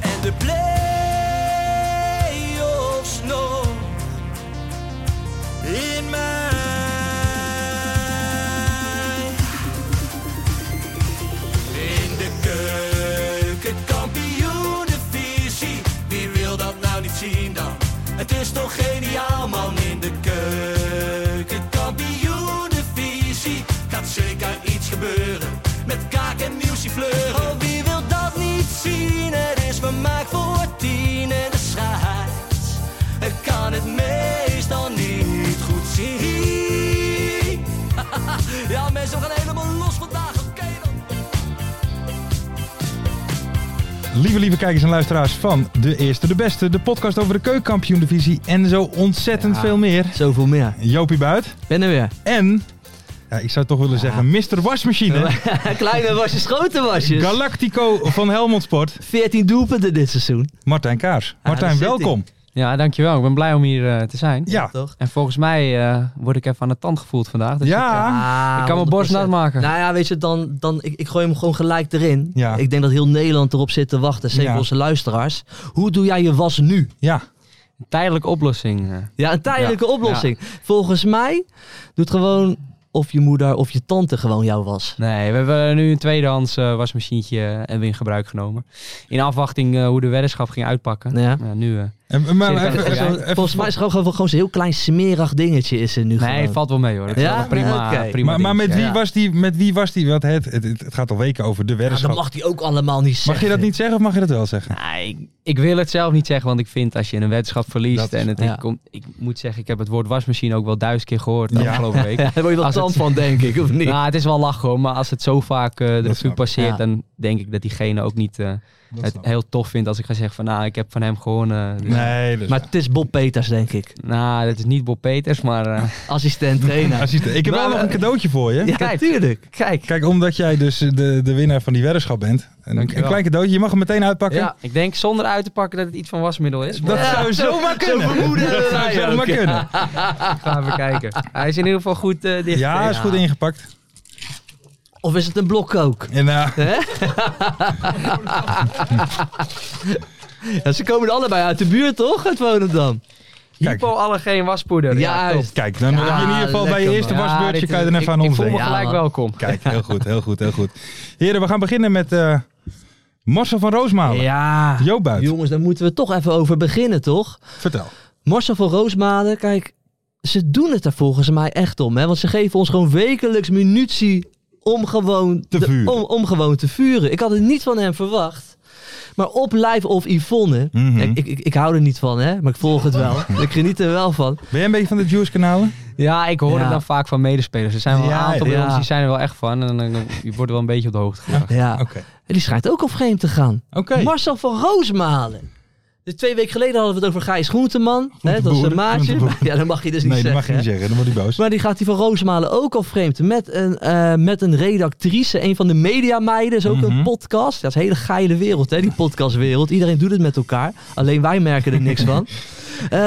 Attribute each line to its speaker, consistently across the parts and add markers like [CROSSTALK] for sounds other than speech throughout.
Speaker 1: En de play-offs nog
Speaker 2: In mij.
Speaker 1: in de keuken, kampioenenvisie. Wie wil dat nou niet zien dan? Het is toch geniaal man in de keuken, kampioenenvisie. Gaat zeker iets gebeuren met kaak en muziek fleuren. Oh, wie wil dat niet zien? Het is vermaakt voor tien en de scheids. Ik kan het meestal niet goed zien. [LAUGHS] Ja, mensen, we gaan helemaal los vandaag. Oké dan.
Speaker 3: Lieve, lieve kijkers en luisteraars van De Eerste De Beste, de podcast over de keukenkampioen-divisie en zo ontzettend veel meer.
Speaker 4: Zoveel meer.
Speaker 3: Jopie Buit
Speaker 4: Ben er weer.
Speaker 3: en, ja, ik zou toch willen zeggen, Mr. Wasmachine,
Speaker 4: [LAUGHS] Kleine wasjes, grote wasjes.
Speaker 3: Galactico van Helmond Sport,
Speaker 4: 14 doelpunten dit seizoen.
Speaker 3: Martijn Kaars. Martijn,
Speaker 4: daar zit
Speaker 3: welkom.
Speaker 5: Ja, dankjewel. Ik ben blij om hier eh, te zijn.
Speaker 3: Ja,
Speaker 4: Toch?
Speaker 5: En volgens mij eh, word ik even aan de tand gevoeld vandaag. Dus ik,
Speaker 3: ja,
Speaker 4: Ah,
Speaker 5: ik kan mijn borst nat maken.
Speaker 4: Nou ja, weet je, dan, dan, ik, ik gooi hem gewoon gelijk erin.
Speaker 3: Ja.
Speaker 4: Ik denk dat heel Nederland erop zit te wachten, zeker
Speaker 3: Ja.
Speaker 4: onze luisteraars. Hoe doe jij je was nu?
Speaker 3: ja.
Speaker 5: Een Tijdelijke oplossing. eh.
Speaker 4: Ja, een tijdelijke
Speaker 5: Ja.
Speaker 4: oplossing. Volgens mij doet gewoon of je moeder of je tante gewoon jou was.
Speaker 5: Nee, we hebben nu een tweedehands eh, wasmachientje eh, hebben we in gebruik genomen. In afwachting eh, hoe de weddenschap ging uitpakken.
Speaker 4: Ja.
Speaker 5: nu, eh,
Speaker 3: En, maar
Speaker 5: Zit er
Speaker 3: even,
Speaker 5: even
Speaker 3: even-
Speaker 5: bij.
Speaker 3: even-
Speaker 4: Volgens mij is het gewoon, gewoon zo'n heel klein smerig dingetje is er nu
Speaker 5: nee,
Speaker 4: gewoon.
Speaker 5: valt wel mee hoor. Dat is
Speaker 4: Ja?
Speaker 5: wel een prima,
Speaker 4: Nee, oké.
Speaker 5: prima
Speaker 3: maar, maar met,
Speaker 5: dingetje,
Speaker 3: wie
Speaker 5: ja.
Speaker 3: was die, met wie was die? Want het, het, het gaat al weken over de
Speaker 4: Ja, Ah, dat
Speaker 3: weddenschap.
Speaker 4: mag hij ook allemaal niet zeggen.
Speaker 3: mag je dat
Speaker 4: [LAUGHS]
Speaker 3: niet zeggen of mag je dat wel zeggen?
Speaker 5: Nee, ik, ik wil het zelf niet zeggen, want ik vind als je een weddenschap verliest
Speaker 3: Dat is-
Speaker 5: en het
Speaker 4: ja.
Speaker 5: komt... Ik moet zeggen, ik heb het woord wasmachine ook wel duizend keer gehoord de
Speaker 3: Ja.
Speaker 5: afgelopen
Speaker 4: [LAUGHS]
Speaker 5: week.
Speaker 4: Daar word je wel
Speaker 5: Als het-
Speaker 4: tand van, denk ik, of niet?
Speaker 5: Nou, het is wel lach hoor, maar als het zo vaak eh de
Speaker 3: snap
Speaker 5: revue
Speaker 3: ik.
Speaker 5: passeert,
Speaker 4: Ja.
Speaker 5: dan denk ik dat diegene ook niet eh, het
Speaker 3: snap ik.
Speaker 5: heel tof vindt als ik ga zeggen van, nou, ik heb van hem gewoon... eh, dus-
Speaker 3: Nee, dus
Speaker 4: Maar het is Bob Peters, denk ik.
Speaker 5: Nou, dat is niet Bob Peters, maar...
Speaker 3: [LAUGHS]
Speaker 5: eh,
Speaker 4: Assistent [LAUGHS] trainer.
Speaker 3: Assistent. Ik heb
Speaker 4: Maar-
Speaker 3: wel nog een cadeautje voor je.
Speaker 4: Ja, natuurlijk. Kijk.
Speaker 3: Kijk, omdat jij dus eh, de, de winnaar van die weddenschap bent. Een, een
Speaker 5: Dankjewel.
Speaker 3: klein cadeautje. Je mag hem meteen uitpakken.
Speaker 5: ja, ik denk zonder uit te pakken dat het iets van wasmiddel
Speaker 3: [LAUGHS]
Speaker 5: is. Maar
Speaker 3: Dat zou zomaar kunnen. dat zou zomaar kunnen.
Speaker 5: ik ga even kijken. Hij is in ieder geval goed eh dicht.
Speaker 3: Ja, is goed ingepakt.
Speaker 4: Of is het een blok ook?
Speaker 3: En eh,
Speaker 4: Ja, ze komen er allebei uit de buurt, toch? Uit Volendam.
Speaker 3: kijk,
Speaker 5: Hypoallergeen waspoeder.
Speaker 4: Ja,
Speaker 5: top.
Speaker 4: juist.
Speaker 3: kijk, dan heb je in ieder geval bij je
Speaker 4: lekker,
Speaker 3: eerste
Speaker 5: Ja,
Speaker 3: wasbeurtje
Speaker 5: dit
Speaker 3: kan je
Speaker 5: is-
Speaker 3: er even
Speaker 5: ik-
Speaker 3: aan
Speaker 5: Ik voel me
Speaker 3: omzetten.
Speaker 4: Ja,
Speaker 5: gelijk
Speaker 4: man.
Speaker 5: welkom.
Speaker 3: Kijk, heel goed, heel goed, heel goed. Heren, we gaan beginnen met eh Marcel van Roosmalen.
Speaker 4: Ja.
Speaker 3: Joop Buit,
Speaker 4: Jongens, daar moeten we toch even over beginnen, toch?
Speaker 3: vertel.
Speaker 4: Marcel van Roosmalen, kijk, ze doen het er volgens mij echt om. Hè? Want ze geven ons gewoon wekelijks munitie om gewoon
Speaker 3: Te vuren.
Speaker 4: om, om gewoon te vuren. Ik had het niet van hem verwacht. Maar op Live of Yvonne,
Speaker 3: Mhm.
Speaker 4: Kijk, ik, ik, ik hou er niet van, hè? maar ik volg het [LAUGHS] wel. ik geniet er wel van.
Speaker 3: Ben jij een beetje van de Juice kanalen?
Speaker 5: Ja, ik hoor
Speaker 4: Ja.
Speaker 5: het dan vaak van medespelers. Er zijn wel een
Speaker 3: Ja,
Speaker 5: aantal bij
Speaker 4: ja.
Speaker 5: ons die zijn er wel echt van. En dan je wordt wel een beetje op de hoogte gebracht.
Speaker 4: Ja.
Speaker 3: Oké.
Speaker 4: En die schijnt ook op vreemd te gaan.
Speaker 3: Oké.
Speaker 4: Marcel van Roosmalen. Dus twee weken geleden hadden we het over Gijs Groenteman. Hè, dat is
Speaker 3: Groenteboer,
Speaker 4: een maatje.
Speaker 3: groenteboer.
Speaker 4: Ja, dat mag je dus niet
Speaker 3: Nee, dat
Speaker 4: zeggen.
Speaker 3: mag je niet
Speaker 4: hè.
Speaker 3: zeggen. Dan wordt hij boos.
Speaker 4: Maar die gaat die van Roosmalen ook al vreemd. Met een, eh, met een redactrice, een van de mediameiden. Is ook
Speaker 3: Mhm.
Speaker 4: een podcast. Dat is een hele geile wereld, hè, die podcastwereld. Iedereen doet het met elkaar. Alleen wij merken er niks
Speaker 3: [LAUGHS]
Speaker 4: van. Eh,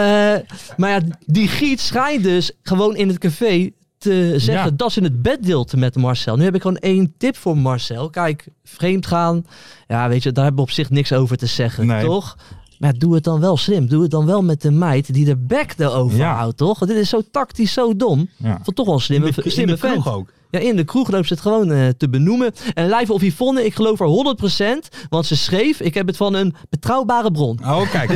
Speaker 4: maar ja, die Giet schijnt dus gewoon in het café te zeggen
Speaker 3: Ja.
Speaker 4: dat ze het bed deelt met Marcel. Nu heb ik gewoon één tip voor Marcel. Kijk, vreemd gaan. Ja, weet je, daar hebben we op zich niks over te zeggen,
Speaker 3: Nee.
Speaker 4: toch? Maar ja, doe het dan wel slim. Doe het dan wel met de meid die de bek erover
Speaker 3: Ja.
Speaker 4: houdt, toch? Want dit is zo tactisch, zo dom.
Speaker 3: Ja.
Speaker 4: Vond toch wel een slimme,
Speaker 3: in de, in
Speaker 4: slimme
Speaker 3: de
Speaker 4: vent.
Speaker 3: kroeg ook.
Speaker 4: Ja, in de kroeg loopt ze het gewoon eh, te benoemen. En Live of Yvonne, ik geloof haar 100%. Want ze schreef, ik heb het van een betrouwbare bron.
Speaker 3: Oh, kijk.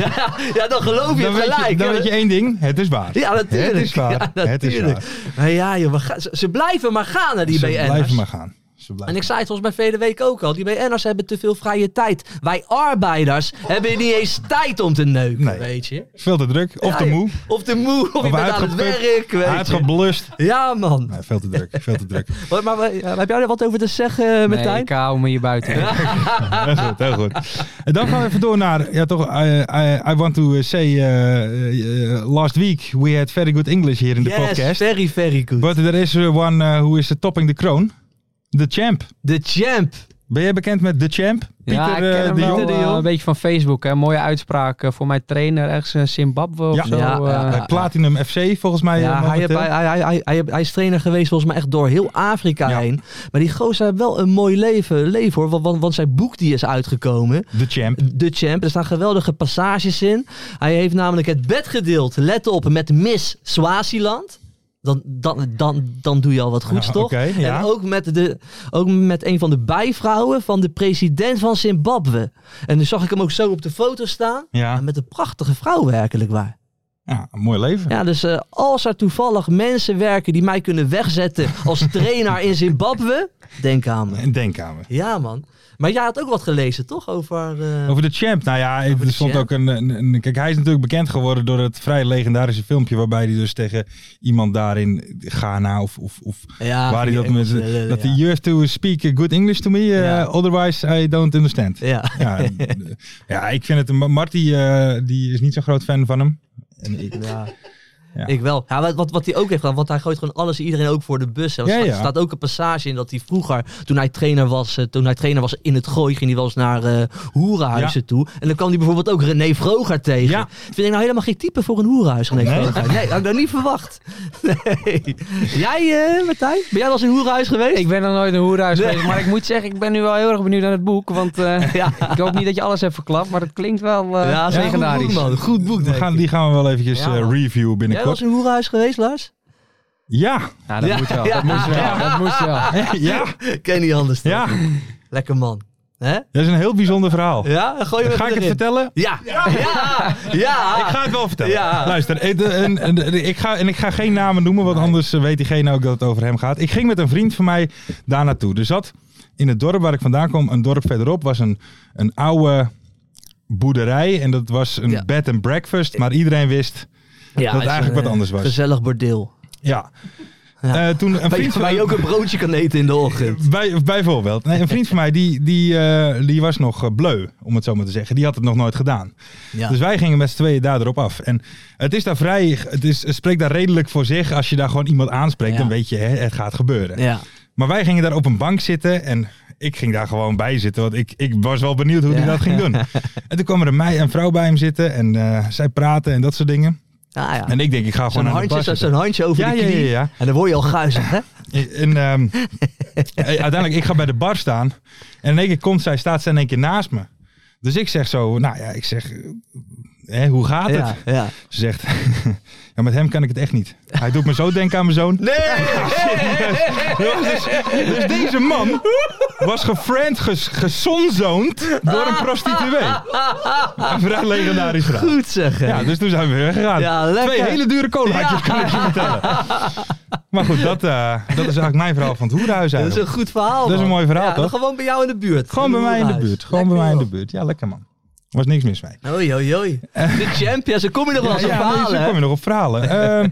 Speaker 4: Ja, dan geloof je
Speaker 3: dan
Speaker 4: het
Speaker 3: weet
Speaker 4: gelijk.
Speaker 3: je, dan
Speaker 4: Ja,
Speaker 3: weet je één ding. Het is waar.
Speaker 4: ja, natuurlijk.
Speaker 3: Het is waar.
Speaker 4: Ja,
Speaker 3: Het is
Speaker 4: natuurlijk. Maar ja, joh, we gaan- ze, ze blijven maar gaan naar die
Speaker 3: Ze
Speaker 4: BN'ers.
Speaker 3: blijven maar gaan. Ze
Speaker 4: En
Speaker 3: blijven.
Speaker 4: ik zei het volgens mij vele week ook al. Die BN'ers hebben te veel vrije tijd. Wij arbeiders hebben niet eens tijd om te neuken,
Speaker 3: Nee.
Speaker 4: weet je.
Speaker 3: Veel te druk. Of
Speaker 4: Ja,
Speaker 3: te
Speaker 4: joh.
Speaker 3: moe.
Speaker 4: Of te moe, of, je bent aan het
Speaker 3: uitgeput.
Speaker 4: werk, weet je.
Speaker 3: Uitgeblust.
Speaker 4: Ja, man.
Speaker 3: Nee, veel te druk. Veel te druk.
Speaker 4: Maar, maar, eh, heb jij er wat over te zeggen, eh,
Speaker 5: Nee,
Speaker 4: Martijn?
Speaker 5: ik hou me hier buiten.
Speaker 3: Heel goed, heel goed. En dan gaan we even door naar, ja toch, I, I, I want to say, eh, eh, last week we had very good English here in the
Speaker 4: yes,
Speaker 3: podcast.
Speaker 4: very, very good.
Speaker 3: But there is uh, one uh, who is uh, topping the crown. The Champ.
Speaker 4: De champ.
Speaker 3: Ben jij bekend met The Champ? Pieter
Speaker 5: ja, ik ken
Speaker 3: eh,
Speaker 5: hem
Speaker 3: de
Speaker 5: wel,
Speaker 3: Jong?
Speaker 5: eh, een beetje van Facebook. Hè. Mooie uitspraak eh, voor mijn trainer ergens in Zimbabwe
Speaker 3: Ja.
Speaker 5: of zo.
Speaker 4: Ja,
Speaker 5: eh.
Speaker 4: ja.
Speaker 3: Bij Platinum FC volgens mij. eh,
Speaker 4: Ja, hij,
Speaker 3: momenteel.
Speaker 4: heeft- hij, hij, hij, hij, hij is trainer geweest volgens mij echt door heel Afrika
Speaker 3: Ja.
Speaker 4: heen. Maar die gozer heeft wel een mooi leven, leven hoor. Want, want, want zijn boek die is uitgekomen.
Speaker 3: The Champ.
Speaker 4: De Champ. Er staan geweldige passages in. Hij heeft namelijk het bedgedeelte, let op, met Miss Swaziland. Dan, dan, dan, dan doe je al wat goeds,
Speaker 3: Ja,
Speaker 4: toch?
Speaker 3: oké, ja.
Speaker 4: En ook met, de, ook met een van de bijvrouwen van de president van Zimbabwe. En nu zag ik hem ook zo op de foto staan.
Speaker 3: Ja.
Speaker 4: En met een prachtige vrouw werkelijk waar.
Speaker 3: ja, een mooi leven.
Speaker 4: Ja, dus eh, als er toevallig mensen werken die mij kunnen wegzetten als
Speaker 3: [LAUGHS]
Speaker 4: trainer in Zimbabwe, denk aan me.
Speaker 3: Een denkkamer.
Speaker 4: Ja, man. Maar jij had ook wat gelezen, toch? Over. eh,
Speaker 3: Over de champ. Nou ja,
Speaker 4: de
Speaker 3: er stond
Speaker 4: champ.
Speaker 3: ook een, een- een- Kijk, hij is natuurlijk bekend geworden door het vrij legendarische filmpje. waarbij hij dus tegen iemand daar in Ghana of. of, of
Speaker 4: ja,
Speaker 3: waar hij dat met.
Speaker 4: Engels, Ah, eh,
Speaker 3: dat
Speaker 4: ja.
Speaker 3: hij. You have to speak good English to me, eh,
Speaker 4: Ja.
Speaker 3: otherwise I don't understand.
Speaker 4: Ja.
Speaker 3: Ja,
Speaker 4: [LAUGHS]
Speaker 3: en, ja ik vind het. een- Marty eh, die is niet zo'n groot fan van hem. En ik,
Speaker 4: Ja.
Speaker 3: [LAUGHS] Ja.
Speaker 4: Ik wel. Ja, wat- wat, wat hij ook heeft gedaan, want hij gooit gewoon alles en iedereen ook voor de bus. hè. Want
Speaker 3: Ja,
Speaker 4: Er sta-
Speaker 3: ja.
Speaker 4: staat ook een passage in dat hij vroeger, toen hij trainer was, eh, toen hij trainer was in het gooi, ging hij wel eens naar eh hoerenhuizen toe. En dan kwam hij bijvoorbeeld ook René Vroger tegen.
Speaker 3: Ja.
Speaker 4: Vind ik nou helemaal geen type voor een hoerenhuis, René Vroger. Nee, had ik dat niet verwacht. [LAUGHS] Nee. Jij, eh Martijn? Ben jij wel eens in een hoerenhuis geweest?
Speaker 5: Ik ben nog nooit een hoerhuis
Speaker 4: Nee.
Speaker 5: geweest, maar ik moet zeggen, ik ben nu wel heel erg benieuwd naar het boek. Want eh,
Speaker 4: [LAUGHS] Ja.
Speaker 5: ik hoop niet dat je alles hebt verklapt, maar het klinkt wel eh,
Speaker 4: Ja,
Speaker 3: goed
Speaker 5: legendarisch.
Speaker 4: boek, man. Goed boek,
Speaker 3: we
Speaker 4: denk
Speaker 3: gaan,
Speaker 4: ik.
Speaker 3: die gaan we wel eventjes
Speaker 4: Ja,
Speaker 3: eh,
Speaker 4: man.
Speaker 3: reviewen
Speaker 4: Jij was
Speaker 3: binnenkort.
Speaker 4: in een hoerenhuis geweest,
Speaker 5: [LAUGHS]
Speaker 4: Lars?
Speaker 3: Ja,
Speaker 5: Ja, dat
Speaker 4: Ja.
Speaker 5: moet wel.
Speaker 4: Ja.
Speaker 5: Dat moest wel. Dat moest wel.
Speaker 3: ja,
Speaker 4: Ken niet anders dan.
Speaker 3: ja.
Speaker 4: Lekker man. Hè?
Speaker 3: Dat is een heel bijzonder verhaal.
Speaker 4: Ja? Gooi je
Speaker 3: Ga ik het
Speaker 4: erin.
Speaker 3: vertellen?
Speaker 4: Ja. Ja. Ja.
Speaker 3: Ik ga het wel vertellen.
Speaker 4: Ah. Ja.
Speaker 3: Luister, eh, de- en, en, de- ik ga, en ik ga geen namen noemen, want anders eh, weet diegene ook dat het over hem gaat. Ik ging met een vriend van mij daar naartoe. Er zat in het dorp waar ik vandaan kom, een dorp verderop, was een, een oude boerderij. En dat was een
Speaker 4: Ja.
Speaker 3: bed and breakfast, maar iedereen wist
Speaker 4: Ja,
Speaker 3: dat
Speaker 4: het is
Speaker 3: eigenlijk
Speaker 4: een,
Speaker 3: wat anders was.
Speaker 4: Gezellig bordeel.
Speaker 3: Ja.
Speaker 4: Ja.
Speaker 3: Eh, toen een
Speaker 4: Waar
Speaker 3: vriend
Speaker 4: je,
Speaker 3: van
Speaker 4: waar je
Speaker 3: mij
Speaker 4: ook een broodje kan eten in de ochtend.
Speaker 3: Bij, bijvoorbeeld. Nee, een vriend van mij die, die, eh, die was nog eh, bleu, om het zo maar te zeggen. Die had het nog nooit gedaan.
Speaker 4: Ja.
Speaker 3: Dus wij gingen met z'n tweeën daar erop af. En het is daar vrij, het, is, het spreekt daar redelijk voor zich. Als je daar gewoon iemand aanspreekt,
Speaker 4: Ja.
Speaker 3: dan weet je, hè, het gaat gebeuren.
Speaker 4: ja.
Speaker 3: Maar wij gingen daar op een bank zitten en ik ging daar gewoon bij zitten. Want ik, ik was wel benieuwd hoe hij
Speaker 4: Ja.
Speaker 3: dat ging
Speaker 4: [LAUGHS]
Speaker 3: doen. En toen kwam er een mei en vrouw bij hem zitten en eh, zij praten en dat soort dingen.
Speaker 4: Ah, ja.
Speaker 3: En ik denk, ik ga
Speaker 4: Zo'n
Speaker 3: gewoon aan de
Speaker 4: handje,
Speaker 3: bar
Speaker 4: zo-
Speaker 3: zitten.
Speaker 4: zo'n handje over
Speaker 3: Ja,
Speaker 4: de
Speaker 3: ja,
Speaker 4: knie.
Speaker 3: ja, ja.
Speaker 4: En dan word je al guizig, hè?
Speaker 3: En, ehm,
Speaker 4: [LAUGHS]
Speaker 3: eh, uiteindelijk, ik ga bij de bar staan. En in één keer komt zij, staat zij in één keer naast me. Dus ik zeg zo, nou ja, ik zeg, eh, hè, hoe gaat het?
Speaker 4: Ja, ja.
Speaker 3: Ze zegt, [LAUGHS] ja, met hem kan ik het echt niet. Hij doet me zo denken aan mijn
Speaker 4: [LAUGHS]
Speaker 3: zoon. [LAUGHS] Dus, dus deze man was gefriend, ges, gezonzoond door een prostituee. Een vrij legendarisch verhaal.
Speaker 4: Goed zeggen.
Speaker 3: Ja,
Speaker 4: Ja,
Speaker 3: dus toen zijn we weer gegaan.
Speaker 4: Ja, lekker.
Speaker 3: Twee hele dure colaatjes kan ik je vertellen. Maar goed, dat, eh, dat is eigenlijk mijn verhaal van het hoerenhuis
Speaker 4: dat is een
Speaker 3: eigenlijk.
Speaker 4: goed verhaal.
Speaker 3: Dat is
Speaker 4: man.
Speaker 3: een mooi verhaal,
Speaker 4: Ja, dan
Speaker 3: toch?
Speaker 4: Gewoon bij jou in de buurt.
Speaker 3: Gewoon bij mij in de
Speaker 4: Hoerenhuis.
Speaker 3: buurt. Gewoon bij mij in de buurt. Ja, lekker man. was niks mis mee.
Speaker 4: Lekker, joh. Oei, oei, oei. De champions, dan kom je nog wel eens op
Speaker 3: nee,
Speaker 4: verhalen,
Speaker 3: Eh. zo kom
Speaker 4: hè?
Speaker 3: je nog op verhalen. Ehm,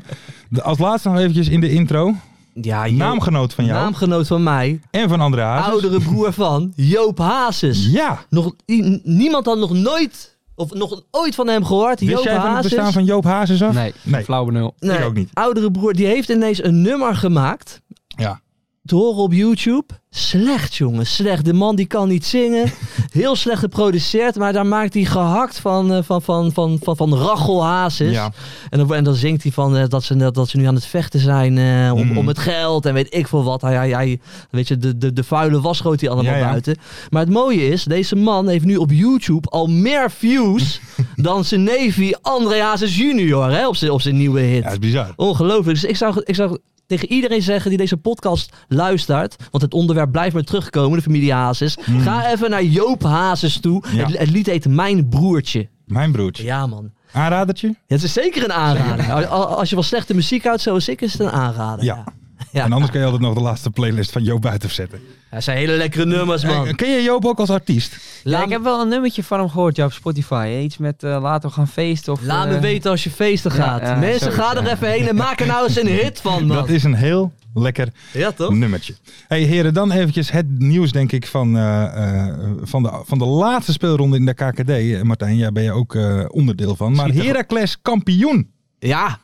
Speaker 3: de- als laatste nog eventjes in de intro.
Speaker 4: Ja, joh.
Speaker 3: Naamgenoot van jou
Speaker 4: Naamgenoot van mij.
Speaker 3: en van André Hazes.
Speaker 4: Oudere broer van Joop Hazes.
Speaker 3: Ja.
Speaker 4: Nog, i- niemand had nog nooit, of nog ooit van hem gehoord.
Speaker 3: Wist
Speaker 4: Joop
Speaker 3: jij van het
Speaker 4: Hazes.
Speaker 3: bestaan van Joop Hazes af?
Speaker 5: Nee,
Speaker 3: Nee.
Speaker 5: flauw benul.
Speaker 3: Ik ook niet.
Speaker 4: Oudere broer, die heeft ineens een nummer gemaakt.
Speaker 3: Ja.
Speaker 4: te horen op YouTube. Slecht, jongen, slecht. De man die kan niet
Speaker 3: [LAUGHS]
Speaker 4: zingen. Heel slecht geproduceerd, maar daar maakt hij gehakt van, eh, van, van, van, van, van Rachel Hazes.
Speaker 3: Ja.
Speaker 4: En, dan, en dan zingt hij van eh, dat, ze, dat, dat ze nu aan het vechten zijn eh, om,
Speaker 3: Mhm.
Speaker 4: om het geld en weet ik veel wat. Hij, hij, hij- weet je, de, de, de vuile was gooit hij allemaal
Speaker 3: Ja, ja.
Speaker 4: buiten. Maar het mooie is, deze man heeft nu op YouTube al meer
Speaker 3: [LAUGHS]
Speaker 4: views dan zijn Navy André Hazes junior hè, op, zijn, op zijn nieuwe hit.
Speaker 3: Ja, dat is bizar.
Speaker 4: Ongelooflijk. Dus ik zou, ik zou tegen iedereen zeggen die deze podcast luistert, want het onderwerp blijft maar terugkomen, de familie Hazes. Ga even naar Joop Hazes toe.
Speaker 3: Mm. Ja.
Speaker 4: Het, het lied heet Mijn Broertje.
Speaker 3: Mijn broertje.
Speaker 4: Ja man.
Speaker 3: Aanradertje?
Speaker 4: Ja, het is zeker een aanrader. Al- al- Als je wel slechte muziek houdt zoals ik, is het een aanrader.
Speaker 3: Ja.
Speaker 4: Ja.
Speaker 3: En anders kan je altijd nog de laatste playlist van Joop Buiten zetten.
Speaker 4: Dat zijn hele lekkere nummers man.
Speaker 3: Eh, Ken je Joop ook als artiest?
Speaker 5: Ja,
Speaker 4: Laat,
Speaker 5: ik heb wel een nummertje van hem gehoord ja, op Spotify. hè. Iets met eh, laten we gaan feesten. Of,
Speaker 4: laat me
Speaker 5: eh,
Speaker 4: weten als je feesten gaat.
Speaker 5: ja,
Speaker 4: Mensen,
Speaker 5: zoiets,
Speaker 4: ga er even heen en maak er nou eens een hit van man.
Speaker 3: Dat is een heel lekker
Speaker 4: Ja toch?
Speaker 3: nummertje. hey, heren, dan eventjes het nieuws denk ik van, eh, eh, van, de, van de laatste speelronde in de KKD. Eh, Martijn, daar ben je ook eh, onderdeel van. Maar
Speaker 4: Schiet er-
Speaker 3: Heracles kampioen.
Speaker 4: Ja.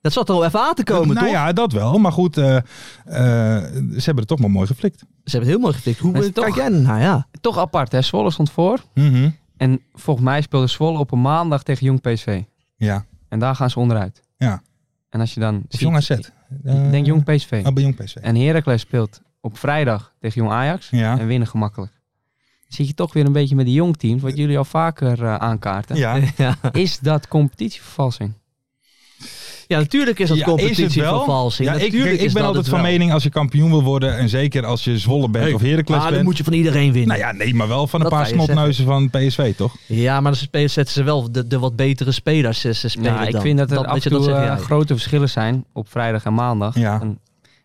Speaker 4: Dat zat er al even aan te komen
Speaker 3: nou
Speaker 4: toch?
Speaker 3: ja, dat wel. Maar goed, eh, eh, ze hebben het toch maar mooi geflikt.
Speaker 4: Ze hebben het heel mooi geflikt. Hoe
Speaker 5: Maar het is
Speaker 4: kijk
Speaker 5: toch-
Speaker 4: jij nou ja.
Speaker 5: Toch apart, hè? Zwolle stond voor.
Speaker 3: Mhm.
Speaker 5: En volgens mij speelde Zwolle op een maandag tegen Jong PSV.
Speaker 3: Ja.
Speaker 5: En daar gaan ze onderuit.
Speaker 3: Ja.
Speaker 5: En als je dan...
Speaker 3: Is Jong AZ?
Speaker 5: Ik denk Eh, Ah, Jong PSV.
Speaker 3: Oh, bij Jong PSV.
Speaker 5: En Heracles speelt op vrijdag tegen Jong Ajax.
Speaker 3: Ja.
Speaker 5: En winnen gemakkelijk. Zit je toch weer een beetje met die jong teams, wat jullie al vaker eh, aankaarten.
Speaker 3: Ja.
Speaker 4: [LAUGHS] ja.
Speaker 5: Is dat competitievervalsing?
Speaker 4: Ja, natuurlijk is dat
Speaker 3: Ja, is het wel?
Speaker 4: competitievervalsing.
Speaker 3: Ja, ik,
Speaker 4: Natuurlijk
Speaker 3: ik,
Speaker 4: is
Speaker 3: ben
Speaker 4: dat
Speaker 3: altijd
Speaker 4: het
Speaker 3: van
Speaker 4: wel.
Speaker 3: mening als je kampioen wil worden. En zeker als je Zwolle bent
Speaker 4: Hey,
Speaker 3: of Heracles
Speaker 4: Maar dan
Speaker 3: bent.
Speaker 4: moet je van iedereen winnen.
Speaker 3: Nou ja, nee, maar wel van een
Speaker 4: Dat
Speaker 3: paar
Speaker 4: ga je
Speaker 3: snotneuzen van PSV, toch?
Speaker 4: Ja, maar dan spe- zetten ze wel de, de wat betere spelers ze ze spelen
Speaker 5: Nou, ik
Speaker 4: dan.
Speaker 5: vind dat er
Speaker 4: Dat-
Speaker 5: af
Speaker 4: weet
Speaker 5: en
Speaker 4: je, dat
Speaker 5: toe
Speaker 4: zeg
Speaker 5: eh,
Speaker 4: jij.
Speaker 5: grote verschillen zijn op vrijdag en maandag.
Speaker 3: Ja.
Speaker 5: En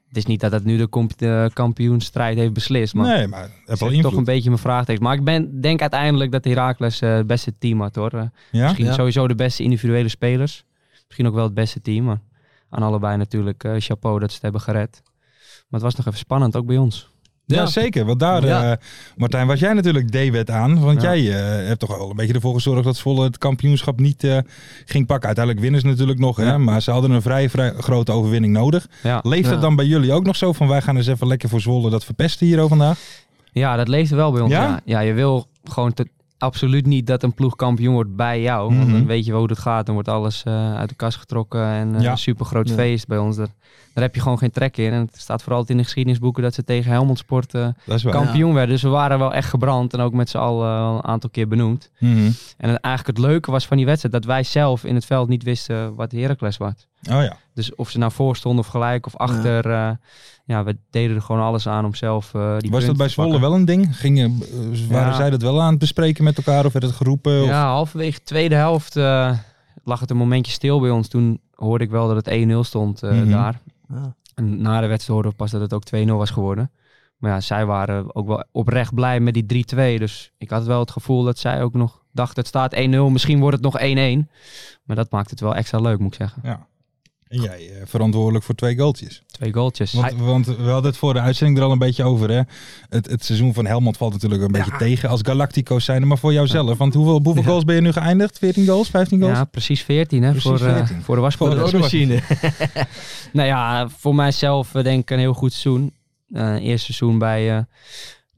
Speaker 5: het is niet dat dat nu de, comp- de kampioenstrijd heeft beslist, maar
Speaker 3: nee, maar heb
Speaker 5: het
Speaker 3: wel
Speaker 5: is toch
Speaker 3: invloed.
Speaker 5: een beetje mijn vraagteken. Maar ik ben, denk uiteindelijk dat Heracles eh, het beste team had hoor. Eh,
Speaker 3: ja?
Speaker 5: misschien
Speaker 4: Ja.
Speaker 5: sowieso de beste individuele spelers. Misschien ook wel het beste team, maar aan allebei natuurlijk eh, chapeau dat ze het hebben gered. Maar het was nog even spannend, ook bij ons.
Speaker 3: Ja, zeker. Want daar,
Speaker 4: Ja.
Speaker 3: eh, Martijn, was jij natuurlijk D-wet aan. Want
Speaker 5: Ja.
Speaker 3: jij eh, hebt toch wel een beetje ervoor gezorgd dat Zwolle het kampioenschap niet eh, ging pakken. Uiteindelijk winnen ze natuurlijk nog, hè,
Speaker 5: Ja.
Speaker 3: maar ze hadden een vrij, vrij grote overwinning nodig.
Speaker 5: Ja.
Speaker 3: Leeft
Speaker 4: Ja.
Speaker 3: dat dan bij jullie ook nog zo van wij gaan eens even lekker voor Zwolle dat verpesten hier over vandaag?
Speaker 5: Ja, dat leeft wel bij ons.
Speaker 3: Ja?
Speaker 5: Ja, ja. je wil gewoon te- absoluut niet dat een ploeg kampioen wordt bij jou.
Speaker 3: Mhm.
Speaker 5: Want dan weet je wel hoe dat gaat. Dan wordt alles eh, uit de kast getrokken en eh,
Speaker 3: Ja.
Speaker 5: een super groot
Speaker 4: Ja.
Speaker 5: feest bij ons. Daar, daar heb je gewoon geen trek in. En het staat vooral altijd in de geschiedenisboeken dat ze tegen Helmond Sport eh,
Speaker 3: Dat is wel.
Speaker 5: kampioen werden. Dus we waren wel echt gebrand en ook met z'n allen al een aantal keer benoemd.
Speaker 3: Mhm.
Speaker 5: En het- eigenlijk het leuke was van die wedstrijd dat wij zelf in het veld niet wisten wat Heracles was.
Speaker 3: Oh ja.
Speaker 5: Dus of ze nou voor stonden of gelijk of achter. Ja, ja we deden er gewoon alles aan om zelf eh, die
Speaker 3: Was
Speaker 5: punten
Speaker 3: dat bij
Speaker 5: te
Speaker 3: Zwolle
Speaker 5: pakken.
Speaker 3: wel een ding? Gingen, eh, waren
Speaker 5: Ja.
Speaker 3: zij dat wel aan het bespreken met elkaar of werd het geroepen? Of-
Speaker 5: Ja, halverwege de tweede helft eh, lag het een momentje stil bij ons. Toen hoorde ik wel dat het 1-0 stond eh,
Speaker 3: Mhm.
Speaker 5: daar.
Speaker 4: Ja.
Speaker 5: En na de wedstrijd hoorden we pas dat het ook 2-0 was geworden. Maar ja, zij waren ook wel oprecht blij met die 3-2. Dus ik had wel het gevoel dat zij ook nog dachten, het staat 1-0, misschien wordt het nog 1-1. Maar dat maakt het wel extra leuk, moet ik zeggen.
Speaker 3: Ja. En jij eh, verantwoordelijk voor twee goaltjes.
Speaker 5: Twee goaltjes.
Speaker 3: Want, want we hadden het voor de uitzending er al een beetje over. Hè? Het, het seizoen van Helmond valt natuurlijk een beetje tegen als Galactico's zijn. Maar voor jouzelf, want hoeveel, op hoeveel goals ben je nu geëindigd? 14 goals? 15 goals?
Speaker 5: Ja, precies 14 hè,
Speaker 3: Precies
Speaker 5: voor, eh,
Speaker 3: 14.
Speaker 5: voor de
Speaker 3: Voor
Speaker 5: waspoeder.
Speaker 3: de-
Speaker 4: wasmachine.
Speaker 5: Nou ja, voor mijzelf eh, denk ik een heel goed seizoen. Eh eerst seizoen bij eh,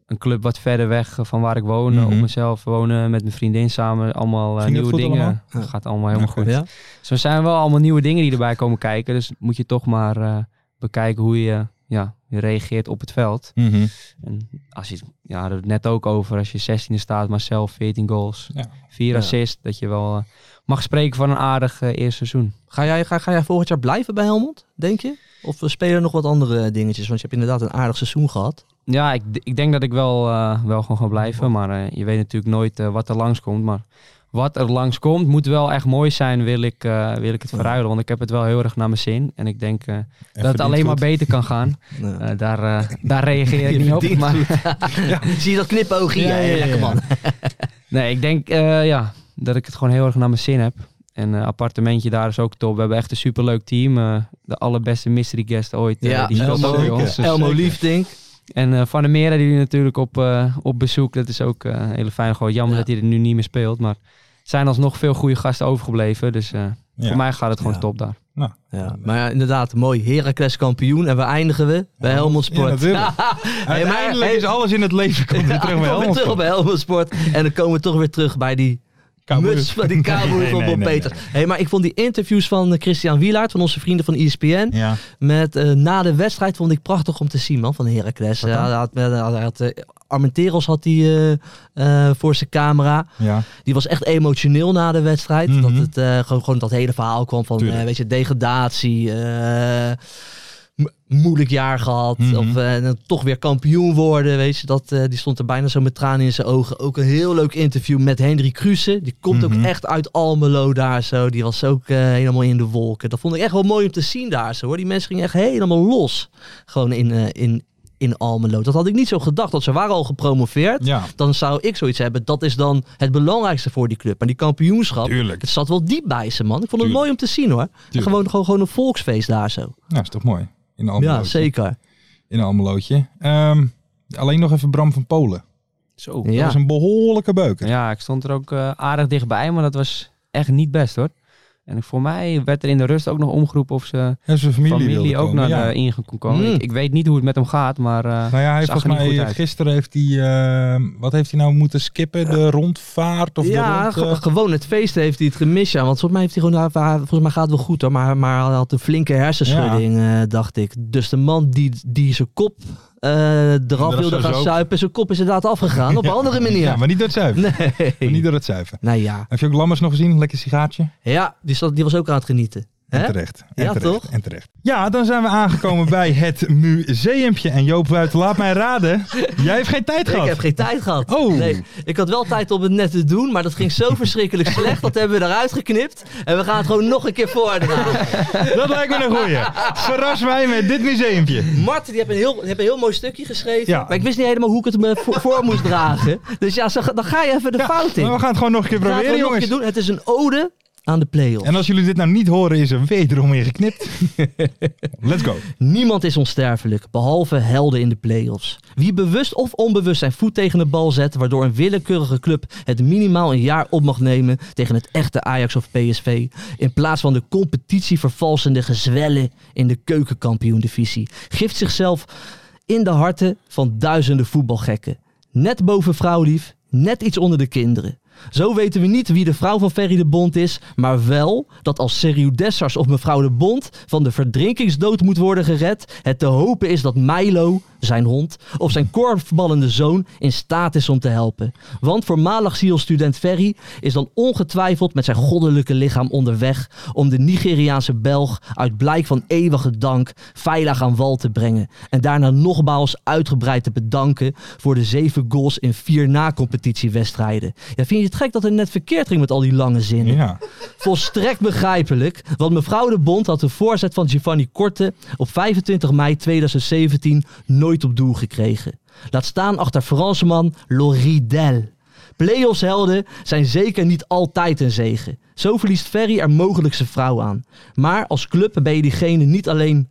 Speaker 5: een club wat verder weg eh, van waar ik woon.
Speaker 3: Mhm.
Speaker 5: Op mezelf wonen met mijn vriendin samen. Allemaal
Speaker 3: Ging
Speaker 5: eh,
Speaker 3: dat
Speaker 5: nieuwe
Speaker 3: goed
Speaker 5: dingen.
Speaker 3: allemaal?
Speaker 5: Dat gaat allemaal helemaal
Speaker 3: Oké.
Speaker 5: Nou, goed.
Speaker 4: Ja.
Speaker 5: Zo zijn er wel allemaal nieuwe dingen die erbij komen kijken. Dus moet je toch maar eh, bekijken hoe je ja, reageert op het veld.
Speaker 3: Mhm.
Speaker 5: En als je, ja, daar hadden we het net ook over. Als je 16e staat, maar zelf 14 goals,
Speaker 3: Ja.
Speaker 5: 4
Speaker 4: Ja.
Speaker 5: assists. Dat je wel eh, mag spreken van een aardig eh, eerste seizoen.
Speaker 4: Ga, jij, ga, ga jij volgend jaar blijven bij Helmond, denk je? Of eh, spelen er nog wat andere dingetjes? Want je hebt inderdaad een aardig seizoen gehad.
Speaker 5: Ja, ik, d- ik denk dat ik wel, eh, wel gewoon ga blijven. Maar eh, je weet natuurlijk nooit eh, wat er langskomt. Maar wat er langskomt moet wel echt mooi zijn, wil ik, eh, wil ik het
Speaker 4: Ja.
Speaker 5: verruilen. Want ik heb het wel heel erg naar mijn zin. En ik denk eh,
Speaker 3: En
Speaker 5: dat het alleen maar
Speaker 3: verdient
Speaker 5: beter kan gaan.
Speaker 4: Nou.
Speaker 5: Eh, daar, eh, daar reageer ik
Speaker 4: Je
Speaker 5: niet op.
Speaker 4: verdient
Speaker 5: Maar,
Speaker 4: [LAUGHS] Zie je dat knipoogje? Ja,
Speaker 3: Ja, ja, ja,
Speaker 4: lekker
Speaker 3: ja.
Speaker 4: man.
Speaker 5: nee, ik denk eh, ja, dat ik het gewoon heel erg naar mijn zin heb. En eh appartementje daar is ook top. We hebben echt een superleuk team. eh, de allerbeste mystery guest ooit. eh,
Speaker 4: Ja,
Speaker 5: die speelt
Speaker 4: Elmo.
Speaker 5: ook bij
Speaker 3: Zeker.
Speaker 5: ons. Dus,
Speaker 4: Elmo Liefdink.
Speaker 5: En eh, Van der Meer die natuurlijk op, eh, op bezoek. Dat is ook eh, een hele fijn. Gewoon jammer
Speaker 4: Ja.
Speaker 5: dat hij er nu niet meer speelt. Maar er zijn alsnog veel goede gasten overgebleven. Dus eh,
Speaker 3: goed. Ja.
Speaker 5: voor mij gaat het gewoon
Speaker 4: Ja.
Speaker 5: top daar.
Speaker 3: Nou.
Speaker 4: Ja, maar ja, inderdaad, mooi. Heracles kampioen. En we eindigen we bij Helmond Sport.
Speaker 3: natuurlijk.
Speaker 4: maar- [LAUGHS]
Speaker 3: Uiteindelijk
Speaker 4: hey-
Speaker 3: is alles in het
Speaker 4: [LAUGHS]
Speaker 3: leven komt weer
Speaker 4: Ja,
Speaker 3: terug
Speaker 4: we
Speaker 3: bij
Speaker 4: komen
Speaker 3: Helmond.
Speaker 4: terug bij Helmond Sport. En dan komen we toch weer terug bij die
Speaker 3: Cowboys.
Speaker 4: muts van
Speaker 3: [LAUGHS]
Speaker 4: die cowboy
Speaker 3: Nee,
Speaker 4: van
Speaker 3: nee,
Speaker 4: Bob
Speaker 3: nee,
Speaker 4: Peters. Hey, maar ik vond die interviews van eh, Christian Wielaert, van onze vrienden van E ESPN,
Speaker 3: Ja.
Speaker 4: met, eh, na de wedstrijd vond ik prachtig om te zien, man, van Heracles.
Speaker 3: Wat dan?
Speaker 4: Ja, hij had, hij had, hij had, eh, Armenteros had hij eh, eh, voor zijn camera.
Speaker 3: ja.
Speaker 4: Die was echt emotioneel na de wedstrijd.
Speaker 3: Mhm.
Speaker 4: Dat het eh, gewoon, gewoon dat hele verhaal kwam van
Speaker 3: Tuurlijk.
Speaker 4: eh, weet je, degradatie. eh, mo- moeilijk jaar gehad.
Speaker 3: Mhm.
Speaker 4: Of eh, en dan toch weer kampioen worden. Weet je, dat, eh, die stond er bijna zo met tranen in zijn ogen. Ook een heel leuk interview met Henry Kruse. Die komt
Speaker 3: Mhm.
Speaker 4: ook echt uit Almelo daar zo. Die was ook eh, helemaal in de wolken. Dat vond ik echt wel mooi om te zien daar zo hoor. Die mensen gingen echt helemaal los. Gewoon in, eh, in, in Almelo. Dat had ik niet zo gedacht. Want ze waren al gepromoveerd
Speaker 3: Ja.
Speaker 4: dan zou ik zoiets hebben. Dat is dan het belangrijkste voor die club. Maar die kampioenschap,
Speaker 3: Tuurlijk.
Speaker 4: het zat wel diep bij ze, man. Ik vond het
Speaker 3: Tuurlijk.
Speaker 4: mooi om te zien, hoor.
Speaker 3: Tuurlijk.
Speaker 4: Gewoon, gewoon, gewoon een volksfeest daar zo.
Speaker 3: Nou, is toch mooi. In een Almelootje.
Speaker 4: Ja, zeker.
Speaker 3: In een Almelootje. Ehm, alleen nog even Bram van Polen.
Speaker 5: Zo.
Speaker 3: Dat
Speaker 4: Ja.
Speaker 3: is een behoorlijke beuker.
Speaker 5: Ja, ik stond er ook eh, aardig dichtbij, maar dat was echt niet best hoor. En ik- voor mij werd er in de rust ook nog omgeroepen of ze
Speaker 3: En zijn familie,
Speaker 5: familie,
Speaker 3: wilde
Speaker 5: ook
Speaker 3: komen,
Speaker 5: naar
Speaker 3: ja.
Speaker 5: de ingang kon komen.
Speaker 4: Mm.
Speaker 5: Ik, ik weet niet hoe het met hem gaat, maar eh,
Speaker 3: Nou ja, hij heeft
Speaker 5: zag er
Speaker 3: volgens
Speaker 5: niet
Speaker 3: mij
Speaker 5: goed uit.
Speaker 3: gisteren heeft hij, ehm, wat heeft hij nou moeten skippen? De rondvaart of
Speaker 4: ja,
Speaker 3: de rond, eh,
Speaker 4: ge- gewoon het feest heeft hij het gemist, ja. Want volgens mij, heeft hij gewoon, hij- volgens mij gaat het wel goed, hoor. Maar, maar hij had een flinke hersenschudding, eh, dacht ik. Dus de man die, die zijn kop eh eraf
Speaker 3: dat
Speaker 4: wilde
Speaker 3: zou
Speaker 4: gaan
Speaker 3: ze ook-
Speaker 4: suipen, zijn kop is inderdaad
Speaker 3: [LAUGHS]
Speaker 4: afgegaan. Op een andere manier.
Speaker 3: Ja, maar niet door het zuiven.
Speaker 4: Nee.
Speaker 3: Maar Niet door het zuiven.
Speaker 4: Nou ja,
Speaker 3: Heb je ook Lammers nog gezien? Lekker sigaartje.
Speaker 4: ja die, zat, die was ook aan het genieten.
Speaker 3: En
Speaker 4: Hè?
Speaker 3: terecht. En
Speaker 4: Ja,
Speaker 3: terecht.
Speaker 4: toch?
Speaker 3: En terecht. Ja, dan zijn we aangekomen bij het museumpje. En Joop Buiten, laat mij
Speaker 4: [LAUGHS]
Speaker 3: raden. Jij hebt geen tijd gehad.
Speaker 4: Ik heb geen tijd gehad.
Speaker 3: Oh.
Speaker 4: Nee, ik had wel tijd om het net te doen, maar dat ging zo verschrikkelijk slecht. Dat hebben we eruit geknipt. En we gaan het gewoon nog een keer voordragen.
Speaker 3: Dat lijkt me een goeie. Verras mij met dit museumpje.
Speaker 4: Mart, die heeft een, heel, die heeft een heel mooi stukje geschreven.
Speaker 3: Ja.
Speaker 4: Maar ik wist niet helemaal hoe ik het me voor, voor moest dragen. Dus ja, zo ga- dan ga je even de fout in.
Speaker 3: Maar we gaan het gewoon nog een keer
Speaker 4: Laten we
Speaker 3: proberen,
Speaker 4: het nog een
Speaker 3: jongens.
Speaker 4: keer doen. Het is een ode aan de play-offs.
Speaker 3: En als jullie dit nou niet horen, is er wederom weer geknipt. [LAUGHS] Let's go.
Speaker 4: Niemand is onsterfelijk, behalve helden in de play-offs. Wie bewust of onbewust zijn voet tegen de bal zet, waardoor een willekeurige club het minimaal een jaar op mag nemen tegen het echte Ajax of PSV, in plaats van de competitievervalsende gezwellen in de keukenkampioendivisie, gift zichzelf in de harten van duizenden voetbalgekken. Net boven vrouwlief, net iets onder de kinderen. Zo weten we niet wie de vrouw van Ferry de Bond is, maar wel dat als Seriou Dessers of mevrouw de Bond van de verdrinkingsdood moet worden gered, het te hopen is dat Milo, zijn hond, of zijn korfballende zoon in staat is om te helpen. Want voormalig zielstudent Ferry is dan ongetwijfeld met zijn goddelijke lichaam onderweg om de Nigeriaanse Belg uit blijk van eeuwige dank veilig aan wal te brengen. En daarna nogmaals uitgebreid te bedanken voor de zeven goals in vier na-competitiewedstrijden. Ja, vind je het gek dat het net verkeerd ging met al die lange zinnen?
Speaker 3: Ja.
Speaker 4: Volstrekt begrijpelijk, want mevrouw de Bond had de voorzet van Giovanni Korte op 25 mei 2017 nooit op doel gekregen. Laat staan achter Fransman Loridel. Playoffs helden zijn zeker niet altijd een zegen. Zo verliest Ferry er mogelijk zijn vrouw aan. Maar als club ben je diegene niet alleen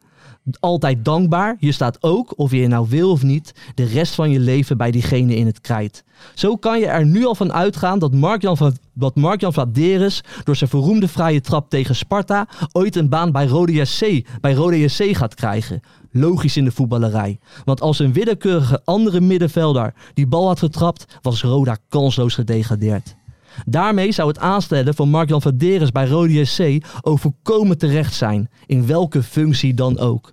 Speaker 4: altijd dankbaar. Je staat ook, of je het nou wil of niet, de rest van je leven bij diegene in het krijt. Zo kan je er nu al van uitgaan dat Mark-Jan van dat Mark-Jan Vladeres door zijn verroemde vrije trap tegen Sparta ooit een baan bij Rode JC, bij Rode JC gaat krijgen. Logisch in de voetballerij. Want als een willekeurige andere middenvelder die bal had getrapt, was Roda kansloos gedegradeerd. Daarmee zou het aanstellen van Mark-Jan Vladeres bij Rode JC overkomen terecht zijn, in welke functie dan ook.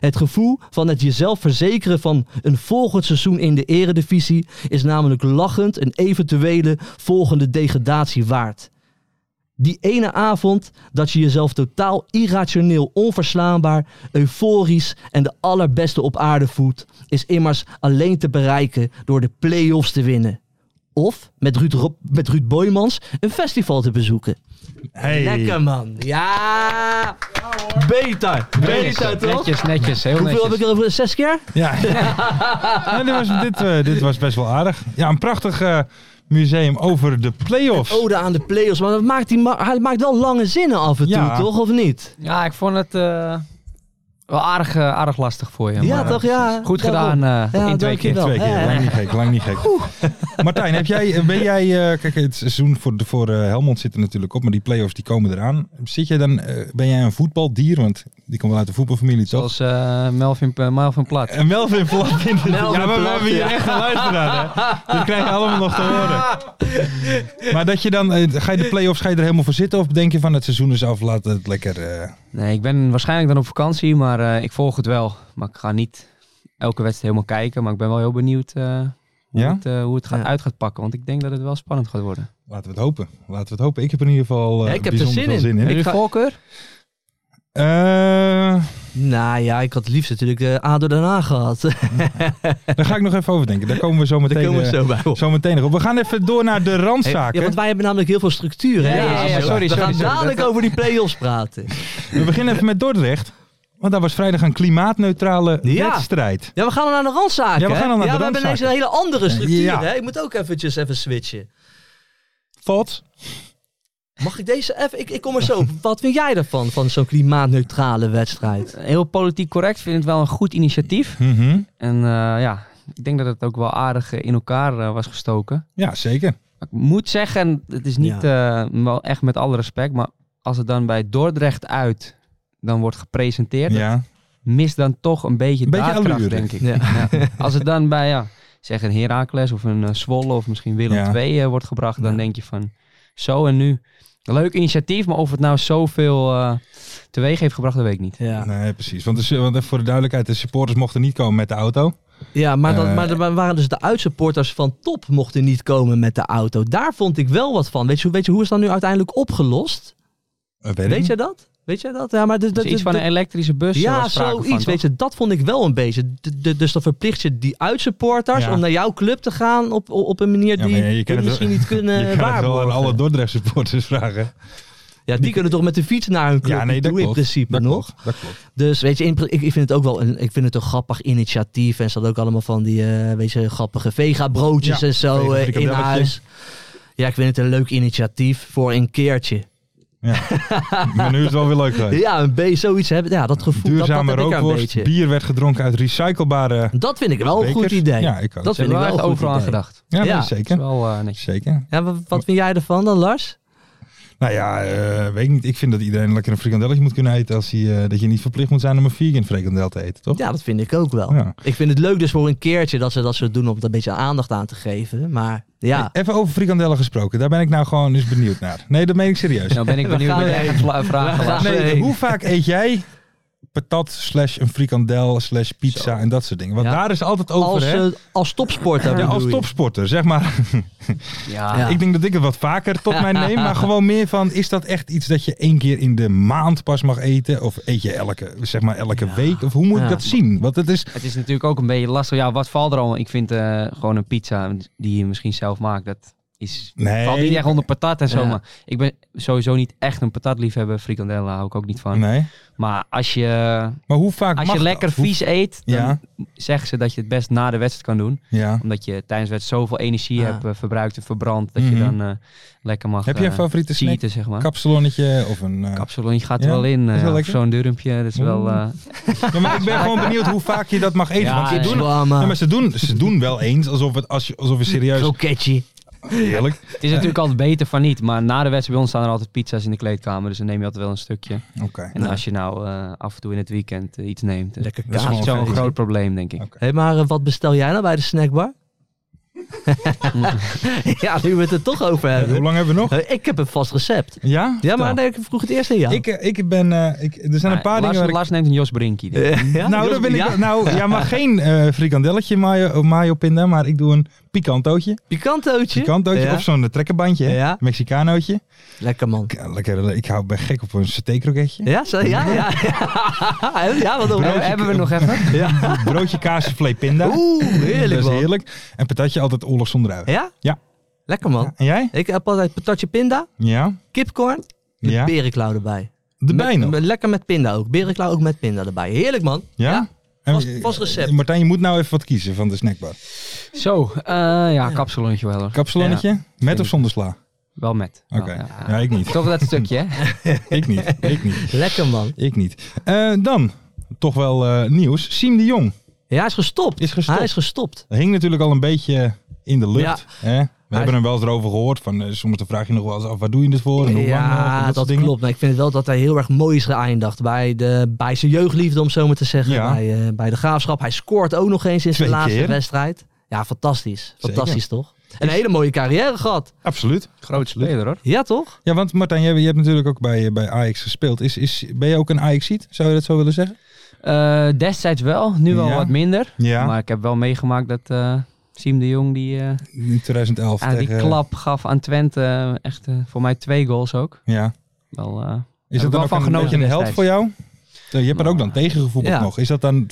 Speaker 4: Het gevoel van het jezelf verzekeren van een volgend seizoen in de eredivisie is namelijk lachend een eventuele volgende degradatie waard. Die ene avond dat je jezelf totaal irrationeel, onverslaanbaar, euforisch en de allerbeste op aarde voelt, is immers alleen te bereiken door de play-offs te winnen. Of met Ruud, Rob- met Ruud Boymans een festival te bezoeken.
Speaker 3: Hey.
Speaker 4: Lekker man. Ja! Beter! Beter toch?
Speaker 5: netjes, netjes, heel
Speaker 4: Hoeveel
Speaker 5: netjes.
Speaker 4: heb ik erover? Zes keer?
Speaker 3: Ja, [LAUGHS] Ja, dit, was, dit, eh, dit was best wel aardig. Ja, een prachtig eh, museum over de play-offs.
Speaker 4: Ode aan Oh, de play-offs. Maar dat maakt die ma- hij maakt wel lange zinnen af en toe,
Speaker 3: Ja.
Speaker 4: toch? Of niet?
Speaker 5: Ja, ik vond het eh, Wel aardig, eh, aardig lastig voor je.
Speaker 4: ja,
Speaker 5: maar, eh,
Speaker 4: toch? Ja,
Speaker 5: Goed
Speaker 4: daarom.
Speaker 5: gedaan eh,
Speaker 4: Ja,
Speaker 5: in twee keer.
Speaker 4: dankjewel.
Speaker 3: Twee keer,
Speaker 4: Ja.
Speaker 3: lang niet gek, lang niet gek. [LAUGHS] Martijn, heb jij, ben jij, eh, kijk het seizoen voor, de- voor eh, Helmond zit er natuurlijk op, maar die play-offs die komen eraan. Zit jij dan, eh, ben jij een voetbaldier, want die komt wel uit de voetbalfamilie toch?
Speaker 5: Zoals eh, Melvin, eh, Melvin Plat.
Speaker 3: En Melvin Plat in de...
Speaker 4: Melvin
Speaker 3: ja, maar we
Speaker 4: Plat,
Speaker 3: hebben hier
Speaker 4: ja.
Speaker 3: echt geluid gedaan, hè. Dat krijg je allemaal nog te horen. Maar dat je dan, eh, ga je de play-offs, ga je er helemaal voor zitten? Of denk je van het seizoen is af, laat het lekker... eh,
Speaker 5: Nee, ik ben waarschijnlijk dan op vakantie, maar eh, ik volg het wel. Maar ik ga niet elke wedstrijd helemaal kijken, maar ik ben wel heel benieuwd eh, hoe,
Speaker 3: Ja?
Speaker 5: het, eh, hoe het gaat,
Speaker 4: Ja.
Speaker 5: uit gaat pakken. Want ik denk dat het wel spannend gaat worden.
Speaker 3: Laten we het hopen. Laten we het hopen. Ik heb er in ieder geval eh
Speaker 4: Ja, ik heb er
Speaker 3: bijzonder
Speaker 4: zin
Speaker 3: veel
Speaker 4: in.
Speaker 3: zin in.
Speaker 5: Heb je
Speaker 4: ga-
Speaker 5: voorkeur?
Speaker 3: Eh,
Speaker 4: Nou ja, ik had het liefst natuurlijk eh ADO daarna gehad. Daar
Speaker 3: daar ga ik nog even over denken. Daar komen we zo meteen,
Speaker 4: [LAUGHS] komen we
Speaker 3: eh,
Speaker 4: zo bij op.
Speaker 3: zo meteen nog op. We gaan even door naar de
Speaker 4: Ja,
Speaker 3: randzaken.
Speaker 4: want wij hebben namelijk heel veel structuur. hè?
Speaker 5: Ja, ja, ja, ja, sorry,
Speaker 4: we
Speaker 5: sorry,
Speaker 4: gaan
Speaker 5: sorry.
Speaker 4: dadelijk over die play-offs praten.
Speaker 3: We beginnen even met Dordrecht. Want daar was vrijdag een klimaatneutrale
Speaker 4: Ja.
Speaker 3: wedstrijd.
Speaker 4: Ja, we gaan dan naar de randzaken.
Speaker 3: Ja, we gaan dan naar
Speaker 4: hè?
Speaker 3: de
Speaker 4: we hebben ineens een
Speaker 3: randzaken.
Speaker 4: hele andere structuur.
Speaker 3: Ja.
Speaker 4: Hè? Ik moet ook eventjes even switchen.
Speaker 3: Valt.
Speaker 4: Mag ik deze even? Ik, ik kom er zo op. Wat vind jij ervan, van zo'n klimaatneutrale wedstrijd?
Speaker 5: Heel politiek correct, vind het wel een goed initiatief.
Speaker 3: Mhm.
Speaker 5: En eh, ja, ik denk dat het ook wel aardig eh, in elkaar eh, was gestoken.
Speaker 3: Ja, zeker.
Speaker 5: Maar ik moet zeggen, het is niet eh, wel echt met alle respect, maar als het dan bij Dordrecht uit dan wordt gepresenteerd,
Speaker 3: Ja.
Speaker 5: mis dan toch een beetje,
Speaker 3: Een beetje
Speaker 5: daadkracht,
Speaker 3: allure.
Speaker 5: denk ik.
Speaker 4: dus. Ja. [LAUGHS]
Speaker 5: Ja. Als het dan bij ja, zeg een Herakles of een eh, Zwolle of misschien Willem
Speaker 3: Ja.
Speaker 5: II eh, wordt gebracht, dan
Speaker 4: Ja.
Speaker 5: denk je van zo en nu. Leuk initiatief, maar of het nou zoveel eh, teweeg heeft gebracht, dat weet ik niet.
Speaker 4: Ja,
Speaker 3: Nee, precies. Want, de su- want even voor de duidelijkheid, de supporters mochten niet komen met de auto.
Speaker 4: ja maar, dan,
Speaker 3: Eh.
Speaker 4: maar er waren dus de uitsupporters van top mochten niet komen met de auto. Daar vond ik wel wat van. Weet je, weet je hoe is dat nu uiteindelijk opgelost?
Speaker 3: Eh, Weet,
Speaker 4: Weet
Speaker 3: je?
Speaker 4: jij dat? Weet jij dat? Ja, maar de, de,
Speaker 5: Dus iets
Speaker 4: de-
Speaker 5: van een elektrische bus. eh,
Speaker 4: Ja,
Speaker 5: was sprake
Speaker 4: zoiets.
Speaker 5: van, toch?
Speaker 4: weet je, dat vond ik wel een beetje. De- de- dus dan verplicht je die uitsupporters
Speaker 3: Ja.
Speaker 4: om naar jouw club te gaan op, op, op een manier
Speaker 3: Ja,
Speaker 4: die
Speaker 3: maar ja, je kan
Speaker 4: we
Speaker 3: het
Speaker 4: misschien
Speaker 3: wel-
Speaker 4: niet kunnen
Speaker 3: [LAUGHS] Je kan het wel aan
Speaker 4: waarborgen.
Speaker 3: alle Dordrecht supporters vragen.
Speaker 4: Ja, die kunnen toch met de fiets naar hun club.
Speaker 3: Ja, nee, dat
Speaker 4: doe
Speaker 3: klopt.
Speaker 4: in principe
Speaker 3: dat
Speaker 4: nog.
Speaker 3: Klopt. Dat klopt.
Speaker 4: Dus weet je, in pri- ik, ik vind het ook wel een, ik vind het een grappig initiatief. En ze hadden ook allemaal van die eh, weet je, grappige vega-broodjes
Speaker 3: Ja,
Speaker 4: en zo eh, in
Speaker 3: vega-frikadelletje.
Speaker 4: huis. Ja, ik vind het een leuk initiatief voor een keertje.
Speaker 3: Maar nu is het wel weer leuk geweest.
Speaker 4: Ja, een B, zoiets hebben. Ja, dat gevoel. dat-
Speaker 3: Duurzame
Speaker 4: dat, heb ik er een
Speaker 3: rookworst,
Speaker 4: beetje.
Speaker 3: bier werd gedronken uit recyclebare
Speaker 4: Dat vind ik wel een goed
Speaker 3: bekers.
Speaker 4: idee.
Speaker 3: Ja, ik ook.
Speaker 4: Dat
Speaker 5: Ze
Speaker 4: vind ik
Speaker 5: hebben
Speaker 4: wel
Speaker 5: wel echt
Speaker 4: een goed
Speaker 5: overal aan
Speaker 4: idee.
Speaker 5: gedacht.
Speaker 3: Ja,
Speaker 4: Ja.
Speaker 3: nee,
Speaker 5: Dat is
Speaker 3: zeker.
Speaker 5: wel eh,
Speaker 4: [LAUGHS]
Speaker 5: netjes.
Speaker 3: Zeker.
Speaker 4: Ja, wa- wat vind jij ervan dan, Lars?
Speaker 3: Nou ja, eh, weet ik niet. Ik vind dat iedereen lekker een frikandelletje moet kunnen eten. Als hij, eh, dat je niet verplicht moet zijn om een vegan frikandel te eten, toch?
Speaker 4: Ja, dat vind ik ook wel.
Speaker 3: Ja.
Speaker 4: Ik vind het leuk dus voor een keertje dat ze dat zo doen om er een beetje aandacht aan te geven. Maar ja,
Speaker 3: Even over frikandellen gesproken. Daar ben ik nou gewoon eens benieuwd naar. Nee, dat meen ik serieus.
Speaker 5: Nou ben ik
Speaker 4: We
Speaker 5: benieuwd
Speaker 4: gaan
Speaker 5: naar
Speaker 4: heen.
Speaker 5: eigen vla- vragen.
Speaker 4: We gaan-
Speaker 5: Lars.
Speaker 3: Nee,
Speaker 4: Nee.
Speaker 3: hoe vaak eet jij patat slash een frikandel slash pizza en dat soort dingen? Want
Speaker 4: Ja.
Speaker 3: daar is altijd over,
Speaker 4: als,
Speaker 3: hè?
Speaker 4: eh, als topsporter
Speaker 3: ja,
Speaker 4: bedoel
Speaker 3: als
Speaker 4: je.
Speaker 3: topsporter, zeg maar.
Speaker 5: Ja.
Speaker 4: Ja.
Speaker 3: [LAUGHS] Ik denk dat ik het wat vaker tot mij neem. Maar gewoon meer van, is dat echt iets dat je één keer in de maand pas mag eten? Of eet je elke, zeg maar elke week? Of hoe moet
Speaker 4: Ja.
Speaker 3: ik dat zien? Want het is...
Speaker 5: Het is natuurlijk ook een beetje lastig. Ja, wat valt er allemaal? Ik vind eh, gewoon een pizza die je misschien zelf maakt, dat is
Speaker 3: Nee.
Speaker 5: Valt niet echt onder patat en zo,
Speaker 4: Ja.
Speaker 5: maar ik ben sowieso niet echt een patatliefhebber. Frikandellen hou ik ook niet van.
Speaker 3: Nee.
Speaker 5: Maar als je,
Speaker 3: Maar hoe vaak
Speaker 5: als
Speaker 3: mag
Speaker 5: je
Speaker 3: dat?
Speaker 5: lekker
Speaker 3: Hoe-
Speaker 5: vies eet, dan
Speaker 3: Ja.
Speaker 5: zeggen ze dat je het best na de wedstrijd kan doen.
Speaker 3: Ja.
Speaker 5: Omdat je tijdens de wedstrijd zoveel energie
Speaker 4: Ja.
Speaker 5: hebt eh, verbruikt en verbrand, dat
Speaker 3: Ah. Mhm.
Speaker 5: je dan eh, lekker mag
Speaker 3: Heb je een
Speaker 5: eh,
Speaker 3: favoriete snack?
Speaker 5: cheaten, zeg maar.
Speaker 3: Kapsalonnetje of een... eh,
Speaker 5: Kapsalon, je gaat
Speaker 3: Ja,
Speaker 5: er wel in.
Speaker 3: is wel
Speaker 5: eh, of
Speaker 3: lekker. Mm.
Speaker 5: Zo'n durmpje, dat is wel... eh,
Speaker 3: Ja, maar ik ben
Speaker 5: [LAUGHS]
Speaker 3: gewoon benieuwd hoe vaak je dat mag eten.
Speaker 5: Ja,
Speaker 3: want ze
Speaker 5: nee. eh.
Speaker 3: doen,
Speaker 4: Zwammen.
Speaker 3: ja, maar ze doen, ze doen wel eens alsof, het, als je, alsof je serieus...
Speaker 4: Kroketje.
Speaker 3: Eerlijk.
Speaker 5: het is natuurlijk altijd beter van niet, maar na de wedstrijd bij ons staan er altijd pizza's in de kleedkamer. Dus dan neem je altijd wel een stukje.
Speaker 3: Oké.
Speaker 5: En als je nou eh, af en toe in het weekend eh, iets neemt, eh,
Speaker 4: Lekker
Speaker 3: is
Speaker 5: dat is
Speaker 3: gewoon
Speaker 4: kaas.
Speaker 5: niet
Speaker 3: een
Speaker 5: zo'n
Speaker 3: feest.
Speaker 5: groot probleem, denk ik.
Speaker 4: Hé, maar eh, wat bestel jij nou bij de snackbar?
Speaker 3: [LAUGHS]
Speaker 4: ja, nu we het er toch over
Speaker 3: Ja, hoe
Speaker 4: hebben.
Speaker 3: lang hebben we nog?
Speaker 4: Eh, Ik heb een vast recept.
Speaker 3: Ja?
Speaker 4: Ja, maar
Speaker 3: Vertel.
Speaker 4: nee, ik vroeg het eerst aan jou.
Speaker 3: Ik, eh, ik ben... eh, ik, er zijn een paar
Speaker 5: Lars,
Speaker 3: dingen waar ik...
Speaker 5: Lars neemt een Jos Brinkie. denk ik.
Speaker 4: Eh, ja?
Speaker 3: nou,
Speaker 4: Jos-
Speaker 3: dan ben ik,
Speaker 4: ja?
Speaker 3: nou, ja, maar geen eh, frikandelletje mayo, mayo pinda, maar ik doe een picantootje.
Speaker 4: Picantootje.
Speaker 3: Picantootje
Speaker 4: Ja.
Speaker 3: of zo'n eh, trekkerbandje, hè?
Speaker 4: Ja.
Speaker 3: Mexicanootje.
Speaker 4: Lekker man.
Speaker 3: Ik, eh, Lekker, ik hou, ben gek op een satékroketje.
Speaker 4: Ja, zo, ja,
Speaker 3: [LAUGHS]
Speaker 4: ja. [LAUGHS] ja, wat dan?
Speaker 5: Hebben- Hebben we nog even?
Speaker 4: Ja.
Speaker 3: [LAUGHS] Broodje kaas vlees pinda.
Speaker 4: Oeh, heerlijk
Speaker 3: Dat is
Speaker 4: man.
Speaker 3: heerlijk. En patatje altijd oorlog zonder ui.
Speaker 4: Ja?
Speaker 3: Ja.
Speaker 4: Lekker man.
Speaker 3: En jij?
Speaker 4: Ik heb altijd patatje pinda,
Speaker 3: Ja.
Speaker 4: kipcorn, met
Speaker 3: Ja.
Speaker 4: berenklauw erbij.
Speaker 3: De
Speaker 4: Met-
Speaker 3: bijna.
Speaker 4: met- Lekker met pinda ook. Berenklauw ook met pinda erbij. Heerlijk man.
Speaker 3: Ja? En-
Speaker 4: vast- vast recept.
Speaker 3: Martijn, je moet nou even wat kiezen van de snackbar.
Speaker 5: Zo, eh, ja, kapsalonnetje wel. hoor.
Speaker 3: Kapsalonnetje? Met of zonder sla?
Speaker 5: Wel met.
Speaker 3: Oké.
Speaker 5: Wel, ja,
Speaker 3: ja.
Speaker 5: ja.
Speaker 3: ik niet. [LAUGHS]
Speaker 5: Toch dat stukje, hè?
Speaker 3: Ik niet. Ik niet.
Speaker 4: Lekker man.
Speaker 3: Ik niet. Eh, dan, toch wel eh, nieuws. Siem de Jong
Speaker 4: Ja, hij is gestopt.
Speaker 3: Is gestopt.
Speaker 4: Hij is gestopt.
Speaker 3: hing natuurlijk al een beetje in de lucht. Hè? We
Speaker 4: Hij-
Speaker 3: hebben hem wel eens erover gehoord. Van, eh, soms dan vraag je nog wel eens af, waar doe je dit voor? En hoe lang nog? En
Speaker 4: Ja,
Speaker 3: soort
Speaker 4: dat
Speaker 3: dingen.
Speaker 4: klopt. Maar ik vind wel dat hij heel erg mooi is geëindigd. Bij, de, bij zijn jeugdliefde, om zo maar te zeggen.
Speaker 3: Ja.
Speaker 4: Bij, eh, bij de graafschap. Hij scoort ook nog eens in zijn
Speaker 3: Twee
Speaker 4: laatste
Speaker 3: keer.
Speaker 4: wedstrijd. Ja, fantastisch.
Speaker 3: Zeker.
Speaker 4: Fantastisch, toch? En een hele mooie carrière gehad.
Speaker 3: Absoluut.
Speaker 5: Groot speler hoor.
Speaker 4: Ja, toch?
Speaker 3: Ja, want Martijn, jij, je hebt natuurlijk ook bij, eh, bij Ajax gespeeld. Is, is, ben je ook een Ajaxiet? Zou je dat zo willen zeggen?
Speaker 5: Eh, destijds wel, nu wel
Speaker 3: Ja.
Speaker 5: wat minder.
Speaker 3: Ja.
Speaker 5: Maar ik heb wel meegemaakt dat eh Siem de Jong die, eh,
Speaker 3: in 2011
Speaker 5: aan die
Speaker 3: tegen...
Speaker 5: klap gaf aan Twente. eh, Echt eh, voor mij twee goals ook.
Speaker 3: Ja.
Speaker 5: Wel,
Speaker 3: Is
Speaker 5: eh, Heb
Speaker 3: dat
Speaker 5: ik wel
Speaker 3: dan ook
Speaker 5: van
Speaker 3: een
Speaker 5: genoten
Speaker 3: beetje een held
Speaker 5: destijds. Nou,
Speaker 3: voor jou? Eh, Je hebt er ook dan tegengevoetbald
Speaker 4: Ja.
Speaker 3: nog. Is dat dan,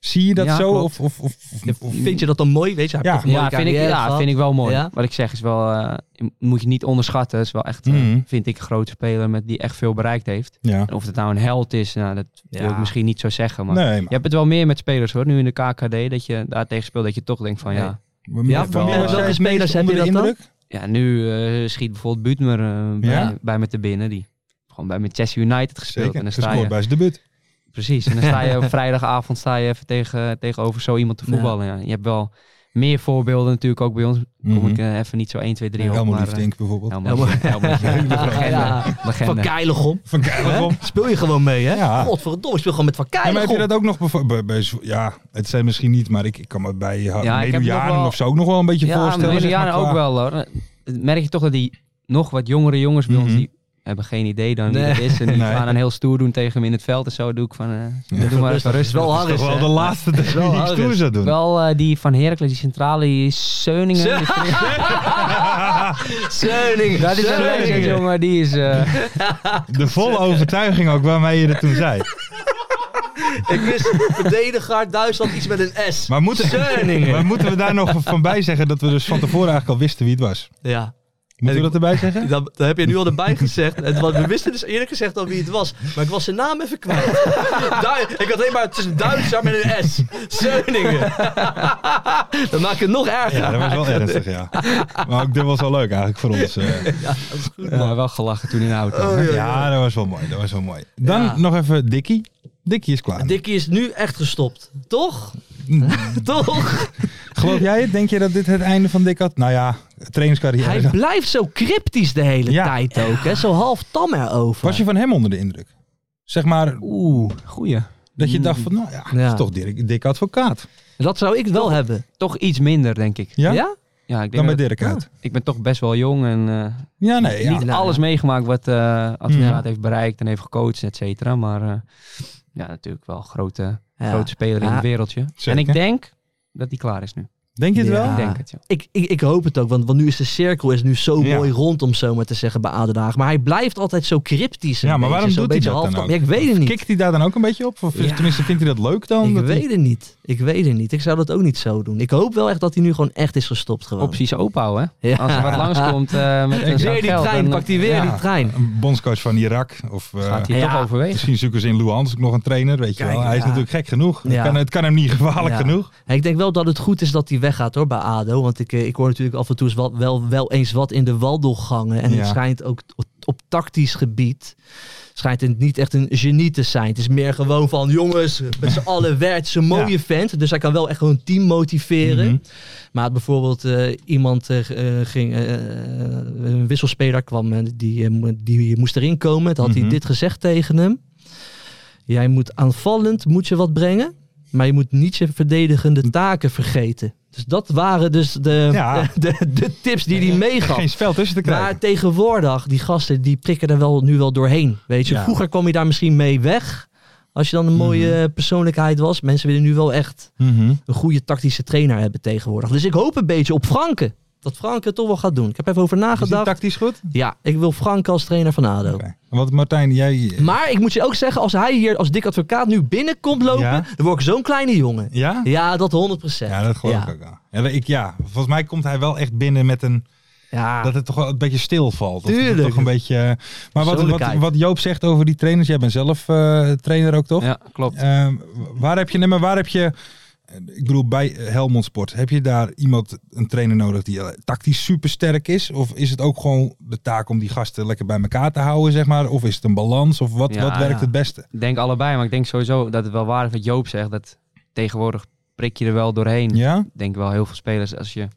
Speaker 3: zie je dat
Speaker 5: Ja,
Speaker 3: zo?
Speaker 5: klopt.
Speaker 3: Of, of, of, of- of-
Speaker 4: Vind je dat dan mooi? Weet je, hij
Speaker 3: Ja.
Speaker 4: heeft toch een
Speaker 5: ja,
Speaker 4: mooie
Speaker 5: vind ik,
Speaker 4: carrière
Speaker 5: ja
Speaker 4: gehad.
Speaker 5: vind ik wel mooi.
Speaker 4: Ja.
Speaker 5: Wat ik zeg is wel, eh, moet je niet onderschatten. Het is wel echt, eh,
Speaker 3: Mhm.
Speaker 5: vind ik, een grote speler met, die echt veel bereikt heeft.
Speaker 3: Ja.
Speaker 5: En of het nou een held is, nou, dat wil
Speaker 4: Ja.
Speaker 5: ik misschien niet zo zeggen. Maar
Speaker 3: Nee,
Speaker 5: je hebt het wel meer met spelers hoor. Nu in de KKD, dat je daar tegen speelt, dat je toch denkt van ja.
Speaker 3: maar...
Speaker 4: Ja,
Speaker 3: van
Speaker 5: wel,
Speaker 3: wie
Speaker 5: eh,
Speaker 3: was jij
Speaker 4: welke
Speaker 3: het meest
Speaker 4: spelers heb
Speaker 3: onder
Speaker 4: je
Speaker 3: de
Speaker 4: dat dan?
Speaker 3: indruk?
Speaker 5: Ja, nu eh, schiet bijvoorbeeld Buutmer eh, bij,
Speaker 3: Ja.
Speaker 5: bij me te binnen. Die gewoon bij Manchester United gespeeld.
Speaker 3: Zeker,
Speaker 5: En dan sta
Speaker 3: gescoord
Speaker 5: je,
Speaker 3: bij zijn debuut.
Speaker 5: precies. En dan sta
Speaker 3: [LAUGHS]
Speaker 5: je op vrijdagavond sta je even tegen, tegenover zo iemand te
Speaker 4: Ja.
Speaker 5: voetballen. Ja. Je hebt wel meer voorbeelden natuurlijk ook bij ons. Kom ik
Speaker 3: Mhm.
Speaker 5: eh, even niet zo 1, 2, 3 op.
Speaker 3: Helemaal
Speaker 5: maar,
Speaker 3: lief,
Speaker 5: eh,
Speaker 3: denk ik bijvoorbeeld.
Speaker 5: Helemaal niet. Helemaal niet.
Speaker 4: Ja.
Speaker 5: Legende.
Speaker 4: Van
Speaker 5: Legende.
Speaker 4: Keilegom.
Speaker 3: Van Keilegom.
Speaker 4: Hè? Speel je gewoon mee, hè?
Speaker 3: Ja.
Speaker 4: Godverdomme, speel gewoon met Van
Speaker 3: Ja, maar heb
Speaker 4: Keilegom.
Speaker 3: je
Speaker 5: [LAUGHS]
Speaker 3: dat ook nog bevo- bij, bij zo- ja, het zijn misschien niet, maar ik, ik kan me bij ja,
Speaker 5: Ja, ik heb nog wel-
Speaker 3: of zo ook nog wel een beetje
Speaker 5: Ja,
Speaker 3: voorstellen. zeg maar,
Speaker 5: Juliana ook
Speaker 3: qua-
Speaker 5: wel hoor. Merk je toch dat die nog wat jongere jongens bij
Speaker 3: Mhm.
Speaker 5: ons, die hebben geen idee dan wie
Speaker 4: Nee.
Speaker 5: dat is. En die
Speaker 3: [LAUGHS] Nee.
Speaker 5: gaan dan heel stoer doen tegen hem in het veld. En zo doe ik van, eh, doe maar even
Speaker 4: Rustig,
Speaker 5: rustig.
Speaker 4: wel
Speaker 3: Dat is
Speaker 4: Harris,
Speaker 3: toch wel
Speaker 4: hè?
Speaker 3: de laatste die
Speaker 4: wel
Speaker 3: ik stoer
Speaker 4: Harris.
Speaker 3: zou doen.
Speaker 5: Wel eh, die van Heracles, die centrale, die Seuningen. Die is-
Speaker 4: Zeuning.
Speaker 5: Ja, die is een
Speaker 4: Zeuning.
Speaker 5: legend, jongen. Die is... eh,
Speaker 3: [LAUGHS] De volle overtuiging ook waarmee je dat toen zei.
Speaker 4: Ik wist verdediger Duitsland iets met een S.
Speaker 3: Maar moeten,
Speaker 4: Zeuningen.
Speaker 3: maar moeten we daar nog van bij zeggen dat we dus van tevoren eigenlijk al wisten wie het was?
Speaker 4: Ja,
Speaker 3: Moeten we dat erbij
Speaker 4: [LAUGHS]
Speaker 3: zeggen?
Speaker 4: dat, dat heb je nu al erbij gezegd. En, want we wisten dus eerlijk gezegd al wie het was. Maar ik was zijn naam even kwijt. [LAUGHS] Du- ik had alleen maar tussen Duitser met een S. Zeuningen. [LAUGHS] dat maakt het nog erger.
Speaker 3: Ja, dat was wel ernstig, ja. Maar ook dit was wel leuk eigenlijk voor ons. eh.
Speaker 5: maar wel gelachen toen in de auto.
Speaker 4: Oh, ja.
Speaker 3: Ja, dat was wel mooi. Dat was wel mooi. Dan
Speaker 4: Ja.
Speaker 3: nog even Dikkie. Dikkie is klaar.
Speaker 4: Dikkie is nu echt gestopt. Toch?
Speaker 3: Mm.
Speaker 4: [LAUGHS] Toch?
Speaker 3: Geloof jij het? Denk je dat dit het einde van Dick had? Nou ja, trainingscarrière.
Speaker 4: Hij blijft zo cryptisch de hele
Speaker 3: Ja.
Speaker 4: tijd ook. Hè? Zo half tam erover.
Speaker 3: Was je van hem onder de indruk? Zeg maar
Speaker 5: Oeh, goeie.
Speaker 3: dat je dacht van, nou ja, dat
Speaker 4: Ja.
Speaker 3: is toch Dirk, Dick advocaat.
Speaker 4: Dat zou ik wel hebben.
Speaker 5: Toch iets minder, denk ik.
Speaker 3: Ja?
Speaker 4: Ja?
Speaker 5: Ja, ik,
Speaker 3: Dan
Speaker 5: denk
Speaker 3: bij
Speaker 5: dat-
Speaker 3: Dirk uit.
Speaker 5: ik ben toch best wel jong en... eh,
Speaker 3: Ja, nee. Ja.
Speaker 5: niet
Speaker 4: Nou,
Speaker 5: alles
Speaker 4: ja.
Speaker 5: meegemaakt wat eh advocaat
Speaker 3: Ja.
Speaker 5: heeft bereikt en heeft gecoacht, et cetera. Maar eh, ja, natuurlijk wel een grote,
Speaker 4: Ja.
Speaker 5: grote speler in
Speaker 4: Ja.
Speaker 5: het wereldje.
Speaker 3: Zeker.
Speaker 5: En ik denk dat hij klaar is nu.
Speaker 3: Denk je het
Speaker 4: Ja.
Speaker 3: wel?
Speaker 5: Ik denk het, ja.
Speaker 4: Ik, ik, ik hoop het ook, want, want nu is de cirkel is nu zo
Speaker 3: Ja.
Speaker 4: mooi rond, om zo maar te zeggen, bij Adenhaag. Maar hij blijft altijd zo cryptisch. een
Speaker 3: Ja, maar
Speaker 4: beetje,
Speaker 3: waarom
Speaker 4: zo
Speaker 3: doet
Speaker 4: een
Speaker 3: hij
Speaker 4: beetje
Speaker 3: dat dan
Speaker 4: halfkam.
Speaker 3: ook?
Speaker 4: Ja, ik weet het niet.
Speaker 3: Kikt hij daar dan ook een beetje op? Of
Speaker 4: Ja.
Speaker 3: tenminste, vindt hij dat leuk dan?
Speaker 4: ik
Speaker 3: Dat hij-
Speaker 4: weet het niet. Ik weet het niet. Ik zou dat ook niet zo doen. Ik hoop wel echt dat hij nu gewoon echt is gestopt gewoon.
Speaker 5: Opties openhouden, hè.
Speaker 4: Ja.
Speaker 5: Als er wat langskomt
Speaker 3: [LAUGHS]
Speaker 5: eh met een zak
Speaker 4: Weer die
Speaker 5: geld,
Speaker 4: trein,
Speaker 5: dan, eh,
Speaker 4: pakt hij weer
Speaker 3: ja.
Speaker 4: die trein.
Speaker 3: Een bondscoach van Irak. Of, eh,
Speaker 5: gaat hij
Speaker 4: Ja.
Speaker 5: toch overwegen.
Speaker 3: Misschien zoeken ze in Luans ook nog een trainer, weet je
Speaker 4: Kijk,
Speaker 3: wel. Hij is
Speaker 4: ja.
Speaker 3: natuurlijk gek genoeg. Het,
Speaker 4: Ja.
Speaker 3: kan, het kan hem niet gevaarlijk
Speaker 4: Ja.
Speaker 3: genoeg.
Speaker 4: Ja, ik denk wel dat het goed is dat hij weggaat hoor bij ADO. Want ik, eh, ik hoor natuurlijk af en toe eens wel, wel, wel eens wat in de wandelgangen. En
Speaker 3: Ja.
Speaker 4: het schijnt ook t- op, op tactisch gebied... schijnt het niet echt een genie te zijn. Het is meer gewoon van... jongens, met z'n allen werd het is een mooie vent. Dus hij kan wel echt gewoon een team motiveren.
Speaker 3: Mhm.
Speaker 4: Maar bijvoorbeeld eh, iemand eh, eh, ging... eh, een wisselspeler kwam en die, eh, mo- die moest erin komen. Dan had
Speaker 3: Mhm.
Speaker 4: hij dit gezegd tegen hem. Jij moet aanvallend moet je wat brengen. Maar je moet niet je verdedigende taken vergeten. Dus dat waren dus de, [LAUGHS]
Speaker 3: Ja.
Speaker 4: de, de, de tips die hij
Speaker 3: Geen
Speaker 4: meegaf.
Speaker 3: spel tussen te krijgen.
Speaker 4: Maar tegenwoordig, die gasten, die prikken er wel, nu wel doorheen. Weet je,
Speaker 3: Ja.
Speaker 4: vroeger kwam je daar misschien mee weg. Als je dan een mooie persoonlijkheid was. Mensen willen nu wel echt
Speaker 3: Mhm.
Speaker 4: een goede tactische trainer hebben tegenwoordig. Dus ik hoop een beetje op Franke. Dat Franke het toch wel gaat doen. Ik heb even over
Speaker 3: Is hij
Speaker 4: nagedacht.
Speaker 3: tactisch goed?
Speaker 4: Ja, ik wil Franke als trainer van ADO.
Speaker 3: Oké. Want Martijn, jij...
Speaker 4: Maar ik moet je ook zeggen, als hij hier als dik advocaat nu binnenkomt lopen,
Speaker 3: Ja.
Speaker 4: dan word ik zo'n kleine jongen.
Speaker 3: Ja?
Speaker 4: Ja, dat 100 procent.
Speaker 3: Ja, dat geloof
Speaker 4: ja.
Speaker 3: ik ook wel. Ja, ik. Ja, volgens mij komt hij wel echt binnen met een...
Speaker 4: Ja,
Speaker 3: Dat het toch wel een beetje stilvalt. Of dat het
Speaker 4: Tuurlijk.
Speaker 3: Toch een beetje, eh, maar wat, wat,
Speaker 4: Persoonlijkheid.
Speaker 3: wat Joop zegt over die trainers. Jij bent zelf eh, trainer ook, toch?
Speaker 5: Ja, klopt.
Speaker 3: Ehm, waar heb je... Nee, maar waar heb je... eh, ik bedoel, bij Helmond Sport, heb je daar iemand, een trainer nodig die eh, tactisch supersterk is? Of is het ook gewoon de taak om die gasten lekker bij elkaar te houden, zeg maar? Of is het een balans? Of wat,
Speaker 5: Ja,
Speaker 3: wat werkt
Speaker 5: ja.
Speaker 3: het beste?
Speaker 5: Ik denk allebei, maar ik denk sowieso dat het wel waar is wat Joop zegt. Dat tegenwoordig prik je er wel doorheen.
Speaker 3: Ja?
Speaker 5: Ik denk wel heel veel spelers als je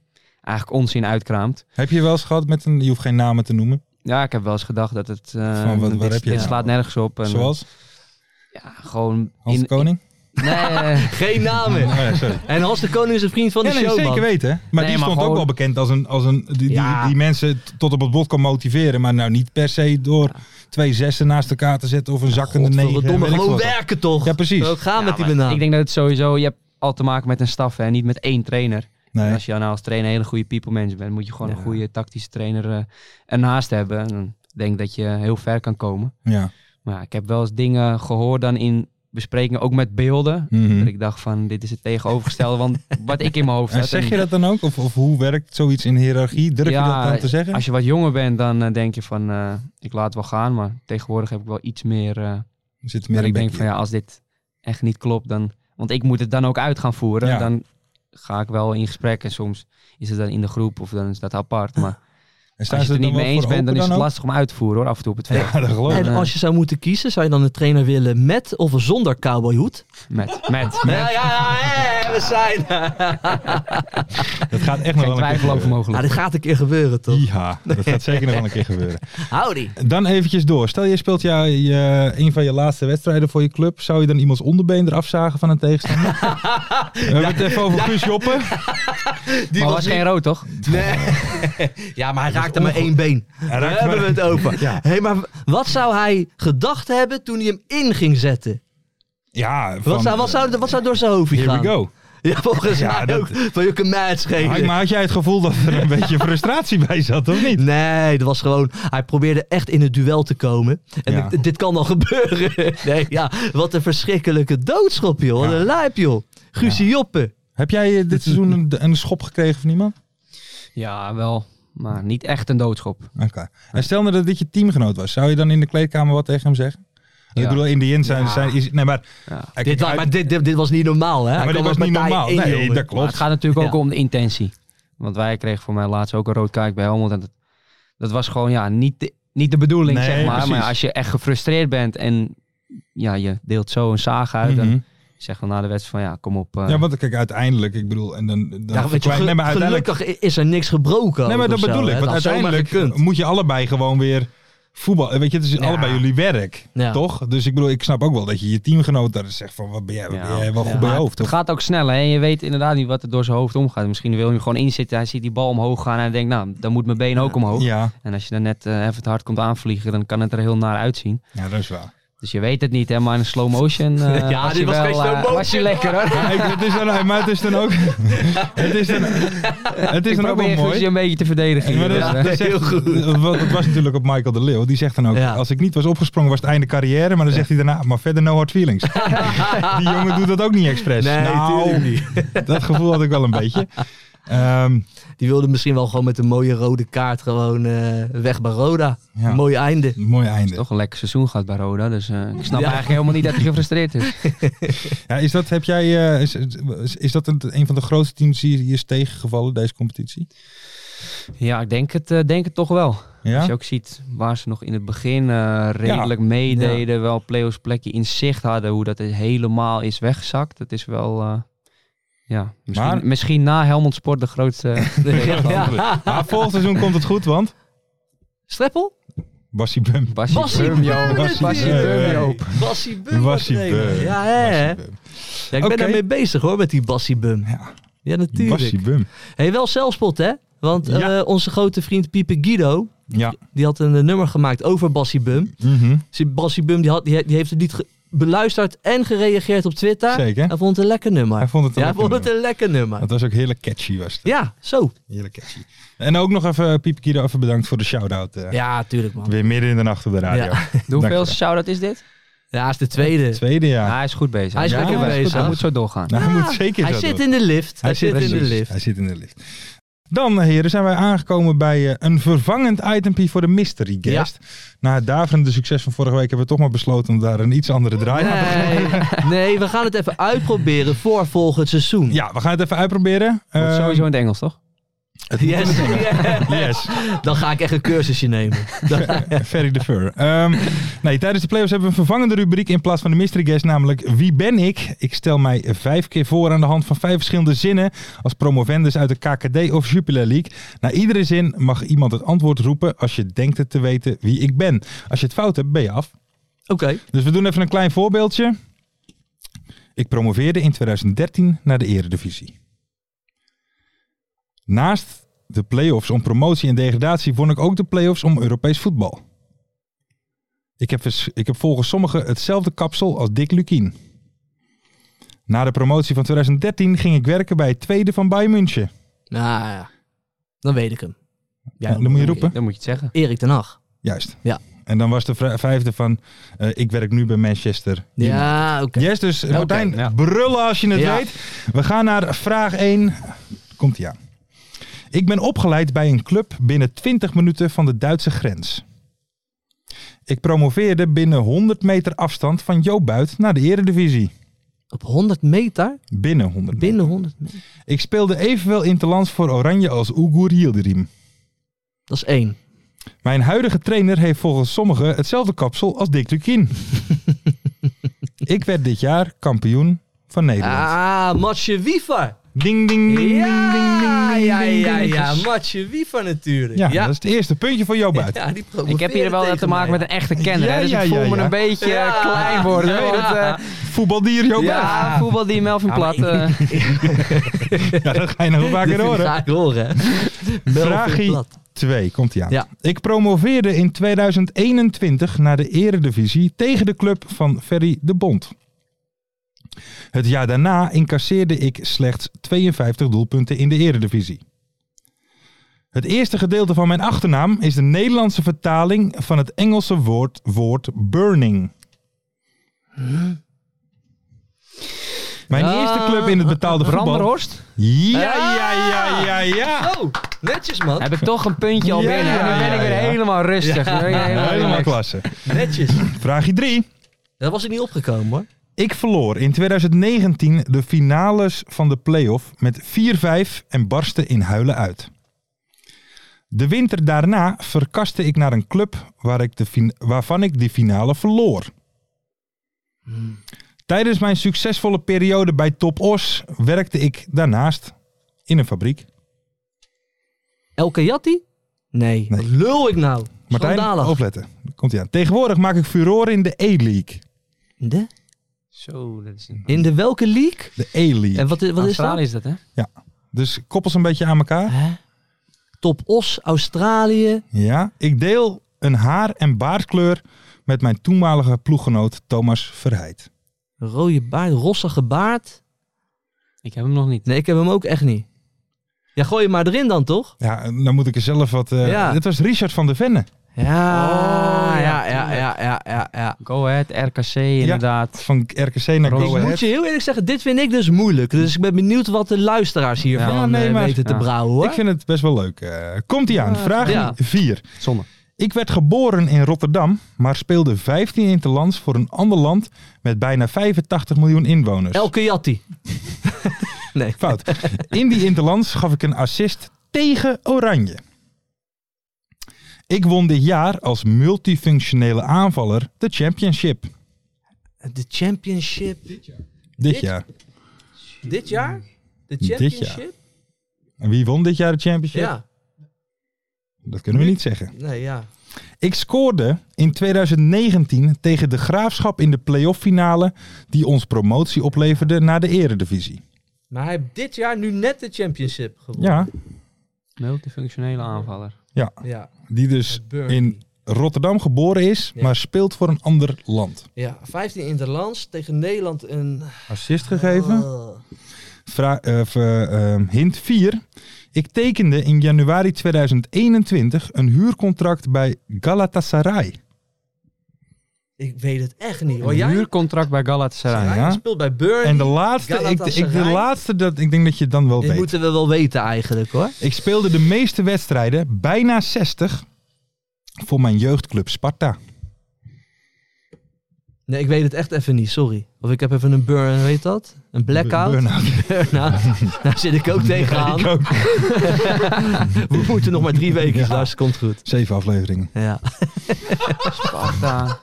Speaker 5: eigenlijk onzin uitkraamt.
Speaker 3: Heb je wel eens gehad met een, je hoeft geen namen te noemen,
Speaker 5: Ja, ik heb wel eens gedacht dat het... eh,
Speaker 3: Van wat- waar
Speaker 5: dit,
Speaker 3: heb je
Speaker 5: dit
Speaker 3: nou?
Speaker 5: slaat nergens op. En,
Speaker 3: zoals
Speaker 5: Ja, gewoon...
Speaker 3: Hans de Koning?
Speaker 5: Nee,
Speaker 4: Geen
Speaker 3: Oh
Speaker 4: namen.
Speaker 3: ja,
Speaker 5: [LAUGHS]
Speaker 3: sorry.
Speaker 4: En Hans de Koning is een vriend van de
Speaker 3: Ja, nee,
Speaker 4: show, man.
Speaker 3: zeker weten. hè. Maar
Speaker 5: Nee,
Speaker 3: die
Speaker 5: maar
Speaker 3: stond ook
Speaker 5: gewoon-
Speaker 3: wel bekend als een, als een die, die,
Speaker 5: Ja.
Speaker 3: die mensen t- tot op het bot kan motiveren, maar nou niet per se door twee zessen naast elkaar te zetten of een zakkende negen.
Speaker 4: Godverdomme,
Speaker 3: weet ik
Speaker 4: gewoon
Speaker 3: wat.
Speaker 4: werken toch?
Speaker 3: Ja, precies.
Speaker 4: Ook gaan
Speaker 5: Ja,
Speaker 4: met die
Speaker 5: maar Ik
Speaker 4: banaan.
Speaker 5: denk dat het sowieso... Je hebt al te maken met een staf en niet met één trainer. En
Speaker 3: Nee.
Speaker 5: als je nou als trainer een hele goede people manager bent, moet je gewoon
Speaker 4: Ja.
Speaker 5: een goede tactische trainer eh, ernaast hebben. En dan denk ik dat je heel ver kan komen.
Speaker 3: Ja.
Speaker 5: Maar ja, ik heb wel eens dingen gehoord dan in besprekingen, ook met beelden.
Speaker 3: Mhm.
Speaker 5: Dat ik dacht van, dit is het tegenovergestelde, want
Speaker 3: [LAUGHS]
Speaker 5: wat ik in mijn hoofd
Speaker 3: En
Speaker 5: had.
Speaker 3: zeg
Speaker 5: en-
Speaker 3: je dat dan ook? Of, of hoe werkt zoiets in hiërarchie? Durf je
Speaker 5: Ja,
Speaker 3: dat dan te zeggen?
Speaker 5: Als je wat jonger bent, dan eh, denk je van, eh, ik laat wel gaan. Maar tegenwoordig heb ik wel iets meer... eh
Speaker 3: Er zit
Speaker 5: dat
Speaker 3: meer
Speaker 5: ik
Speaker 3: een
Speaker 5: denk
Speaker 3: beetje.
Speaker 5: van, ja, als dit echt niet klopt, dan... Want ik moet het dan ook uit gaan voeren.
Speaker 3: Ja.
Speaker 5: Dan ga ik wel in gesprek en soms is het dan in de groep of dan is dat apart.
Speaker 3: [LAUGHS]
Speaker 5: Maar
Speaker 3: En
Speaker 5: Als je het er
Speaker 3: dan
Speaker 5: niet mee
Speaker 3: wel
Speaker 5: eens
Speaker 3: voor
Speaker 5: bent, dan
Speaker 3: open
Speaker 5: is het
Speaker 3: ook?
Speaker 5: lastig om uit te voeren hoor, af en toe op het veld.
Speaker 3: Ja, dat geloof
Speaker 5: [LAUGHS]
Speaker 3: ik.
Speaker 4: En als je zou moeten kiezen, zou je dan een trainer willen met of zonder cowboyhoed?
Speaker 3: [LAUGHS]
Speaker 5: Met, met, met.
Speaker 4: Ja, ja, ja, hè, we zijn er.
Speaker 3: Dat gaat echt nog
Speaker 5: Geen
Speaker 3: wel een keer
Speaker 5: twijfel over
Speaker 4: Ja,
Speaker 3: gebeuren.
Speaker 5: mogelijk.
Speaker 4: Ah, dit gaat een keer gebeuren, toch?
Speaker 3: Ja, dat gaat zeker nog wel een keer gebeuren.
Speaker 4: Howdy.
Speaker 3: Dan eventjes door. Stel je speelt jou, je, een van je laatste wedstrijden voor je club. Zou je dan iemands onderbeen eraf zagen van een tegenstander? [LAUGHS] We hebben het even over Guus Joppen.
Speaker 4: Die
Speaker 5: Maar was
Speaker 4: niet-
Speaker 5: geen rood toch?
Speaker 4: Nee. Ja, maar hij raakte maar één been.
Speaker 3: Hij
Speaker 4: Daar
Speaker 3: raakte
Speaker 4: hebben we
Speaker 3: maar-
Speaker 4: het over.
Speaker 3: Ja.
Speaker 4: Hé, maar wat zou hij gedacht hebben toen hij hem in ging zetten?
Speaker 3: Ja, van,
Speaker 4: Wat, zou, wat, zou, wat zou door zijn hoofdje
Speaker 3: here
Speaker 4: gaan?
Speaker 3: we go.
Speaker 4: Ja, volgens
Speaker 3: Ja,
Speaker 4: mij
Speaker 3: dat-
Speaker 4: ook. Van je kan mij het schelen.
Speaker 3: Hank, maar had jij het gevoel dat er [LAUGHS] een beetje frustratie bij zat, of niet?
Speaker 4: Nee, dat was gewoon. Hij probeerde echt in het duel te komen. En
Speaker 3: Ja.
Speaker 4: dit, dit kan dan [LAUGHS] gebeuren. Nee, ja, wat een verschrikkelijke doodschop, joh. Wat
Speaker 3: Ja.
Speaker 4: een lijp, joh. Guusje Joppe.
Speaker 3: Heb jij eh, dit seizoen een, een schop gekregen van iemand?
Speaker 5: Ja, wel. Maar niet echt een doodschop.
Speaker 3: Oké. En stel nou dat dit je teamgenoot was, zou je dan in de kleedkamer wat tegen hem zeggen? Ik
Speaker 5: Ja.
Speaker 3: bedoel, in de end zijn... zijn is, nee, maar...
Speaker 5: Ja.
Speaker 4: Dit
Speaker 3: Hij kijkt
Speaker 4: was,
Speaker 3: uit-
Speaker 4: maar dit, dit, dit was niet normaal, hè?
Speaker 3: Ja,
Speaker 4: Hij
Speaker 3: maar dit
Speaker 4: kwam
Speaker 3: was
Speaker 4: er
Speaker 3: niet
Speaker 4: partij
Speaker 3: normaal.
Speaker 4: in,
Speaker 3: Nee,
Speaker 4: jongen.
Speaker 3: dat
Speaker 5: Maar het
Speaker 3: klopt.
Speaker 5: gaat natuurlijk ook
Speaker 4: Ja.
Speaker 5: om de intentie. Want wij kregen voor mij laatst ook een rood kaart bij Helmond. En dat, dat was gewoon ja, niet, de, niet de bedoeling,
Speaker 3: Nee,
Speaker 5: zeg maar.
Speaker 3: precies.
Speaker 5: Maar als je echt gefrustreerd bent en ja, je deelt zo een zaag uit.
Speaker 3: Mhm.
Speaker 5: Dan zeg je na de wedstrijd van ja, kom op. eh,
Speaker 3: Ja, want kijk, uiteindelijk, ik bedoel, en dan, dan
Speaker 4: Ja, weet je,
Speaker 3: verklein-
Speaker 4: gel-
Speaker 3: nee, maar uiteindelijk,
Speaker 4: Gelukkig is er niks gebroken.
Speaker 3: nee, maar
Speaker 4: ook
Speaker 3: dat
Speaker 4: of zo,
Speaker 3: bedoel
Speaker 4: hè.
Speaker 3: ik, want
Speaker 4: Dat had zomaar
Speaker 3: uiteindelijk
Speaker 4: gekund.
Speaker 3: moet je allebei gewoon weer voetbal, eh, weet je, het is
Speaker 4: Ja.
Speaker 3: allebei jullie werk,
Speaker 4: Ja.
Speaker 3: toch? Dus ik bedoel, ik snap ook wel dat je je teamgenoot daar zegt van, wat ben jij, wat
Speaker 5: Ja.
Speaker 3: ben jij wel
Speaker 4: Ja.
Speaker 3: goed bij je
Speaker 5: Maar
Speaker 3: hoofd,
Speaker 5: Het
Speaker 3: toch?
Speaker 5: gaat ook snel, hè? Je weet inderdaad niet wat er door zijn hoofd omgaat. Misschien wil hij hem gewoon inzitten. Hij ziet die bal omhoog gaan en hij denkt, nou, dan moet mijn been ook
Speaker 4: oh.
Speaker 5: omhoog.
Speaker 3: Ja,
Speaker 5: En als je dan net eh, even het hard komt aanvliegen, dan kan het er heel naar uitzien.
Speaker 3: ja, dat is wel.
Speaker 5: Dus je weet het niet, hè? Maar in slow
Speaker 3: [LAUGHS]
Speaker 5: motion. eh,
Speaker 4: Ja,
Speaker 5: was
Speaker 4: dit
Speaker 5: je
Speaker 4: was
Speaker 5: wel,
Speaker 4: geen slow
Speaker 5: eh,
Speaker 4: motion.
Speaker 5: Was je lekker hoor.
Speaker 3: Ja, ik- het is dan, maar het is
Speaker 4: [LAUGHS]
Speaker 3: dan ook, het is dan, het is
Speaker 5: Ik
Speaker 3: dan ook wel
Speaker 5: probeer
Speaker 3: mooi.
Speaker 5: je een beetje te verdedigen.
Speaker 3: Maar dat-
Speaker 5: hier,
Speaker 3: dat
Speaker 5: eh.
Speaker 3: zegt- want Het was natuurlijk op Michael de Leeuw. Die zegt dan ook,
Speaker 4: Ja.
Speaker 3: als ik niet was opgesprongen was het einde carrière. Maar dan zegt hij daarna, maar verder no
Speaker 4: [LAUGHS]
Speaker 3: hard feelings. die jongen doet dat ook niet expres.
Speaker 4: Nee,
Speaker 3: nou,
Speaker 4: tuurlijk niet.
Speaker 3: dat gevoel had ik wel een beetje. Ehm,
Speaker 4: Die wilde misschien wel gewoon met een mooie rode kaart gewoon eh, weg bij Roda.
Speaker 3: Ja.
Speaker 4: Mooi einde.
Speaker 3: een mooi einde.
Speaker 5: [LAUGHS] Toch een lekker seizoen gehad bij Roda. Dus eh, ik snap
Speaker 4: Ja.
Speaker 5: eigenlijk helemaal niet dat hij
Speaker 3: [LAUGHS]
Speaker 5: gefrustreerd is.
Speaker 3: Ja, is dat, heb jij, eh, is, is- is dat een, een van de grootste teams die je is tegengevallen deze competitie?
Speaker 5: Ja, ik denk het, eh, denk het toch wel. Als je
Speaker 3: Ja?
Speaker 5: ook ziet waar ze nog in het begin eh, redelijk meededen, wel play-offs plekje in zicht hadden, hoe dat helemaal is weggezakt. Dat is wel, eh, ja, misschien,
Speaker 3: Maar-
Speaker 5: misschien na Helmond Sport de
Speaker 3: [LAUGHS]
Speaker 5: grootste.
Speaker 4: Ja.
Speaker 3: Maar volgend seizoen komt het goed, want
Speaker 4: Streppel?
Speaker 3: Bassie Bum.
Speaker 5: Basie
Speaker 4: Bassie
Speaker 5: Bum, joh.
Speaker 4: Bum is
Speaker 5: Basie
Speaker 4: hier.
Speaker 5: Bum, joh.
Speaker 4: Bassie Bum.
Speaker 3: Bassie
Speaker 4: wat een-
Speaker 3: Bum.
Speaker 4: Ja, hè?
Speaker 3: Bassie Bum.
Speaker 4: Ja, ik ben
Speaker 3: Oké.
Speaker 4: daarmee bezig hoor, met die Bassie Bum.
Speaker 3: Ja.
Speaker 4: Ja, natuurlijk.
Speaker 3: Bassie Bum.
Speaker 4: Hey, wel zelfspot hè? Want eh,
Speaker 3: Ja.
Speaker 4: onze grote vriend Piepe Guido,
Speaker 3: Ja.
Speaker 4: die had een eh, nummer gemaakt over Bassie Bum.
Speaker 3: Mhm.
Speaker 4: Dus Bassie Bum die, had, die, die heeft het niet ge- beluisterd en gereageerd op Twitter.
Speaker 3: Zeker.
Speaker 4: Hij vond het een lekker nummer.
Speaker 3: Hij vond het een
Speaker 4: ja,
Speaker 3: lekker
Speaker 4: hij vond het een lekker nummer.
Speaker 3: Dat was ook heerlijk catchy, was het.
Speaker 4: Ja, zo.
Speaker 3: Heerlijk catchy. En ook nog even eh, Piep Kido, even bedankt voor de shout-out. eh.
Speaker 4: Ja, tuurlijk man.
Speaker 3: Weer midden in de nacht op de radio.
Speaker 4: Ja. [LAUGHS]
Speaker 5: Hoeveel
Speaker 3: Dankjewel.
Speaker 5: shout-out is dit?
Speaker 4: Ja, hij is de tweede.
Speaker 3: Tweede
Speaker 5: Ah,
Speaker 3: jaar.
Speaker 5: hij is goed bezig.
Speaker 4: Hij is
Speaker 5: Ja,
Speaker 4: lekker
Speaker 5: hij
Speaker 4: bezig.
Speaker 5: Hij moet zo doorgaan.
Speaker 3: Nou, hij
Speaker 4: Ja,
Speaker 3: moet zeker
Speaker 4: Hij
Speaker 3: zo
Speaker 4: zit
Speaker 3: doen.
Speaker 4: in de lift. Hij, zit in de
Speaker 3: precies.
Speaker 4: lift.
Speaker 3: Hij zit in de lift. Dan, eh, heren, zijn wij aangekomen bij eh, een vervangend itempje voor de mystery guest. Na het daverende succes van vorige week hebben we toch maar besloten om daar een iets andere draai aan te geven.
Speaker 4: Nee, [LAUGHS] nee, we gaan het even uitproberen voor volgend seizoen.
Speaker 3: Ja, we gaan het even uitproberen.
Speaker 5: Wordt
Speaker 3: Eh,
Speaker 5: sowieso in het Engels, toch?
Speaker 4: [LAUGHS] Yes.
Speaker 3: Yes,
Speaker 4: Dan ga ik echt een cursusje nemen.
Speaker 3: [LAUGHS] Ferry de Fur. Ehm, nee, tijdens de playoffs hebben we een vervangende rubriek in plaats van de mystery guest, namelijk Wie ben ik? Ik stel mij vijf keer voor aan de hand van vijf verschillende zinnen als promovendus uit de KKD of Jupiler League. Na iedere zin mag iemand het antwoord roepen als je denkt het te weten wie ik ben. Als je het fout hebt, ben je af.
Speaker 4: Oké.
Speaker 3: Dus we doen even een klein voorbeeldje. Ik promoveerde in 2013 naar de Eredivisie. Naast de play-offs om promotie en degradatie won ik ook de play-offs om Europees voetbal. Ik heb, vers- ik heb volgens sommigen hetzelfde kapsel als Dick Lukien. Na de promotie van 2013 ging ik werken bij het tweede van Bayern München.
Speaker 4: Nou ja, dan weet ik hem. Jij
Speaker 3: Nou, dan moet je roepen.
Speaker 5: Dan moet je het zeggen.
Speaker 4: Erik ten Hag.
Speaker 3: Juist.
Speaker 4: Ja.
Speaker 3: En dan was de vri- vijfde van, eh, ik werk nu bij Manchester. United.
Speaker 4: Ja, oké. nou.
Speaker 3: Yes, dus Martijn,
Speaker 5: ja.
Speaker 3: brullen als je het
Speaker 4: Ja.
Speaker 3: weet. We gaan naar vraag 1. Komt ie aan. Ik ben opgeleid bij een club binnen 20 minuten van de Duitse grens. Ik promoveerde binnen 100 meter afstand van Jo Buit naar de Eredivisie.
Speaker 4: Op 100 meter?
Speaker 3: Binnen 100 meter.
Speaker 4: Binnen 100 meter.
Speaker 3: Ik speelde evenwel interlands voor Oranje als Ugur Yildirim.
Speaker 4: Dat is één.
Speaker 3: Mijn huidige trainer heeft volgens sommigen hetzelfde kapsel als Dick
Speaker 4: [LAUGHS]
Speaker 3: Lukien. Ik werd dit jaar kampioen van Nederland.
Speaker 4: Ah, Matje Wiever.
Speaker 3: Ding, ding, ding,
Speaker 4: Ja,
Speaker 3: ding, ding, ding,
Speaker 4: ja,
Speaker 3: ding,
Speaker 4: ja,
Speaker 3: ding.
Speaker 4: ja. Matje Wiever natuurlijk.
Speaker 3: Ja, dat is het eerste puntje van jouw buiten.
Speaker 4: Ja, die
Speaker 5: Ik heb hier wel te maken met een echte kenner,
Speaker 3: Ja,
Speaker 5: hè, dus
Speaker 3: ja,
Speaker 5: ik voel
Speaker 3: ja,
Speaker 5: me
Speaker 3: ja.
Speaker 5: een beetje
Speaker 4: Ja.
Speaker 5: eh, klein worden.
Speaker 4: Ja.
Speaker 5: want, eh,
Speaker 3: Voetbaldier jouw buiten.
Speaker 5: ja, voetbal die Melvin Plat. eh,
Speaker 3: [LAUGHS] Ja, dat ga je
Speaker 4: [LAUGHS]
Speaker 3: nog wel vaker horen.
Speaker 4: Ga ik horen.
Speaker 3: Vraagie.
Speaker 4: Melvin Plat.
Speaker 3: Twee, komt hij aan.
Speaker 4: Ja.
Speaker 3: Ik promoveerde in 2021 naar de eredivisie tegen de club van Ferry de Bond. Het jaar daarna incasseerde ik slechts 52 doelpunten in de eredivisie. Het eerste gedeelte van mijn achternaam is de Nederlandse vertaling van het Engelse woord, woord burning. Mijn
Speaker 4: Ah,
Speaker 3: eerste club in het betaalde voetbal.
Speaker 5: Branderhorst?
Speaker 3: Ja, ja, ja, ja, ja.
Speaker 4: Oh, netjes man.
Speaker 5: Heb ik toch een puntje al
Speaker 3: Ja,
Speaker 5: binnen. En dan ben ik
Speaker 3: ja,
Speaker 5: weer
Speaker 3: ja.
Speaker 5: helemaal rustig. Dan ben ik helemaal
Speaker 3: Helemaal
Speaker 5: relaxed.
Speaker 3: klasse.
Speaker 4: Netjes.
Speaker 3: Vraagje 3.
Speaker 4: Dat was ik niet opgekomen hoor.
Speaker 3: Ik verloor in 2019 de finales van de play-off met 4-5 en barstte in huilen uit. De winter daarna verkaste ik naar een club waar ik de fin- waarvan ik die finale verloor.
Speaker 4: Hmm.
Speaker 3: Tijdens mijn succesvolle periode bij Top Os werkte ik daarnaast in een fabriek.
Speaker 4: Elke Jatti? Nee.
Speaker 3: Nee.
Speaker 4: Wat lul ik nou?
Speaker 3: Martijn,
Speaker 4: Schandalig.
Speaker 3: opletten. Komt ie aan. Tegenwoordig maak ik furore in de E-League.
Speaker 4: In de?
Speaker 5: Zo, dat is een...
Speaker 4: In de welke league?
Speaker 3: De E-League.
Speaker 4: En wat, i- wat is dat?
Speaker 5: Australië is dat, hè?
Speaker 3: Dus koppel ze een beetje aan elkaar.
Speaker 4: Hè? Top Os, Australië.
Speaker 3: Ja, ik deel een haar- en baardkleur met mijn toenmalige ploeggenoot Thomas Verheid.
Speaker 4: Rode baard, rossige baard.
Speaker 5: Ik heb hem nog niet.
Speaker 4: Nee, ik heb hem ook echt niet. Ja, gooi je maar erin dan, toch?
Speaker 3: Ja, en dan moet ik er zelf wat... eh
Speaker 4: Ja.
Speaker 3: Dit was Richard van der Venne
Speaker 4: Ja,
Speaker 5: Oh,
Speaker 4: ja,
Speaker 5: ja,
Speaker 4: ja, ja, ja, ja, ja.
Speaker 5: Go Ahead, RKC inderdaad.
Speaker 3: van RKC naar
Speaker 5: Rood.
Speaker 3: Go
Speaker 5: Ik
Speaker 3: Ahead.
Speaker 4: Moet je heel eerlijk zeggen, dit vind ik dus moeilijk. Dus ik ben benieuwd wat de luisteraars hiervan
Speaker 3: Ja,
Speaker 4: ja,
Speaker 3: nee, maar-
Speaker 4: weten te
Speaker 5: Ja.
Speaker 4: brouwen, hoor.
Speaker 3: Ik vind het best wel leuk. Eh, komt ie aan. Vraag
Speaker 4: Ja.
Speaker 3: 4.
Speaker 5: Zonde.
Speaker 3: Ik werd geboren in Rotterdam, maar speelde 15 interlands voor een ander land met bijna 85 miljoen inwoners.
Speaker 4: Elke
Speaker 3: [LAUGHS]
Speaker 4: Jatti. nee.
Speaker 3: Fout. In die interlands gaf ik een assist tegen Oranje. Ik won dit jaar als multifunctionele aanvaller de championship.
Speaker 4: De championship.
Speaker 3: Dit
Speaker 4: Dit?
Speaker 3: jaar.
Speaker 4: Dit jaar? De
Speaker 3: jaar.
Speaker 4: championship?
Speaker 3: En wie won dit jaar de championship?
Speaker 4: Ja.
Speaker 3: Dat kunnen we niet zeggen.
Speaker 4: Nee, ja.
Speaker 3: Ik scoorde in 2019 tegen de Graafschap in de playoff finale die ons promotie opleverde naar de eredivisie.
Speaker 4: Maar hij heeft dit jaar nu net de championship gewonnen.
Speaker 3: Ja,
Speaker 5: Multifunctionele aanvaller.
Speaker 4: Ja.
Speaker 3: die dus
Speaker 4: Burnley.
Speaker 3: in Rotterdam geboren is,
Speaker 4: Ja.
Speaker 3: maar speelt voor een ander land.
Speaker 4: Ja, 15 in de lands tegen Nederland een...
Speaker 3: Assist gegeven.
Speaker 4: Oh.
Speaker 3: Vra- of, eh, ehm, hint 4. Ik tekende in januari 2021 een huurcontract bij Galatasaray.
Speaker 4: Ik weet het echt niet. Hoor
Speaker 5: Een
Speaker 4: Oh, jij?
Speaker 5: huurcontract bij Galatasaray.
Speaker 4: Hij
Speaker 3: ja.
Speaker 4: speelt bij Burnley.
Speaker 3: En de laatste, ik, ik, de
Speaker 4: Galatasaray.
Speaker 3: laatste dat, ik denk dat je het dan wel
Speaker 4: Dit
Speaker 3: weet.
Speaker 4: moeten we wel weten eigenlijk hoor.
Speaker 3: Ik speelde de meeste wedstrijden, bijna 60, voor mijn jeugdclub Sparta.
Speaker 4: Nee, ik weet het echt even niet, sorry. Of ik heb even een burn, weet dat? Een blackout.
Speaker 3: Burn-out.
Speaker 4: [LAUGHS] Burn-out. Daar zit
Speaker 3: [LAUGHS]
Speaker 4: ik ook tegenaan.
Speaker 3: Ik ook.
Speaker 4: We moeten nog maar drie weken,
Speaker 3: [LAUGHS] Ja.
Speaker 4: Lars. Komt goed.
Speaker 3: Zeven afleveringen.
Speaker 4: Ja.
Speaker 5: Sparta.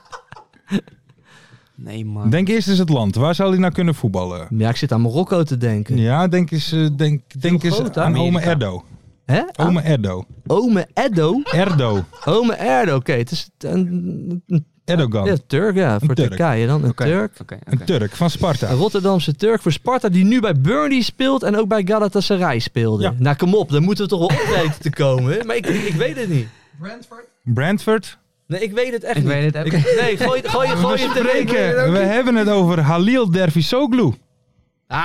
Speaker 5: Nee, man.
Speaker 3: Denk eerst eens het land. Waar zou hij nou kunnen voetballen?
Speaker 4: ja, ik zit aan Marokko te denken.
Speaker 3: Ja, denk eens, eh, denk, denk eens
Speaker 4: groot, hè?
Speaker 3: aan ome
Speaker 4: Amerika. Ah.
Speaker 3: Erdo.
Speaker 4: Hè?
Speaker 3: Ome Erdo.
Speaker 4: Ome Edo?
Speaker 3: Erdo.
Speaker 4: Ome Erdo, oké. Het is een, een-
Speaker 3: Erdogan.
Speaker 4: ja, Turk, ja. Voor
Speaker 3: Turk.
Speaker 4: Turkije dan. Een
Speaker 3: Oké.
Speaker 4: Turk.
Speaker 5: Oké, oké.
Speaker 3: Een Turk van
Speaker 4: Een
Speaker 3: Sparta.
Speaker 4: Rotterdamse Turk voor Sparta die nu bij Burnley speelt en ook bij Galatasaray speelde.
Speaker 3: Ja.
Speaker 4: Nou, kom op. Dan moeten we toch wel op weten te komen. Maar ik, ik weet het niet.
Speaker 3: Brentford.
Speaker 4: Nee, ik weet het echt
Speaker 5: Ik
Speaker 4: niet.
Speaker 5: weet het ook.
Speaker 4: Ik-
Speaker 3: [LAUGHS]
Speaker 4: nee, gooi, gooi,
Speaker 3: We
Speaker 4: gooi het erin. gooi het
Speaker 3: spreken,
Speaker 4: erin.
Speaker 3: we hebben het over Halil Dervisoglu.
Speaker 4: Ah,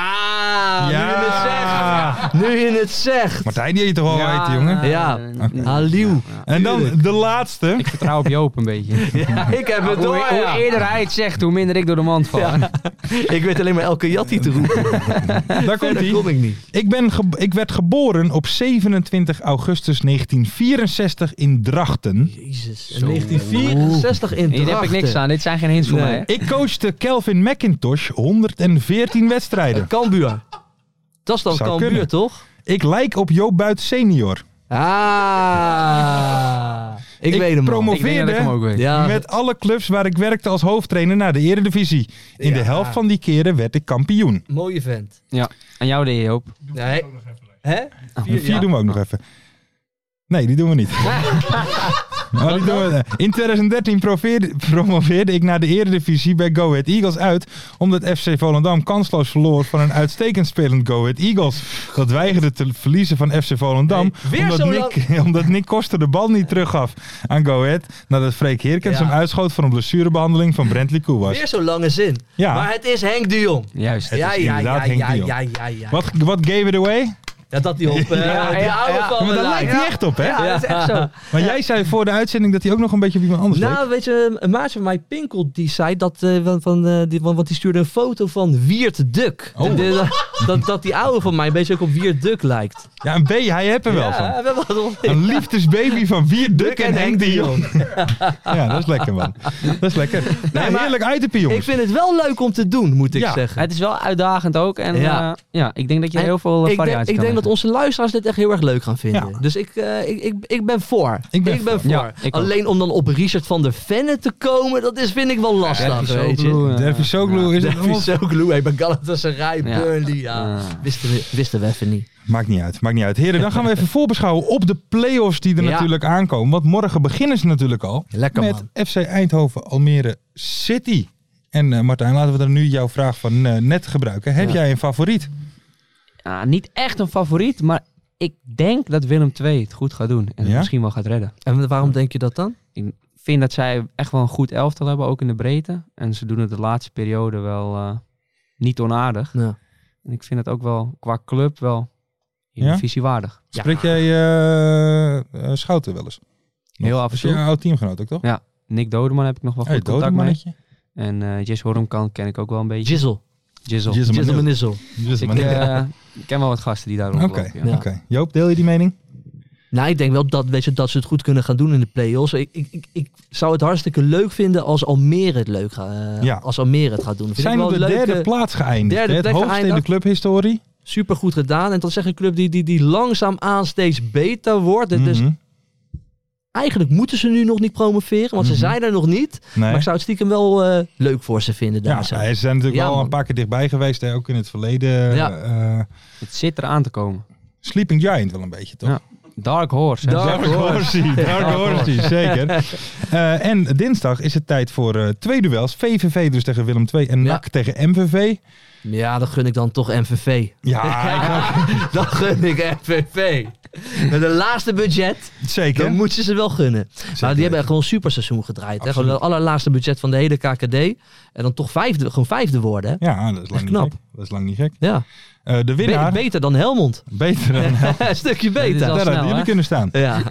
Speaker 4: nu je het zegt.
Speaker 3: Ja.
Speaker 4: Nu je het zegt.
Speaker 3: Martijn, die je toch wel
Speaker 5: Ja,
Speaker 3: weten, jongen.
Speaker 4: Ja.
Speaker 5: eh, nee,
Speaker 4: Aliou.
Speaker 5: ja, ja.
Speaker 3: En dan de laatste.
Speaker 5: Ik vertrouw op Joop een beetje.
Speaker 4: Ja, [LAUGHS] ik heb het
Speaker 5: Ah, Hoe,
Speaker 4: door.
Speaker 5: hoe
Speaker 4: ja.
Speaker 5: eerder hij het zegt, hoe minder ik door de mand val.
Speaker 4: Ja. Ik weet alleen maar elke jattie te roepen.
Speaker 3: Daar komt
Speaker 4: Verder
Speaker 3: hij.
Speaker 4: kon ik niet.
Speaker 3: Ik, ben ge- ik werd geboren op 27 augustus 1964 in Drachten.
Speaker 4: Jezus. in 1964 in
Speaker 5: Hier heb ik niks aan. Dit zijn geen hints voor
Speaker 4: Nee.
Speaker 5: mij. hè?
Speaker 3: Ik coachte Kelvin McIntosh 114 wedstrijden.
Speaker 4: Kambuur. Dat is dan
Speaker 3: Zou
Speaker 4: Kambuur,
Speaker 3: kunnen.
Speaker 4: toch?
Speaker 3: Ik lijk op Joop Buit senior.
Speaker 4: Ah. Ik, weet hem al.
Speaker 3: promo-
Speaker 5: Ik denk dat ik hem ook weet.
Speaker 4: ja,
Speaker 3: Met alle clubs waar ik werkte als hoofdtrainer naar de eredivisie. In de
Speaker 4: Ja.
Speaker 3: helft van die keren werd ik kampioen.
Speaker 4: mooie vent.
Speaker 5: En jou deed je, Joop.
Speaker 4: Nee. Hè?
Speaker 3: Vier, doen we ook nog even. Nee, die doen we
Speaker 5: [LAUGHS]
Speaker 3: niet. Maar die doen we- In 2013 proveerde- promoveerde ik naar de eredivisie bij Go Ahead Eagles uit. Omdat FC Volendam kansloos verloor van een uitstekend spelend Go Ahead Eagles. Dat weigerde te verliezen van FC Volendam.
Speaker 4: Nee, weer
Speaker 3: omdat,
Speaker 4: zo
Speaker 3: Nick, [LAUGHS] omdat Nick Koster de bal niet teruggaf aan Go Ahead. Nadat Freek Heerkens
Speaker 4: Ja.
Speaker 3: hem uitschoot voor een blessurebehandeling van Brentley Koewas.
Speaker 4: Weer zo'n lange zin.
Speaker 3: Ja.
Speaker 4: Maar het is Henk de Jong.
Speaker 5: Juist.
Speaker 4: Ja,
Speaker 3: is
Speaker 4: ja, ja,
Speaker 3: inderdaad Henk
Speaker 4: ja,
Speaker 3: de Jong.
Speaker 4: ja, ja, ja.
Speaker 3: Wat, wat gave it away?
Speaker 4: Ja, dat
Speaker 3: [LAUGHS]
Speaker 4: die op eh,
Speaker 5: Ja,
Speaker 4: die
Speaker 5: ja,
Speaker 4: oude
Speaker 5: ja.
Speaker 4: van
Speaker 3: Maar
Speaker 4: me
Speaker 3: daar lijkt hij
Speaker 4: lijkt.
Speaker 3: echt op, hè?
Speaker 5: Ja, dat is echt zo.
Speaker 3: Maar jij zei voor de uitzending dat hij ook nog een beetje op iemand anders leek.
Speaker 4: Nou, weet je, een maatje van mij, Pinkel, die zei dat, eh, van, van, eh, die, want, want die stuurde een foto van Wiert Duk.
Speaker 3: Oh.
Speaker 4: De- de- dat, dat die oude van mij een beetje ook op Wiert Duk lijkt.
Speaker 3: Ja, een B, hij hebt er wel
Speaker 4: ja,
Speaker 3: van.
Speaker 4: we hebben wat op-
Speaker 3: Een liefdesbaby van vier Duk en Henk de Jong. Ja, dat is lekker, man. Dat is lekker. Nou,
Speaker 4: maar-
Speaker 3: heerlijk uitepie,
Speaker 4: Ik
Speaker 3: jongens.
Speaker 4: vind het wel leuk om te doen, moet ik
Speaker 3: Ja.
Speaker 4: zeggen.
Speaker 5: Het is wel uitdagend ook. En
Speaker 4: Ja.
Speaker 5: ja, ja ik denk dat je
Speaker 4: En
Speaker 5: heel veel eh,
Speaker 4: Ik denk,
Speaker 5: variatie
Speaker 4: ik denk dat onze luisteraars dit echt heel erg leuk gaan vinden.
Speaker 3: Ja.
Speaker 4: Dus ik, eh, ik, ik, ik ben voor.
Speaker 3: Ik ben
Speaker 4: voor.
Speaker 3: voor.
Speaker 5: Ja, ik ook.
Speaker 4: Alleen om dan op Richard van der Venne te komen, dat is, vind ik wel lastig. weet je.
Speaker 3: Dervisoglu is het
Speaker 4: Dat
Speaker 3: allemaal-
Speaker 4: is ook Lou, hey, bij Galatasaray,
Speaker 5: Ja.
Speaker 4: Burnley. Ja.
Speaker 5: Ja.
Speaker 4: Wisten, we, wisten we even niet.
Speaker 3: Maakt niet uit, maakt niet uit. Heren, dan gaan
Speaker 4: [LAUGHS]
Speaker 3: we even voorbeschouwen op de play-offs die er
Speaker 4: Ja.
Speaker 3: natuurlijk aankomen. Want morgen beginnen ze natuurlijk al
Speaker 4: Lekker,
Speaker 3: met FC Eindhoven, Almere City. En eh, Martijn, laten we dan nu jouw vraag van eh, net gebruiken. Heb
Speaker 5: Ja.
Speaker 3: jij een favoriet?
Speaker 5: Ja, niet echt een favoriet, maar ik denk dat Willem II het goed gaat doen. En het
Speaker 3: Ja?
Speaker 5: misschien wel gaat redden.
Speaker 4: En waarom denk je dat dan?
Speaker 5: Ik vind dat zij echt wel een goed elftal hebben, ook in de breedte. En ze doen het de laatste periode wel eh, niet onaardig.
Speaker 4: Ja.
Speaker 5: En ik vind het ook wel qua club wel
Speaker 3: Ja?
Speaker 5: divisiewaardig.
Speaker 3: Spreek jij eh, eh, Schouten wel eens?
Speaker 5: Heel af en
Speaker 3: Is je een
Speaker 5: toe.
Speaker 3: oud teamgenoot ook, toch?
Speaker 5: Nick Dodeman heb ik nog wel goed
Speaker 3: Hey,
Speaker 5: contact mee.
Speaker 3: Dodemannetje.
Speaker 5: En eh Jess Hormkamp ken ik ook wel een beetje.
Speaker 4: Jizzle.
Speaker 5: Jizzle.
Speaker 3: Jizzle.
Speaker 4: Jizzle Menizzel.
Speaker 3: Dus
Speaker 5: Ik
Speaker 3: maar-
Speaker 5: eh, ik ken wel wat gasten die daar
Speaker 3: Oké,
Speaker 5: rondlopen. ja.
Speaker 3: oké. Joop, deel je die mening?
Speaker 4: Nou, ik denk wel dat, weet je, dat ze het goed kunnen gaan doen in de play-offs. Ik, ik, ik, ik zou het hartstikke leuk vinden als Almere het leuk gaat, eh,
Speaker 3: Ja.
Speaker 4: als Almere het gaat doen. Vind
Speaker 3: zijn
Speaker 4: ik
Speaker 3: op
Speaker 4: wel
Speaker 3: de
Speaker 4: een leuke,
Speaker 3: derde plaats geëindigd.
Speaker 4: derde
Speaker 3: hè? het
Speaker 4: plek
Speaker 3: hoogste in
Speaker 4: geëindigd.
Speaker 3: de clubhistorie.
Speaker 4: supergoed gedaan. En dat zeg een club die, die, die langzaamaan steeds beter wordt. Dus
Speaker 3: Mhm.
Speaker 4: eigenlijk moeten ze nu nog niet promoveren, want ze
Speaker 3: Mhm.
Speaker 4: zijn er nog niet.
Speaker 3: nee.
Speaker 4: Maar ik zou het stiekem wel eh, leuk voor ze vinden daar
Speaker 3: ja,
Speaker 4: zo.
Speaker 3: ze zijn natuurlijk
Speaker 4: Ja,
Speaker 3: wel
Speaker 4: man.
Speaker 3: een paar keer dichtbij geweest, hè? ook in het verleden.
Speaker 4: Ja.
Speaker 3: Eh, eh,
Speaker 5: Het zit eraan te komen.
Speaker 3: Sleeping Giant wel een beetje, toch?
Speaker 5: Ja. Dark Horse. hè?
Speaker 4: Dark Horse.
Speaker 3: Dark
Speaker 5: Dark
Speaker 3: Horsey,
Speaker 4: [LAUGHS]
Speaker 3: zeker. Eh, en dinsdag is het tijd voor eh, twee duels. VVV dus tegen Willem II en
Speaker 4: Ja.
Speaker 3: NAC tegen MVV.
Speaker 4: Ja, dan gun ik dan toch MVV. [LAUGHS]
Speaker 3: Ja, Ah, ik ook.
Speaker 4: dan gun ik MVV. Met een laatste budget,
Speaker 3: zeker.
Speaker 4: dan moeten ze ze wel gunnen. maar die
Speaker 3: weten.
Speaker 4: hebben gewoon een superseizoen gedraaid. Hè?
Speaker 3: Absoluut.
Speaker 4: Gewoon het allerlaatste budget van de hele KKD. En dan toch vijfde, gewoon vijfde worden. Hè?
Speaker 3: Ja, ah, dat is lang
Speaker 4: Echt
Speaker 3: niet
Speaker 4: knap.
Speaker 3: gek. Dat is lang niet gek.
Speaker 4: Ja,
Speaker 3: Eh, de
Speaker 4: Be-
Speaker 3: winnaar, [LAUGHS]
Speaker 4: [LAUGHS] beter dan Helmond.
Speaker 3: beter dan
Speaker 4: een stukje
Speaker 5: Ja, dit is
Speaker 4: beter.
Speaker 3: daar
Speaker 5: al- snel,
Speaker 3: hadden jullie
Speaker 5: hè?
Speaker 3: kunnen staan.
Speaker 4: Ja.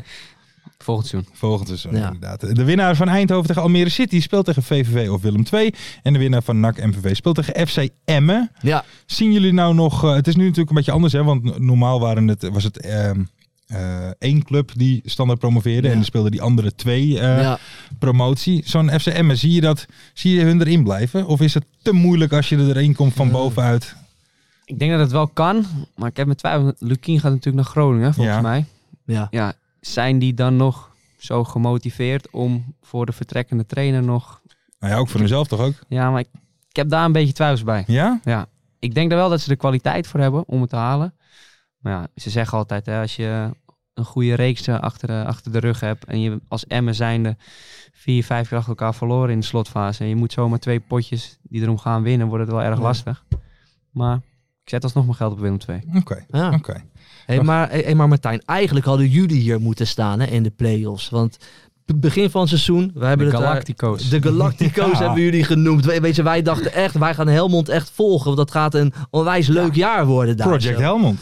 Speaker 5: Volgend seizoen.
Speaker 3: Volgend seizoen,
Speaker 4: Ja.
Speaker 3: inderdaad. De winnaar van Eindhoven tegen Almere City speelt tegen VVV of Willem II. En de winnaar van NAC MVV speelt tegen FC Emmen.
Speaker 4: Ja,
Speaker 3: Zien jullie nou nog... eh, het is nu natuurlijk een beetje anders, hè? Want n- normaal waren het, was het ehm, eh, één club die standaard promoveerde.
Speaker 4: Ja.
Speaker 3: En die speelden die andere twee eh,
Speaker 4: ja.
Speaker 3: promotie. Zo'n FC Emmen, zie je, dat, zie je hun erin blijven? Of is het te moeilijk als je er erin komt
Speaker 4: Eh.
Speaker 3: van bovenuit?
Speaker 5: Ik denk dat het wel kan, maar ik heb mijn twijfel. Lukien gaat natuurlijk naar Groningen, volgens
Speaker 3: Ja.
Speaker 5: mij.
Speaker 4: ja.
Speaker 5: Ja, zijn die dan nog zo gemotiveerd om voor de vertrekkende trainer nog...
Speaker 3: Nou ja, ook voor hunzelf toch ook?
Speaker 5: Ja, maar ik, ik heb daar een beetje twijfels bij.
Speaker 3: Ja?
Speaker 5: Ik denk dan wel dat ze de kwaliteit voor hebben om het te halen. Maar ja, ze zeggen altijd, hè, als je een goede reeks eh, achter de, achter de rug hebt... en je als Emmen zijnde vier, vijf keer achter elkaar verloren in de slotfase... en je moet zomaar twee potjes die erom gaan winnen, wordt het wel erg
Speaker 4: Ja.
Speaker 5: lastig. Maar ik zet alsnog mijn geld op Willem II.
Speaker 3: Oké.
Speaker 4: ja.
Speaker 3: Oké.
Speaker 4: Hey, maar, hey, maar Martijn, eigenlijk hadden jullie hier moeten staan hè, in de play-offs. Want b- begin van het seizoen, we hebben
Speaker 5: De
Speaker 4: het daar-
Speaker 5: Galactico's.
Speaker 4: de Galactico's
Speaker 5: [LAUGHS]
Speaker 3: Ja.
Speaker 4: hebben jullie genoemd. We- weet je, wij dachten echt, wij gaan Helmond echt volgen. Want dat gaat een onwijs leuk jaar worden daar.
Speaker 3: Project
Speaker 4: zo.
Speaker 3: Helmond.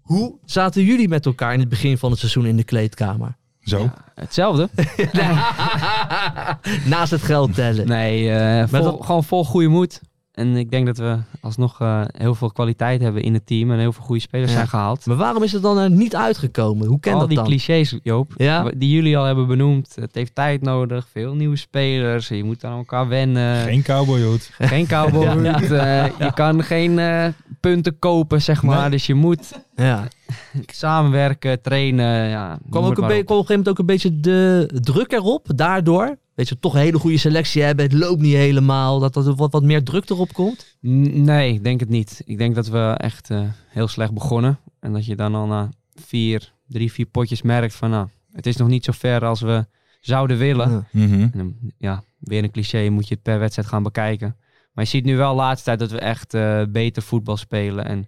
Speaker 4: Hoe zaten jullie met elkaar in het begin van het seizoen in de kleedkamer? [LAUGHS]
Speaker 3: Zo.
Speaker 5: Hetzelfde.
Speaker 4: Naast het geld tellen.
Speaker 5: Nee, eh,
Speaker 4: Met
Speaker 5: vol-
Speaker 4: dat-
Speaker 5: gewoon vol goede moed. En ik denk dat we alsnog eh, heel veel kwaliteit hebben in het team. En heel veel goede spelers
Speaker 4: Ja.
Speaker 5: zijn gehaald.
Speaker 4: Maar waarom is het dan er niet uitgekomen? Hoe
Speaker 5: al
Speaker 4: kan dat
Speaker 5: die
Speaker 4: dan?
Speaker 5: clichés, Joop,
Speaker 4: Ja.
Speaker 5: wa- die jullie al hebben benoemd. Het heeft tijd nodig, veel nieuwe spelers. Je moet aan elkaar wennen.
Speaker 3: Geen cowboyhoed.
Speaker 5: Geen
Speaker 4: [LAUGHS]
Speaker 5: cowboy. eh, je kan geen eh, punten kopen, zeg maar.
Speaker 3: Nee.
Speaker 5: Dus je moet
Speaker 4: Ja.
Speaker 5: samenwerken, trainen. Ja, noem
Speaker 4: Kwam, ook
Speaker 5: het
Speaker 4: een
Speaker 5: maar
Speaker 4: be-
Speaker 5: op.
Speaker 4: kwam op een gegeven moment ook een beetje de druk erop, daardoor. Weet je, toch een hele goede selectie hebben, het loopt niet helemaal, dat er wat, wat meer druk erop komt.
Speaker 5: N- Nee, ik denk het niet. Ik denk dat we echt eh, heel slecht begonnen. En dat je dan al na vier, drie, vier potjes merkt van... Nou, het is nog niet zo ver als we zouden willen.
Speaker 4: Ja.
Speaker 3: Mhm.
Speaker 5: En dan, ja, weer een cliché, moet je het per wedstrijd gaan bekijken. Maar je ziet nu wel de laatste tijd dat we echt eh, beter voetbal spelen. En ik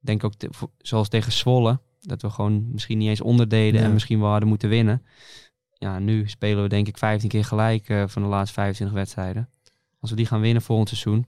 Speaker 5: denk ook, te- vo- zoals tegen Zwolle, dat we gewoon misschien niet eens onderdeden
Speaker 4: Ja.
Speaker 5: en misschien wel hadden moeten winnen. Ja, nu spelen we denk ik 15 keer gelijk eh, van de laatste 25 wedstrijden. Als we die gaan winnen volgend seizoen,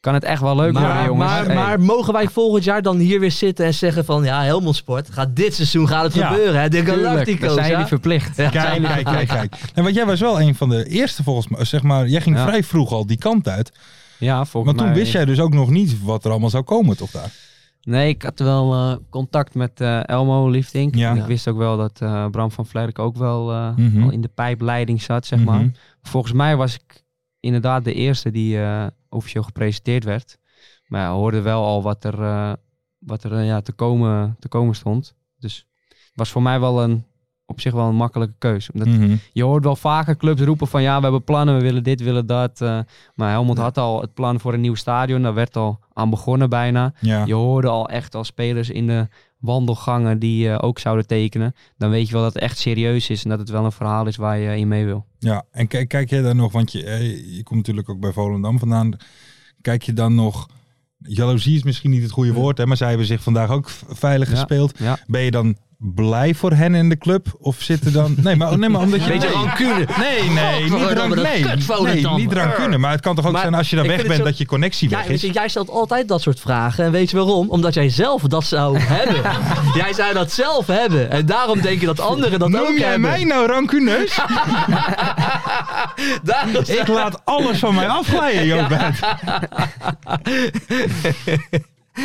Speaker 5: kan het echt wel leuk
Speaker 4: maar,
Speaker 5: worden, jongens.
Speaker 4: maar,
Speaker 5: Hey.
Speaker 4: maar mogen wij volgend jaar dan hier weer zitten en zeggen van, ja, Helmond Sport, gaat dit seizoen gaat het
Speaker 3: Ja,
Speaker 4: gebeuren, hè? De
Speaker 5: Tuurlijk,
Speaker 4: Galactico's,
Speaker 5: we zijn
Speaker 4: ja?
Speaker 5: niet verplicht.
Speaker 3: Kijk, kijk, kijk, kijk. En want jij was wel een van de eerste volgens mij. Zeg maar, jij ging
Speaker 5: Ja.
Speaker 3: vrij vroeg al die kant uit.
Speaker 5: Ja, volgens
Speaker 3: Maar toen
Speaker 5: mij-
Speaker 3: wist jij dus ook nog niet wat er allemaal zou komen, toch daar?
Speaker 5: Nee, ik had wel eh, contact met eh, Elmo Liefdink.
Speaker 3: Ja.
Speaker 5: En
Speaker 4: Ja.
Speaker 5: Ik wist ook wel dat eh, Bram van Vlerk ook wel eh,
Speaker 3: Mhm.
Speaker 5: al in de pijpleiding zat, zeg
Speaker 3: Mhm.
Speaker 5: maar. Volgens mij was ik inderdaad de eerste die eh, officieel gepresenteerd werd. Maar ja, hoorde wel al wat er, eh, wat er eh, ja, te, komen, te komen stond. Dus het was voor mij wel een, op zich wel een makkelijke keuze. Omdat
Speaker 3: Mhm.
Speaker 5: je hoort wel vaker clubs roepen van ja, we hebben plannen, we willen dit, willen dat. eh, maar Helmond
Speaker 4: Ja.
Speaker 5: had al het plan voor een nieuw stadion. Daar werd al aan begonnen bijna.
Speaker 3: Ja.
Speaker 5: Je hoorde al echt al spelers in de wandelgangen die eh, ook zouden tekenen. Dan weet je wel dat het echt serieus is en dat het wel een verhaal is waar je in mee wil.
Speaker 3: ja. En kijk, kijk jij daar nog, want je, eh, je komt natuurlijk ook bij Volendam vandaan. Kijk je dan nog... Jaloezie is misschien niet het goede woord, hè, maar zij hebben zich vandaag ook v- veilig
Speaker 5: Ja.
Speaker 3: gespeeld.
Speaker 5: Ja.
Speaker 3: Ben je dan blij voor hen in de club? Of zitten dan... Nee, maar, nee, maar omdat je...
Speaker 4: Beetje rancune. [LAUGHS]
Speaker 3: Nee, nee, niet, rank, nee, nee, niet rancune. Maar het kan toch ook
Speaker 4: Maar
Speaker 3: zijn als je daar
Speaker 4: ik
Speaker 3: weg
Speaker 4: vind het
Speaker 3: bent
Speaker 4: zo-
Speaker 3: dat je connectie
Speaker 4: Ja,
Speaker 3: weg
Speaker 4: weet
Speaker 3: is.
Speaker 4: je, jij stelt altijd dat soort vragen. En weet je waarom? Omdat jij zelf dat
Speaker 5: [LAUGHS]
Speaker 4: zou hebben. jij zou dat zelf hebben. En daarom denk je dat anderen dat ook
Speaker 3: Noem jij
Speaker 4: hebben.
Speaker 3: mij nou [LAUGHS] rancuneus?
Speaker 4: Daarom
Speaker 3: Ik laat alles van mij afglijden, Joop Buit.
Speaker 4: [LAUGHS]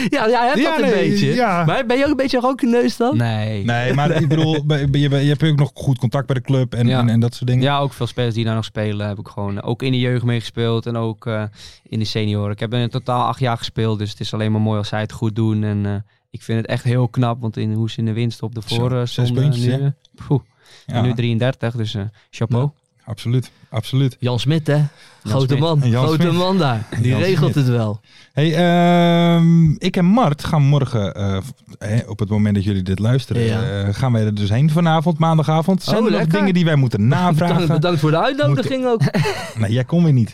Speaker 4: Ja, jij hebt
Speaker 3: Ja,
Speaker 4: dat een
Speaker 3: nee,
Speaker 4: beetje.
Speaker 3: ja.
Speaker 4: Maar ben je ook een beetje rancuneus dan?
Speaker 5: Nee.
Speaker 3: Nee, maar ik bedoel, bij- bij- je je hebt ook nog goed contact bij de club en,
Speaker 5: Ja.
Speaker 3: en, en dat soort dingen.
Speaker 5: Ja, ook veel spelers die daar nog spelen heb ik gewoon eh, ook in de jeugd meegespeeld en ook eh, in de senioren. Ik heb in totaal acht jaar gespeeld, dus het is alleen maar mooi als zij het goed doen. En eh, ik vind het echt heel knap, want in, hoe ze in de winst op de
Speaker 3: Zo,
Speaker 5: voor eh,
Speaker 3: zes
Speaker 5: stonden.
Speaker 3: puntjes,
Speaker 5: nu,
Speaker 3: hè?
Speaker 5: eh, poeh,
Speaker 3: Ja,
Speaker 5: en nu 33, dus eh, chapeau.
Speaker 3: Absoluut, absoluut.
Speaker 4: Jan Smit, hè? Grote
Speaker 5: Smit.
Speaker 4: man.
Speaker 3: En Jan
Speaker 4: Grote
Speaker 3: Smit.
Speaker 4: man daar. Die
Speaker 3: Jan
Speaker 4: regelt
Speaker 3: Smit.
Speaker 4: het wel.
Speaker 3: Hey, ehm, ik en Mart gaan morgen, eh, v- hè, op het moment dat jullie dit luisteren,
Speaker 4: Ja.
Speaker 3: eh, gaan wij er dus heen vanavond, maandagavond. Zijn
Speaker 4: Oh,
Speaker 3: er nog
Speaker 4: lekker.
Speaker 3: dingen die wij [LAUGHS] moeten
Speaker 4: Bedankt,
Speaker 3: navragen?
Speaker 4: bedankt voor de uitnodiging
Speaker 3: [LAUGHS]
Speaker 4: ook.
Speaker 3: nee, jij kon weer niet.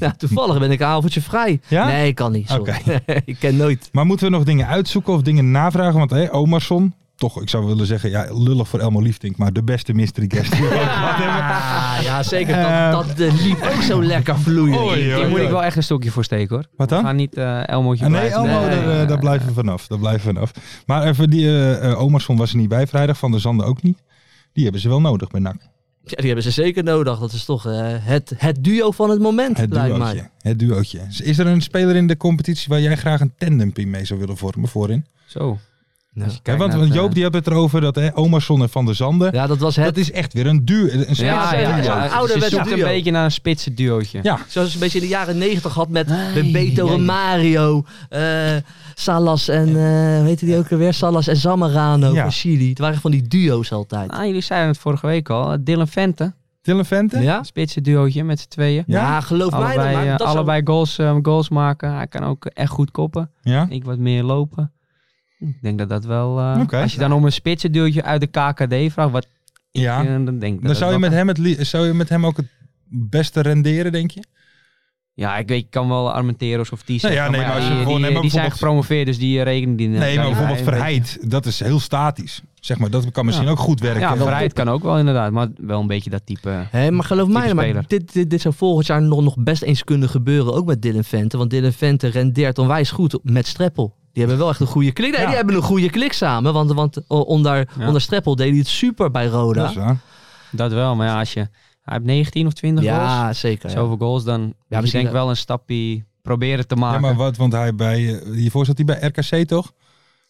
Speaker 4: Ja, toevallig ben ik een avondje vrij.
Speaker 3: Ja?
Speaker 4: Nee, ik kan niet. Sorry. [LAUGHS] ik ken nooit.
Speaker 3: Maar moeten we nog dingen uitzoeken of dingen navragen? Want hey, Omarsson, toch, ik zou willen zeggen, ja, lullig voor Elmo Liefdink, maar de beste mystery guest. die we ook gehad hebben.
Speaker 5: [LAUGHS]
Speaker 4: Ah, ja, zeker.
Speaker 3: Eh.
Speaker 4: Dat, dat eh, liep ook zo lekker vloeien.
Speaker 3: Oei,
Speaker 5: Hier
Speaker 3: oei,
Speaker 5: moet
Speaker 3: oei.
Speaker 5: ik wel echt een stokje voor steken hoor.
Speaker 3: Wat dan?
Speaker 5: Ga niet eh Elmootje
Speaker 3: Ah, nee,
Speaker 5: blijven.
Speaker 3: Elmo,
Speaker 4: nee,
Speaker 3: daar, eh,
Speaker 5: nee,
Speaker 3: daar blijven we vanaf. Daar blijven we vanaf. Maar even die eh eh, Omarsson was er niet bij vrijdag, Van der Zanden ook niet. Die hebben ze wel nodig bij NAC.
Speaker 4: Ja, die hebben ze zeker nodig. Dat is toch eh, het, het duo van het moment,
Speaker 3: Het
Speaker 4: lijkt mij.
Speaker 3: duootje. Het duootje. Is er een speler in de competitie waar jij graag een tandempie mee zou willen vormen voorin?
Speaker 5: Zo. Als je
Speaker 3: Hè,
Speaker 5: kijkt
Speaker 3: want,
Speaker 5: naar
Speaker 3: want
Speaker 5: het,
Speaker 3: Joop
Speaker 5: eh,
Speaker 3: die had het erover dat hè, Omerson en Van der Zanden.
Speaker 4: Ja, dat was
Speaker 3: Dat
Speaker 4: het.
Speaker 3: is echt weer een duur. Een
Speaker 5: Ja, ja,
Speaker 3: sterk
Speaker 5: ja,
Speaker 3: duo.
Speaker 4: ja.
Speaker 5: Dus je
Speaker 4: Ouderwetse
Speaker 5: zoekt
Speaker 4: duo.
Speaker 5: een beetje naar een spitse duootje.
Speaker 3: Ja.
Speaker 4: Zoals ze een beetje in de jaren negentig had met
Speaker 5: Ai,
Speaker 4: Beto
Speaker 5: ai,
Speaker 4: en
Speaker 5: ai.
Speaker 4: Mario, eh, Salas en, eh, hoe heette die ook alweer? Salas en Zamorano
Speaker 3: Ja.
Speaker 4: van Chili. Het waren van die duo's altijd.
Speaker 5: Ah, jullie zeiden het vorige week al. eh, Dylan Vente,
Speaker 3: Dylan Vente?
Speaker 4: Ja?
Speaker 5: een spitse duootje met z'n tweeën.
Speaker 3: Ja?
Speaker 4: Ja, geloof mij
Speaker 5: allebei
Speaker 4: dan maar.
Speaker 5: eh,
Speaker 4: Dat zou-
Speaker 5: allebei goals, eh, goals maken. Hij kan ook echt goed koppen.
Speaker 3: Ja?
Speaker 5: Ik wat meer lopen. Ik denk dat dat wel... eh,
Speaker 3: Oké.
Speaker 5: Als je dan om een spitse duootje uit de KKD vraagt, wat ik,
Speaker 3: Ja.
Speaker 5: eh, dan denk ik dat
Speaker 3: Dan
Speaker 5: dat
Speaker 3: zou je,
Speaker 5: wel
Speaker 3: met
Speaker 5: kan.
Speaker 3: hem het li- zou je met hem ook het beste renderen, denk je?
Speaker 5: Ja, ik weet, ik kan wel Armenteros of die
Speaker 3: Nou ja,
Speaker 5: zeggen,
Speaker 3: nee,
Speaker 5: maar
Speaker 3: maar als je
Speaker 5: die,
Speaker 3: gewoon-
Speaker 5: die,
Speaker 3: nee, maar
Speaker 5: die zijn
Speaker 3: bijvoorbeeld-
Speaker 5: gepromoveerd, dus die eh, rekenen die...
Speaker 3: Nee, maar
Speaker 5: ja,
Speaker 3: bijvoorbeeld
Speaker 5: ja,
Speaker 3: Verheid, dat is heel statisch. Zeg maar, dat kan misschien ook goed werken.
Speaker 5: Ja, Verheid kan ook wel inderdaad, maar wel een beetje dat type...
Speaker 4: Hé, maar geloof mij,
Speaker 5: Type
Speaker 4: dan maar
Speaker 5: speler.
Speaker 4: dit, dit, dit zou volgend jaar nog, nog best eens kunnen gebeuren. Ook met Dylan Vente. Want Dylan Vente rendeert onwijs goed op- met Streppel. Die hebben wel echt een goede klik. Nee,
Speaker 3: Ja.
Speaker 4: die hebben een goede klik samen. Want, want eh, onder,
Speaker 5: Ja.
Speaker 4: onder Streppel deed hij het super bij
Speaker 3: Dat
Speaker 4: Roda.
Speaker 3: is waar.
Speaker 5: Dat wel, maar ja, als je... Hij heeft 19 of 20 goals.
Speaker 4: Ja, zeker. Ja.
Speaker 5: Zoveel goals, dan ja, ik
Speaker 4: misschien
Speaker 5: denk
Speaker 4: wel.
Speaker 5: wel een stapje proberen te
Speaker 3: Ja,
Speaker 5: maken.
Speaker 3: maar wat, want hij bij, eh, hiervoor zat hij bij RKC toch?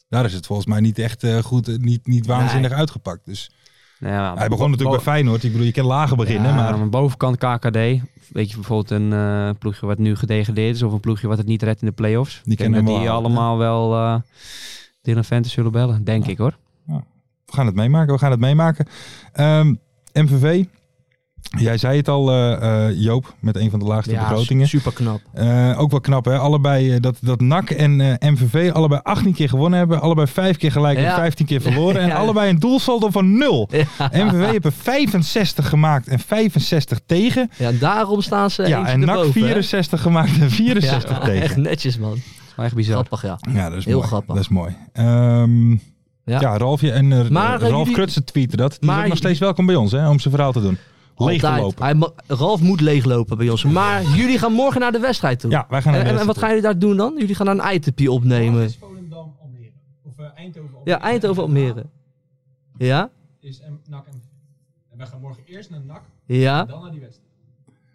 Speaker 3: Daar is het volgens mij niet echt eh, goed, eh, niet, niet waanzinnig uitgepakt. Dus
Speaker 5: Nou ja,
Speaker 3: hij begon natuurlijk bij Feyenoord. Ik bedoel, je kan lager beginnen,
Speaker 5: Ja,
Speaker 3: maar
Speaker 5: aan de bovenkant KKD. Weet je, bijvoorbeeld een eh, ploegje wat nu gedegradeerd is of een ploegje wat het niet redt in de play-offs.
Speaker 3: Die
Speaker 5: ik denk
Speaker 3: kennen
Speaker 5: dat
Speaker 3: we
Speaker 5: die
Speaker 3: wel,
Speaker 5: allemaal wel eh Dylan Vente zullen bellen, denk ik hoor.
Speaker 3: we gaan het meemaken. We gaan het meemaken. Ehm, MVV, jij zei het al, eh, eh, Joop, met een van de laagste begrotingen.
Speaker 4: super knap.
Speaker 3: Eh, ook wel knap, hè? Allebei eh, dat, dat NAC en eh, MVV allebei 18 keer gewonnen hebben. Allebei 5 keer gelijk en
Speaker 4: Ja.
Speaker 3: 15 keer
Speaker 4: [LAUGHS]
Speaker 3: verloren. En
Speaker 4: Ja.
Speaker 3: allebei een doelsaldo
Speaker 4: [LAUGHS]
Speaker 3: van 0. MVV hebben 65 gemaakt en 65 tegen.
Speaker 4: Ja, daarom staan ze
Speaker 3: Ja,
Speaker 4: eentje
Speaker 3: en NAC
Speaker 4: erboven, hè?
Speaker 3: 64 gemaakt en 64
Speaker 4: Ja,
Speaker 3: tegen.
Speaker 4: Echt netjes, man.
Speaker 5: Dat is wel echt bizar.
Speaker 4: Grappig, ja.
Speaker 3: Ja, dat is
Speaker 4: Heel
Speaker 3: mooi.
Speaker 4: grappig.
Speaker 3: Dat is mooi. Ehm, ja.
Speaker 4: Ja.
Speaker 3: Ralfje en eh,
Speaker 4: Maar, eh,
Speaker 3: Ralf
Speaker 4: jullie-
Speaker 3: Krutsen tweeten dat. Die
Speaker 4: Maar-
Speaker 3: is ook nog steeds welkom bij ons hè, om zijn verhaal te doen. Leeg te
Speaker 4: Altijd.
Speaker 3: lopen.
Speaker 4: Hij ma- Ralf moet leeglopen bij ons. Maar jullie gaan morgen naar de wedstrijd toe.
Speaker 3: Ja, wij gaan naar
Speaker 4: En,
Speaker 3: de
Speaker 4: en, en wat
Speaker 3: wedstrijd.
Speaker 4: gaan jullie daar doen dan? Jullie gaan daar een ITP opnemen.
Speaker 6: Volendam, Almere. Of eh, Eindhoven, Almere.
Speaker 4: Ja, Eindhoven Almere. Ja?
Speaker 6: Is M NAC en... en wij gaan morgen eerst naar NAK,
Speaker 4: Ja?
Speaker 6: dan naar die wedstrijd.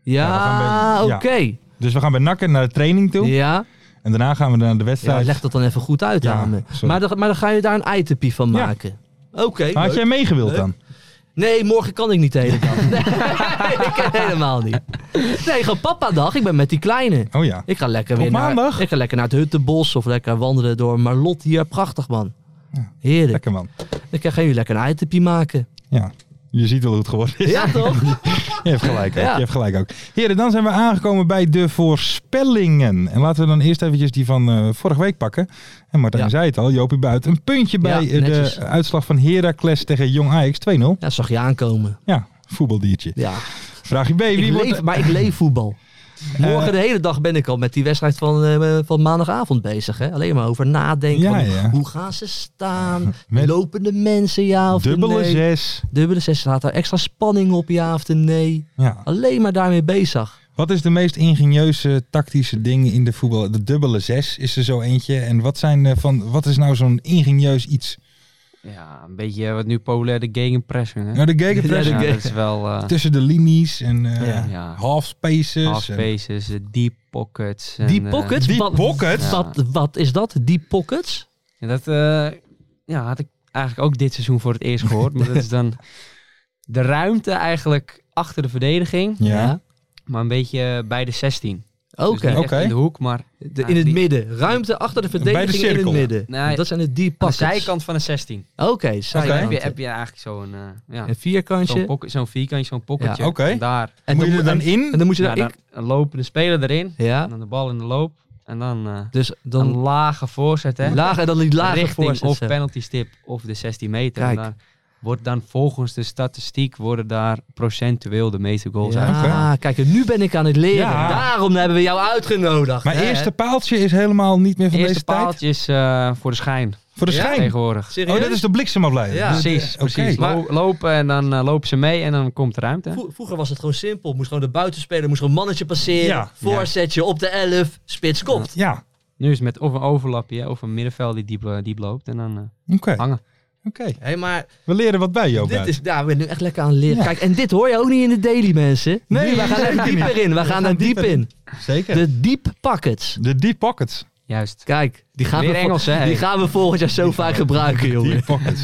Speaker 3: we gaan
Speaker 4: Ja,
Speaker 3: bij- ja.
Speaker 4: oké.
Speaker 3: Dus we gaan bij NAC en naar de training toe.
Speaker 4: Ja,
Speaker 3: En daarna gaan we naar de
Speaker 4: ja,
Speaker 3: wedstrijd.
Speaker 4: leg dat dan even goed uit
Speaker 3: Ja,
Speaker 4: aan me.
Speaker 3: sorry.
Speaker 4: Maar dan, maar dan ga je daar een ITP van
Speaker 3: Ja.
Speaker 4: maken. Oké.
Speaker 3: Maar had
Speaker 4: leuk.
Speaker 3: jij meegewild dan?
Speaker 4: Nee, morgen kan ik niet de hele
Speaker 3: [LAUGHS]
Speaker 4: dag. Nee, ik kan helemaal niet. Nee, gewoon papa dag. Ik ben met die kleine.
Speaker 3: Oh ja.
Speaker 4: Ik ga lekker
Speaker 3: Op
Speaker 4: weer
Speaker 3: maandag?
Speaker 4: Naar, ik ga lekker naar het Huttenbos of lekker wandelen door Marlot hier. Prachtig man. Heerlijk.
Speaker 3: Lekker man.
Speaker 4: Dan gaan jullie lekker een ITP maken.
Speaker 3: Ja. Je ziet wel hoe het geworden is.
Speaker 4: Ja toch?
Speaker 3: Je hebt gelijk ook.
Speaker 4: Ja.
Speaker 3: Je hebt gelijk ook. Heren, dan zijn we aangekomen bij de voorspellingen. En laten we dan eerst eventjes die van eh, vorige week pakken. En Martijn
Speaker 4: Ja.
Speaker 3: zei het al, Jopie buiten. Een puntje bij
Speaker 4: Ja,
Speaker 3: eh,
Speaker 4: netjes.
Speaker 3: de uitslag van Heracles tegen Jong Ajax 2-0.
Speaker 4: [LAUGHS] Ja, zag je aankomen.
Speaker 3: Ja, voetbaldiertje.
Speaker 4: Ja.
Speaker 3: Vraag je B,
Speaker 4: Ik
Speaker 3: wie wordt... Eh.
Speaker 4: leef, maar ik leef voetbal. Morgen de hele dag ben ik al met die wedstrijd van, eh, van maandagavond bezig. Hè? Alleen maar over nadenken.
Speaker 3: Ja,
Speaker 4: van,
Speaker 3: ja.
Speaker 4: Hoe gaan ze staan?
Speaker 3: [LAUGHS] Met
Speaker 4: Lopen de mensen ja of
Speaker 3: dubbele
Speaker 4: nee?
Speaker 3: zes.
Speaker 4: Dubbele zes. Staat daar extra spanning op ja of nee?
Speaker 3: Ja.
Speaker 4: Alleen maar daarmee bezig.
Speaker 3: Wat is de meest ingenieuze tactische ding in de voetbal? De dubbele zes is er zo eentje. En wat, zijn, eh, van, wat is nou zo'n ingenieus iets?
Speaker 5: Ja, een beetje eh, wat nu populair de gegenpressing. Hè?
Speaker 3: Nou, de gegenpress
Speaker 5: Ja,
Speaker 4: ge-
Speaker 5: dat is wel eh
Speaker 3: tussen de linies en eh,
Speaker 4: Ja.
Speaker 5: Ja.
Speaker 3: half spaces.
Speaker 5: half
Speaker 3: en-
Speaker 5: spaces, eh, deep pockets. en,
Speaker 4: Deep
Speaker 5: eh,
Speaker 4: pockets?
Speaker 3: Deep
Speaker 4: Wat-
Speaker 3: pockets?
Speaker 4: Wat, wat is dat? Deep pockets?
Speaker 5: en dat eh, ja, had ik eigenlijk ook dit seizoen voor het eerst gehoord. maar dat is dan de ruimte eigenlijk achter de verdediging,
Speaker 3: Ja.
Speaker 5: maar een beetje eh, bij de 16.
Speaker 4: Oké.
Speaker 5: Dus niet echt
Speaker 3: Oké.
Speaker 5: in de hoek, maar
Speaker 4: De- in het midden. Ruimte achter de verdediging in het
Speaker 3: cirkel.
Speaker 4: midden.
Speaker 5: Nee.
Speaker 4: Dat zijn de deep
Speaker 5: aan de
Speaker 4: pockets.
Speaker 5: zijkant van de 16.
Speaker 4: Oké,
Speaker 5: Dan heb
Speaker 4: zijkant.
Speaker 5: je, heb je eigenlijk zo'n eh, ja,
Speaker 4: Een
Speaker 5: zo'n
Speaker 4: vierkantje.
Speaker 5: pocket- zo'n vierkantje, zo'n pocketje.
Speaker 3: Ja, oké.
Speaker 5: En Daar
Speaker 4: En
Speaker 3: Moet je er dan
Speaker 4: en-
Speaker 3: in?
Speaker 4: En dan moet je
Speaker 5: ja,
Speaker 4: daar...
Speaker 5: daar een lopende speler erin.
Speaker 4: Ja.
Speaker 5: En dan de bal in de loop. En dan eh,
Speaker 4: Dus dan
Speaker 5: een lage voorzet. Hè?
Speaker 4: Lager en dan die lager
Speaker 5: richting
Speaker 4: voorzet.
Speaker 5: of
Speaker 4: zo.
Speaker 5: penalty stip of de 16 meter.
Speaker 4: Kijk.
Speaker 5: En daar wordt dan volgens de statistiek worden daar procentueel de meeste goals
Speaker 4: Ja,
Speaker 5: uit.
Speaker 4: kijk, en nu ben ik aan het leren.
Speaker 3: Ja.
Speaker 4: Daarom hebben we jou uitgenodigd.
Speaker 3: Maar
Speaker 4: hè?
Speaker 3: eerste paaltje is helemaal niet meer van
Speaker 5: Eerste
Speaker 3: deze tijd.
Speaker 5: paaltje is eh, voor de schijn
Speaker 3: Voor de
Speaker 4: Ja?
Speaker 3: schijn.
Speaker 5: tegenwoordig.
Speaker 4: Serieus?
Speaker 3: Oh, dat is de bliksemafleider.
Speaker 4: Ja.
Speaker 3: Dus, eh,
Speaker 5: Precies,
Speaker 3: oké.
Speaker 5: precies. Lo- lopen en dan eh, lopen ze mee en dan komt de ruimte.
Speaker 4: Vro- Vroeger was het gewoon simpel. Moest gewoon de buitenspeler, moest gewoon een mannetje passeren.
Speaker 3: Ja.
Speaker 4: Voorzetje op de 11, spits kopt.
Speaker 3: Ja,
Speaker 5: Nu is het met of een overlapje hè, of een middenveld die diep, eh, diep loopt en dan eh,
Speaker 3: oké.
Speaker 5: hangen.
Speaker 3: Oké.
Speaker 4: Hé, maar
Speaker 3: We leren wat bij, Joop.
Speaker 4: dit
Speaker 3: uit.
Speaker 4: is, daar ben ik nu echt lekker aan het leren.
Speaker 3: Ja.
Speaker 4: Kijk, en dit hoor je ook niet in de daily, mensen.
Speaker 3: [LAUGHS] Nee,
Speaker 4: Nee, we gaan
Speaker 3: zeker
Speaker 4: er dieper
Speaker 3: niet.
Speaker 4: in. We gaan er diep
Speaker 3: dieper
Speaker 4: in.
Speaker 3: Zeker. De,
Speaker 4: De deep pockets.
Speaker 3: deep pockets.
Speaker 5: Juist.
Speaker 4: Kijk, die gaan,
Speaker 5: Weer
Speaker 4: we, vo-
Speaker 5: Engels, hè,
Speaker 4: die
Speaker 5: hey.
Speaker 4: gaan we volgend jaar zo vaak gebruiken, jongen.
Speaker 3: Deep pockets.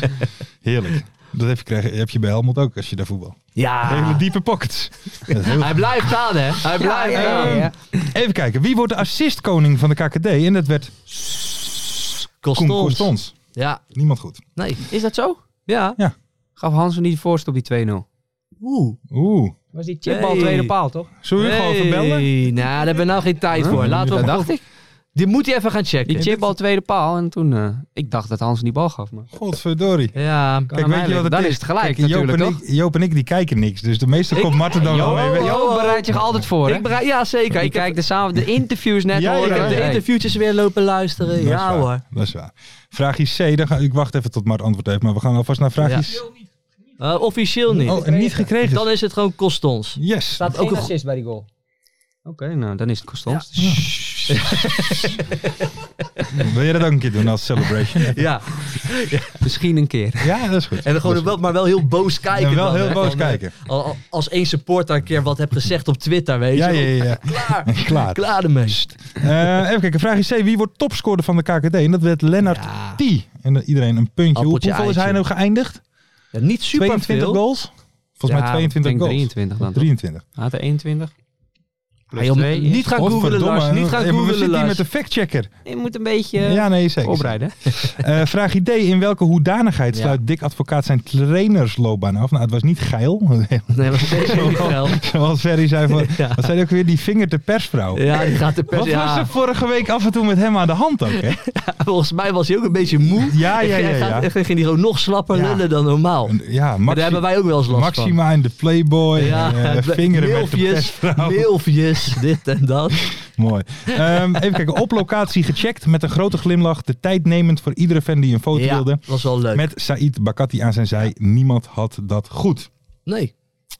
Speaker 3: Heerlijk. Dat heb je, krijgen- heb je bij Helmond ook als je daar voetbal. Hele
Speaker 4: Ja,
Speaker 3: diepe pockets. Dat is heel
Speaker 4: hij blijft gaan, hè. Hij blijft gaan.
Speaker 3: Ehm, Even kijken, wie wordt de assistkoning van de KKD? En dat werd Koen
Speaker 4: Costons.
Speaker 3: Constans.
Speaker 4: Ja,
Speaker 3: Niemand goed.
Speaker 4: nee.
Speaker 5: Is dat zo? Ja.
Speaker 3: Ja.
Speaker 5: Gaf Hansen niet de voorst op die 2-0.
Speaker 4: Oeh.
Speaker 3: Oeh.
Speaker 5: Was die
Speaker 4: chipbal tweede
Speaker 5: paal, toch?
Speaker 3: Zullen we gewoon even bellen?
Speaker 4: Nee, nou, daar hebben we nou geen tijd voor. Laten we
Speaker 5: Dat
Speaker 4: gewoon-
Speaker 5: dacht ik.
Speaker 4: Die moet hij even gaan checken.
Speaker 5: Die chipbal tweede paal. En toen, eh, ik dacht dat Hansen die bal gaf. Maar
Speaker 3: Godverdorie.
Speaker 4: Ja,
Speaker 3: Kijk, weet je wat het
Speaker 5: dan
Speaker 3: is?
Speaker 5: is het gelijk
Speaker 3: Kijk, Joop,
Speaker 5: natuurlijk,
Speaker 3: en
Speaker 5: toch?
Speaker 3: ik, Joop en ik die kijken niks, dus de meeste
Speaker 4: Ik-
Speaker 3: komt Marten dan wel mee.
Speaker 4: Joop-
Speaker 3: Weet je-
Speaker 5: Jo bereidt zich altijd voor, hè?
Speaker 4: ik bereid, ja, zeker.
Speaker 5: Ik
Speaker 4: Ik heb,
Speaker 5: kijk de, samen, de interviews net
Speaker 3: Ja,
Speaker 5: horen.
Speaker 3: ik heb
Speaker 4: de
Speaker 5: Hey.
Speaker 4: interviewtjes weer lopen luisteren.
Speaker 3: Dat is
Speaker 4: ja
Speaker 3: waar,
Speaker 4: hoor.
Speaker 3: Dat is waar. Vraagje C, dan ga, ik wacht even tot Mart antwoord heeft, maar we gaan alvast naar vraagjes.
Speaker 4: Eh, officieel niet.
Speaker 3: Oh, en niet gekregen.
Speaker 4: Dan is het gewoon Costons.
Speaker 3: Yes.
Speaker 4: Staat ook een go-
Speaker 5: assist bij die goal. Oké, nou dan is het Constans.
Speaker 3: Wil je dat ook een keer doen als celebration?
Speaker 4: [LAUGHS] Ja,
Speaker 5: Misschien een keer.
Speaker 3: ja, dat is goed.
Speaker 4: en dan gewoon
Speaker 3: Dat is
Speaker 4: wel, maar wel heel boos
Speaker 3: goed.
Speaker 4: kijken.
Speaker 3: En wel
Speaker 4: dan,
Speaker 3: heel
Speaker 4: hè.
Speaker 3: boos
Speaker 4: Van, eh,
Speaker 3: kijken.
Speaker 4: al- al- als één supporter een keer wat heb gezegd op Twitter, weet je.
Speaker 3: Ja,
Speaker 4: [LAUGHS]
Speaker 3: ja, ja.
Speaker 4: Klaar.
Speaker 3: [LAUGHS] ja. Klaar.
Speaker 4: Klaar ermee.
Speaker 3: Eh, even kijken, vraagje C. Wie wordt topscorer van de KKD? En dat werd Lennart
Speaker 4: Ja.
Speaker 3: Die. En dan iedereen een puntje. Hoe,
Speaker 4: Appeltje,
Speaker 3: hoeveel is hij
Speaker 4: eitje.
Speaker 3: nou geëindigd?
Speaker 4: Ja, niet super
Speaker 3: 22
Speaker 4: veel.
Speaker 3: goals? Volgens mij
Speaker 5: Ja,
Speaker 3: 22
Speaker 5: ik denk
Speaker 3: goals.
Speaker 5: 23 dan.
Speaker 3: 23.
Speaker 5: Laat 21.
Speaker 4: Ah, joh,
Speaker 5: twee is-
Speaker 4: niet gaan googelen,
Speaker 3: Godverdomme,
Speaker 4: Lars. Niet gaan
Speaker 3: ja, maar We
Speaker 4: googelen,
Speaker 3: zitten hier
Speaker 4: Lars.
Speaker 3: met de factchecker.
Speaker 5: Je moet een beetje eh,
Speaker 3: Ja, nee, zeker.
Speaker 5: [LAUGHS] oprijden.
Speaker 3: Eh, vraag idee. In welke hoedanigheid sluit Dick Advocaat zijn trainersloopbaan af? Nou, het was niet geil. [LAUGHS]
Speaker 4: Nee, maar zeker niet geil.
Speaker 3: Zoals Ferry zei. Van,
Speaker 4: Ja.
Speaker 3: Wat zei hij ook weer? Die vinger te persvrouw.
Speaker 4: [LAUGHS] Ja, die gaat de pers.
Speaker 3: Wat was
Speaker 4: Ja,
Speaker 3: er vorige week af en toe met hem aan de hand ook, hè?
Speaker 4: volgens mij was hij ook een beetje moe.
Speaker 3: Ja, Ah, ja, ja.
Speaker 4: Hij
Speaker 3: ja.
Speaker 4: gaat- Ging hij gewoon nog slapper
Speaker 3: Ja.
Speaker 4: lullen dan normaal.
Speaker 3: En, ja
Speaker 4: Maar daar
Speaker 3: Maxi-
Speaker 4: hebben wij ook wel eens last van.
Speaker 3: Maxima in de Playboy. eh,
Speaker 4: [LAUGHS] het ble-
Speaker 3: vingeren met de
Speaker 4: milfjes,
Speaker 3: persvrouw.
Speaker 4: milfjes, dit en
Speaker 3: [LAUGHS]
Speaker 4: dat.
Speaker 3: Mooi. Ehm, even kijken. Op locatie gecheckt met een grote glimlach. De tijd nemend voor iedere fan die een foto
Speaker 4: Ja,
Speaker 3: wilde.
Speaker 4: was wel leuk.
Speaker 3: Met Said Bakati aan zijn zij. Niemand had dat goed.
Speaker 4: Nee.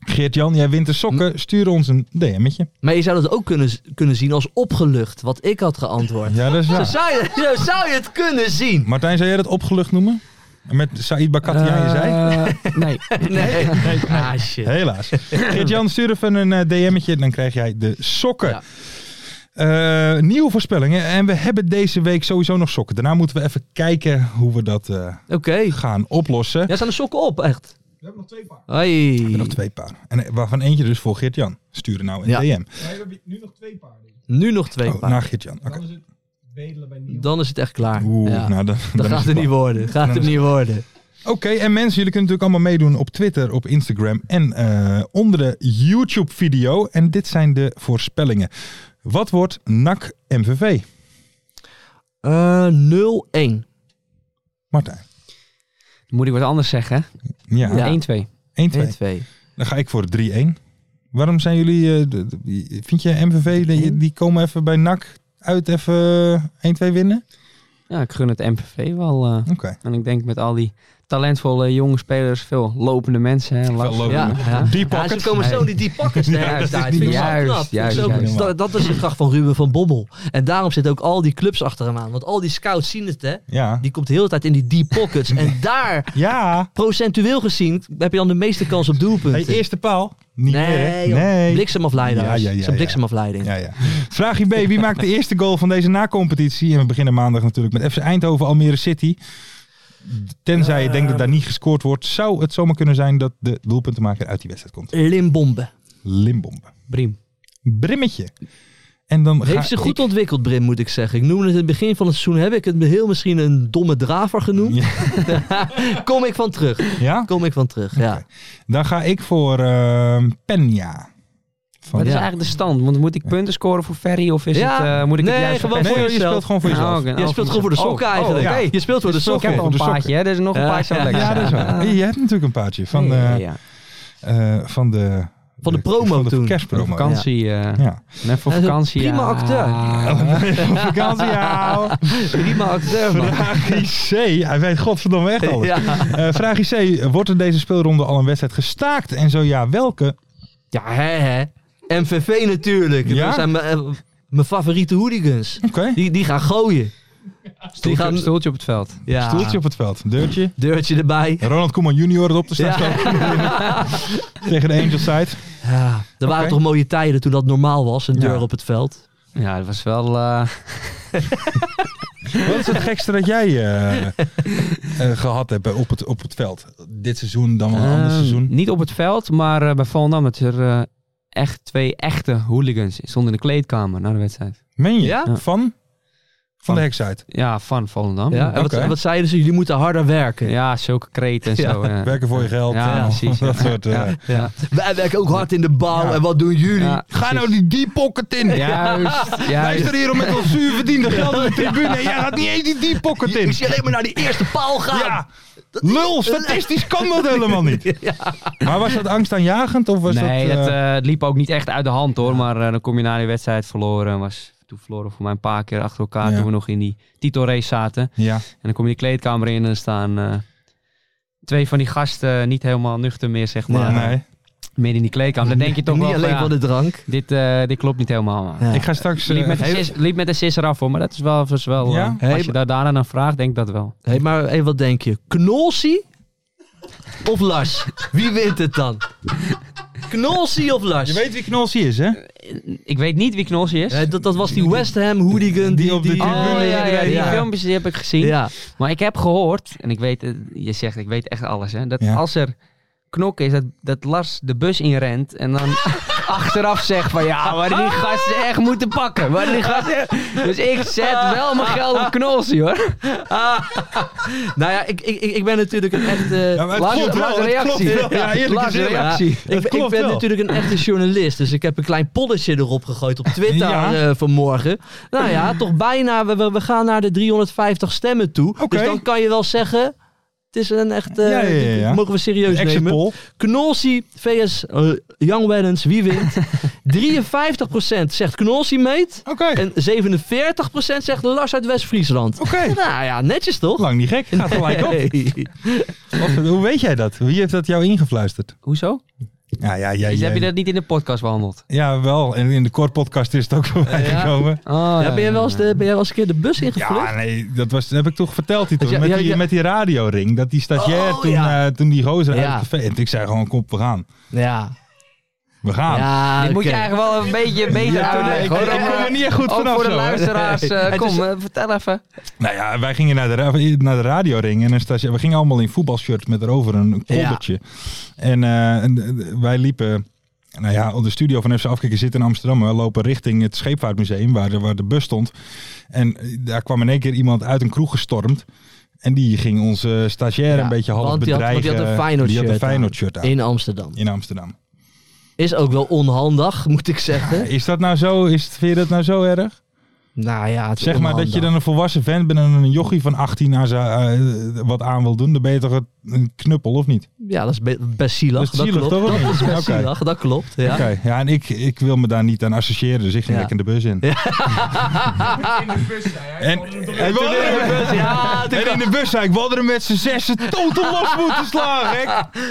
Speaker 3: Geert-Jan, jij wint de
Speaker 4: Hm?
Speaker 3: sokken. Stuur ons een DM'tje.
Speaker 4: Maar je zou dat ook kunnen, kunnen zien als opgelucht, wat ik had geantwoord.
Speaker 3: Ja, dat is
Speaker 4: Zo,
Speaker 3: waar.
Speaker 4: zou je, zo zou je het kunnen
Speaker 3: [LAUGHS]
Speaker 4: zien.
Speaker 3: Martijn, zou jij dat opgelucht noemen? Met Said Bakati aan je zij?
Speaker 5: Eh,
Speaker 3: [LAUGHS]
Speaker 5: nee.
Speaker 4: Nee. Ah, shit. [LAUGHS]
Speaker 3: Helaas. Geert-Jan, stuur even een eh, DM'tje. Dan krijg jij de sokken.
Speaker 4: Ja.
Speaker 3: Eh, nieuwe voorspellingen. En we hebben deze week sowieso nog sokken. Daarna moeten we even kijken hoe we dat eh,
Speaker 4: Oké.
Speaker 3: gaan oplossen.
Speaker 4: Ja, staan de sokken op, echt.
Speaker 6: We hebben nog twee paar.
Speaker 4: Hoi.
Speaker 3: Er nog twee paar. En eh, waarvan eentje dus voor Geert-Jan. Sturen nou een
Speaker 4: Ja.
Speaker 3: DM.
Speaker 6: Nee, we hebben nu nog twee paar. Denk ik.
Speaker 4: Nu nog twee
Speaker 3: Oh,
Speaker 4: paar.
Speaker 3: naar Geert-Jan. Oké.
Speaker 6: Dan is het bedelen bij Niels.
Speaker 4: Dan is het echt klaar.
Speaker 3: Oeh,
Speaker 4: ja.
Speaker 3: nou, dan,
Speaker 4: dat
Speaker 3: dan is
Speaker 4: gaat het
Speaker 3: het
Speaker 4: niet
Speaker 3: wel.
Speaker 4: worden. Gaat
Speaker 3: Dan
Speaker 4: het
Speaker 3: is
Speaker 4: niet worden.
Speaker 3: Oké, en mensen, jullie kunnen natuurlijk allemaal meedoen op Twitter, op Instagram en eh, onder de YouTube-video. En dit zijn de voorspellingen. Wat wordt NAC MVV?
Speaker 4: Eh 0-1.
Speaker 3: Martijn.
Speaker 5: Moet ik wat anders zeggen?
Speaker 3: Ja,
Speaker 4: Ja.
Speaker 5: 1-2.
Speaker 3: 1-2.
Speaker 4: 1-2.
Speaker 3: Dan ga ik voor 3-1. Waarom zijn jullie... eh, de- de- vind je MVV, die, die komen even bij NAC uit even 1-2 winnen?
Speaker 5: Ja, ik gun het MPV wel. eh.
Speaker 3: Oké.
Speaker 5: en ik denk met al die talentvolle jonge spelers, veel lopende mensen. Hè, langs-
Speaker 3: lopende.
Speaker 4: Ja, ja.
Speaker 3: Die
Speaker 4: Ja,
Speaker 3: pocket.
Speaker 4: ze komen zo die die pakken te
Speaker 3: dat is
Speaker 4: huis uit.
Speaker 3: niet
Speaker 4: Vind ik zo
Speaker 5: normaal.
Speaker 4: knap. Vind ik
Speaker 5: Juist,
Speaker 4: zo
Speaker 3: juist,
Speaker 4: knap.
Speaker 3: juist.
Speaker 4: Dat, dat is de kracht van Ruben van Bommel. En daarom zitten ook al die clubs achter hem aan. Want al die scouts zien het, hè.
Speaker 3: Ja.
Speaker 4: Die komt de hele tijd in die deep pockets. En
Speaker 3: [LAUGHS]
Speaker 4: daar,
Speaker 3: Ja.
Speaker 4: procentueel gezien, heb je dan de meeste kans op
Speaker 3: Hey,
Speaker 4: doelpunten.
Speaker 3: eerste paal. Niet
Speaker 4: nee,
Speaker 3: meer, hè?
Speaker 4: joh.
Speaker 3: nee.
Speaker 4: bliksemafleiding.
Speaker 3: Ja, ja, ja,
Speaker 4: Dat is een
Speaker 3: ja.
Speaker 4: bliksemafleiding.
Speaker 3: Ja, ja. Vraagje B. Wie maakt de eerste goal van deze nacompetitie? En we beginnen maandag natuurlijk met FC Eindhoven, Almere City. Tenzij je denkt dat daar niet gescoord wordt, zou het zomaar kunnen zijn dat de doelpuntenmaker uit die wedstrijd komt.
Speaker 4: Limbombe.
Speaker 3: Limbombe.
Speaker 5: Briem.
Speaker 3: Brimmetje. En dan ga
Speaker 4: Heeft ze goed
Speaker 3: ik-
Speaker 4: ontwikkeld, Brim, moet ik zeggen. Ik noemde het in het begin van het seizoen, heb ik het heel misschien een domme draver genoemd. [LAUGHS] Kom ik van terug.
Speaker 3: Ja?
Speaker 4: Kom ik van terug, ja.
Speaker 3: Dan ga ik voor ehm Penja. Van
Speaker 5: Wat is
Speaker 4: Ja.
Speaker 5: eigenlijk de stand? Want moet ik punten scoren voor Ferry of is
Speaker 4: Ja.
Speaker 5: het, eh, moet ik
Speaker 4: Nee,
Speaker 5: het juist
Speaker 4: gewoon
Speaker 5: verpesten?
Speaker 3: Nee,
Speaker 4: voor
Speaker 3: joh, je
Speaker 4: jezelf. Nou,
Speaker 3: speelt gewoon voor
Speaker 5: Ah,
Speaker 3: jezelf.
Speaker 5: oké,
Speaker 4: Je
Speaker 5: oh,
Speaker 4: speelt gewoon voor de
Speaker 5: oh,
Speaker 4: sokken
Speaker 5: oh,
Speaker 4: eigenlijk.
Speaker 3: ja.
Speaker 4: Je speelt voor de
Speaker 5: Ik heb
Speaker 4: sokken.
Speaker 5: al
Speaker 3: voor
Speaker 5: een
Speaker 3: de sokken.
Speaker 5: paardje, hè? Er is nog een
Speaker 4: Ja.
Speaker 5: paardje zou lekker
Speaker 3: Ja,
Speaker 5: zijn.
Speaker 3: dat is waar. Je hebt natuurlijk een paardje van de,
Speaker 5: Ja, ja.
Speaker 3: eh, van de,
Speaker 4: Van de promo
Speaker 3: van de
Speaker 4: toen.
Speaker 3: kerstpromo.
Speaker 5: Vakantie. eh,
Speaker 3: Ja.
Speaker 5: Net voor
Speaker 4: Hij is een
Speaker 5: vakantie.
Speaker 4: prima
Speaker 5: ja.
Speaker 4: acteur.
Speaker 3: Vakantie, ja.
Speaker 4: Prima acteur, man.
Speaker 3: Vraagje C. Hij weet godverdomme echt alles.
Speaker 4: Ja.
Speaker 3: Eh, vraagje C. Wordt in deze speelronde al een wedstrijd gestaakt? En zo ja, welke?
Speaker 4: Ja, hè, hè. MVV natuurlijk.
Speaker 3: Ja?
Speaker 4: Dat zijn mijn eh, mijn favoriete hooligans.
Speaker 3: Oké.
Speaker 4: Die, die gaan gooien.
Speaker 5: Stoeltje,
Speaker 4: gaan-
Speaker 5: stoeltje op het veld.
Speaker 4: Ja.
Speaker 3: Stoeltje op het veld, deurtje.
Speaker 4: Deurtje erbij.
Speaker 3: Ronald Koeman junior erop te staan. [LAUGHS] Tegen de Angels side.
Speaker 4: Ja, er waren
Speaker 3: Oké.
Speaker 4: toch mooie tijden toen dat normaal was, een deur
Speaker 3: Ja.
Speaker 4: op het veld.
Speaker 5: Ja, dat was wel... eh,
Speaker 3: Wat is het gekste dat jij
Speaker 5: [LAUGHS]
Speaker 3: eh, eh, gehad hebt eh, op het, op het veld? Dit seizoen dan wel een ander
Speaker 5: Ehm,
Speaker 3: seizoen?
Speaker 5: Niet op het veld, maar eh, bij Volendam dat er eh, echt twee echte hooligans stonden in de kleedkamer na de wedstrijd.
Speaker 3: Meen je?
Speaker 4: Ja?
Speaker 3: Van? Van,
Speaker 5: Van.
Speaker 3: de Hexite.
Speaker 5: Ja, van Volendam.
Speaker 4: Ja, en
Speaker 3: Oké.
Speaker 4: wat, wat zeiden ze? Jullie moeten harder werken.
Speaker 5: Ja, zulke kreten en
Speaker 4: Ja.
Speaker 5: zo. Ja.
Speaker 3: Werken voor je geld.
Speaker 5: Ja,
Speaker 3: eh,
Speaker 5: precies,
Speaker 3: [LAUGHS]
Speaker 5: ja.
Speaker 3: Dat soort... eh,
Speaker 5: Ja. Ja.
Speaker 4: Wij werken ook hard in de bouw.
Speaker 3: Ja.
Speaker 4: En wat doen jullie?
Speaker 5: Ja,
Speaker 3: Ga
Speaker 5: precies.
Speaker 3: nou die deep pocket in.
Speaker 5: Juist,
Speaker 3: Wij
Speaker 5: juist.
Speaker 3: staan hier om met ons zuur verdiende geld op de tribune. En jij gaat niet eens die deep pocket in.
Speaker 4: Ik zie alleen maar naar die eerste paal gaan.
Speaker 3: Ja. Lul, statistisch kan dat helemaal niet. Maar was dat angstaanjagend? Of was
Speaker 5: nee,
Speaker 3: dat,
Speaker 5: het,
Speaker 3: eh,
Speaker 5: eh, het liep ook niet echt uit de hand hoor. Maar eh, dan kom je na die wedstrijd verloren. Was, toen verloren we voor mij een paar keer achter elkaar
Speaker 3: Ja.
Speaker 5: toen we nog in die titelrace zaten.
Speaker 3: Ja,
Speaker 5: En dan kom je die kleedkamer in en er staan eh, twee van die gasten niet helemaal nuchter meer, zeg maar.
Speaker 3: nee.
Speaker 5: Midden in die kleedkamer. Dan denk je toch
Speaker 4: Niet
Speaker 5: wel van,
Speaker 4: alleen
Speaker 5: ja,
Speaker 4: van de drank.
Speaker 5: dit, eh, dit klopt niet helemaal. maar-
Speaker 4: Ja.
Speaker 3: Ik ga straks... eh,
Speaker 5: Liep met, de
Speaker 3: even-
Speaker 5: sis, liep met de sis eraf hoor, maar dat is wel... Dat is wel
Speaker 3: Ja?
Speaker 5: eh,
Speaker 4: Hey,
Speaker 5: als je daar daarna naar vraagt, denk ik dat wel.
Speaker 4: Hé, maar hey, wat denk je? Knolsie of Lars? Wie wint het dan? Knolsie of Lars?
Speaker 3: Je weet wie Knolsie is, hè?
Speaker 5: Ik weet niet wie Knossi is.
Speaker 4: Eh, dat, dat was die West Ham hooligan die,
Speaker 3: die op de tribune
Speaker 5: Oh ja, ja, die
Speaker 4: ja.
Speaker 5: filmpjes die heb ik gezien.
Speaker 4: Ja.
Speaker 5: Maar ik heb gehoord, en ik weet, eh, je zegt ik weet echt alles hè, dat
Speaker 3: Ja.
Speaker 5: als er knok is, dat, dat Lars de bus inrent en
Speaker 3: [LAUGHS]
Speaker 5: dan achteraf zegt van ja, maar die gasten echt moeten pakken. Maar die gasten, dus ik zet wel mijn geld op Knossi hoor.
Speaker 4: Nou ja, ik, ik, ik ik ben natuurlijk een echte...
Speaker 3: Ja, maar het
Speaker 5: Lars-
Speaker 3: klopt wel,
Speaker 5: Lars'
Speaker 3: het klopt
Speaker 5: reactie.
Speaker 3: wel. Ja, eerlijk
Speaker 5: Lars'
Speaker 3: gezegd.
Speaker 5: reactie.
Speaker 4: ik, ik
Speaker 3: klopt
Speaker 4: ben
Speaker 3: wel.
Speaker 4: natuurlijk een echte journalist, dus ik heb een klein polletje erop gegooid op Twitter
Speaker 3: Ja.
Speaker 4: eh, vanmorgen. Nou ja, toch bijna, we, we, we gaan naar de 350 stemmen toe.
Speaker 3: Oké.
Speaker 4: Dus dan kan je wel zeggen, het is een echt, eh,
Speaker 3: Ja, ja, ja, ja.
Speaker 4: mogen we serieus
Speaker 3: Exit
Speaker 4: nemen.
Speaker 3: poll.
Speaker 4: Knolsi, VS eh, Young Weddens, wie [LAUGHS] wint? 53% zegt Knolsi meet
Speaker 3: Oké.
Speaker 4: en 47% zegt Lars uit West-Friesland.
Speaker 3: Oké.
Speaker 4: Nou ja, netjes toch?
Speaker 3: Lang niet gek. Gaat gelijk op.
Speaker 4: Hey.
Speaker 3: Of, hoe weet jij dat? Wie heeft dat jou ingefluisterd?
Speaker 5: Hoezo?
Speaker 3: Ja, ja, ja.
Speaker 5: Dus
Speaker 3: ja,
Speaker 5: heb je dat niet in de podcast behandeld?
Speaker 3: ja wel. En in de kort podcast is het ook voorbij
Speaker 4: Ja.
Speaker 3: gekomen.
Speaker 5: Oh,
Speaker 4: Ja, ben, jij wel eens de, ben jij wel eens een keer de bus ingevlucht?
Speaker 3: Ja, nee, dat was, dat heb ik toch verteld die toen.
Speaker 4: Ja,
Speaker 3: met,
Speaker 4: ja,
Speaker 3: die,
Speaker 4: ja.
Speaker 3: met die radioring. Dat die stagiair
Speaker 4: Oh,
Speaker 3: toen,
Speaker 4: ja.
Speaker 3: eh, toen die gozer
Speaker 4: Ja.
Speaker 3: uit het café... En ik zei gewoon, kom, we gaan.
Speaker 4: Ja.
Speaker 3: We gaan.
Speaker 4: Ja,
Speaker 5: Dit moet je
Speaker 4: oké.
Speaker 5: eigenlijk wel een beetje beter
Speaker 3: Ja,
Speaker 5: uitleggen.
Speaker 3: ik,
Speaker 5: hoor.
Speaker 3: ik
Speaker 5: Om,
Speaker 3: kom
Speaker 5: eh,
Speaker 3: er niet echt goed
Speaker 5: ook
Speaker 3: vanaf
Speaker 5: voor de
Speaker 3: zo, hè?
Speaker 5: luisteraars, eh,
Speaker 4: Het
Speaker 5: kom,
Speaker 4: is-
Speaker 5: eh, vertel even.
Speaker 3: Nou ja, wij gingen naar de, ra- naar de radioring en een stage, we gingen allemaal in voetbalshirts met erover een kolbertje. En, eh, en, eh, wij liepen, nou ja, op de studio van FC Afkikken zit in Amsterdam. We lopen richting het Scheepvaartmuseum waar de, waar de bus stond. En eh, daar kwam in één keer iemand uit een kroeg gestormd. En die ging onze stagiair
Speaker 4: Ja,
Speaker 3: een beetje half
Speaker 4: want die had- want
Speaker 3: bedreigen.
Speaker 4: die had een Feyenoord
Speaker 3: Die had een
Speaker 4: shirt aan.
Speaker 3: Feyenoord shirt aan.
Speaker 4: In Amsterdam.
Speaker 3: In Amsterdam.
Speaker 4: Is ook wel onhandig, moet ik zeggen.
Speaker 3: Is dat nou zo? Is het, vind je dat nou zo erg?
Speaker 4: Nou ja, het is
Speaker 3: Zeg maar dat je
Speaker 4: onhandig.
Speaker 3: dan een volwassen vent bent en een jochie van 18 aan zijn, eh, wat aan wil doen. Dan ben je toch een knuppel of niet?
Speaker 4: Ja, dat is be- best zielig.
Speaker 3: Dat is zielig,
Speaker 4: klopt.
Speaker 3: toch?
Speaker 4: Dat is best
Speaker 3: Oké.
Speaker 4: zielig, dat klopt. Ja.
Speaker 3: [LAUGHS] Oké, ja, en ik, ik wil me daar niet aan associëren, dus ik
Speaker 4: Ja.
Speaker 3: ging lekker de bus in.
Speaker 6: In de bus, zei hij.
Speaker 3: En,
Speaker 6: Gewoon
Speaker 3: en,
Speaker 6: een
Speaker 3: we hadden er-
Speaker 4: Ja, toen,
Speaker 3: en in de bus zei ik, we hadden er met z'n zessen totaal los moeten slaan, gek.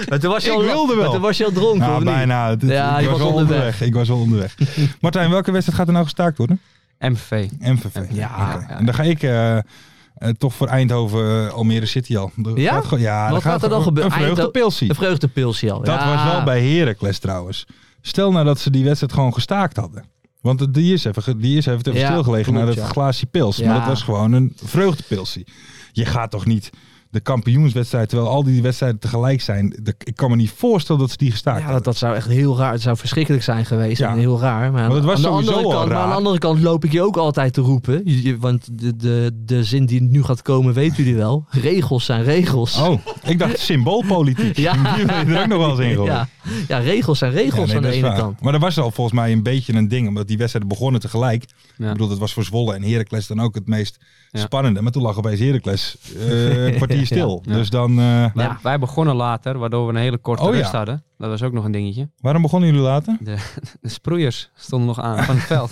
Speaker 4: maar toen was je
Speaker 3: Ik
Speaker 4: al,
Speaker 3: wilde wel.
Speaker 4: maar toen was je al dronken,
Speaker 3: Nou,
Speaker 4: of niet?
Speaker 3: bijna. Het-
Speaker 4: Ja,
Speaker 3: ik
Speaker 4: je
Speaker 3: was,
Speaker 4: was
Speaker 3: al
Speaker 4: onderweg.
Speaker 3: onderweg. Ik was al onderweg. Martijn, welke wedstrijd gaat er nou gestaakt worden?
Speaker 5: MVV.
Speaker 3: MVV.
Speaker 4: Ja.
Speaker 3: Oké. En dan ga ik... eh, eh, toch voor Eindhoven, eh, Almere City al. Er
Speaker 4: Ja?
Speaker 3: gaat gewoon- ja,
Speaker 4: Wat gaat er dan
Speaker 3: gewoon
Speaker 4: gebeuren? Ah,
Speaker 3: Een vreugdepilsie.
Speaker 4: Een vreugdepilsje al.
Speaker 3: Dat
Speaker 4: ja.
Speaker 3: was wel bij Heracles trouwens. Stel nou dat ze die wedstrijd gewoon gestaakt hadden. Want die is even, ge- die is even, even
Speaker 4: Ja,
Speaker 3: stilgelegen
Speaker 4: klopt,
Speaker 3: naar dat
Speaker 4: ja.
Speaker 3: glaasje pils.
Speaker 4: Ja.
Speaker 3: Maar dat was gewoon een vreugdepilsie. Je gaat toch niet de kampioenswedstrijd, terwijl al die wedstrijden tegelijk zijn. de- ik kan me niet voorstellen dat ze die gestaakt
Speaker 4: Ja, dat,
Speaker 3: hadden.
Speaker 4: dat zou echt heel raar, het zou verschrikkelijk zijn geweest
Speaker 3: Ja.
Speaker 4: en heel raar. Maar,
Speaker 3: Want het was
Speaker 4: aan de
Speaker 3: sowieso
Speaker 4: andere
Speaker 3: al
Speaker 4: kant, Maar
Speaker 3: raar.
Speaker 4: aan de andere kant loop ik je ook altijd te roepen, Je- je- want de, de, de zin die nu gaat komen, weet jullie wel. Regels zijn regels.
Speaker 3: Oh, ik dacht
Speaker 4: [LAUGHS]
Speaker 3: symboolpolitiek.
Speaker 4: Ja.
Speaker 3: Die ben je er ook nog wel eens in gehoord.
Speaker 4: [LAUGHS] Ja, ja regels zijn
Speaker 3: Ja,
Speaker 4: regels
Speaker 3: nee,
Speaker 4: aan de
Speaker 3: dat is
Speaker 4: ene
Speaker 3: waar.
Speaker 4: kant.
Speaker 3: Maar dat was al volgens mij een beetje een ding, omdat die wedstrijden begonnen tegelijk.
Speaker 5: Ja.
Speaker 3: Ik bedoel, dat was voor Zwolle en Heracles dan ook het meest
Speaker 5: Ja.
Speaker 3: spannende. Maar toen lag opeens Heracles eh, een kwartier stil.
Speaker 5: Ja.
Speaker 3: Dus dan... eh,
Speaker 5: Wij,
Speaker 4: Ja.
Speaker 5: wij begonnen later, waardoor we een hele korte
Speaker 3: Oh, ja.
Speaker 5: rust hadden. Dat was ook nog een dingetje.
Speaker 3: Waarom begonnen jullie later?
Speaker 5: De sproeiers stonden nog aan van het [LAUGHS] veld.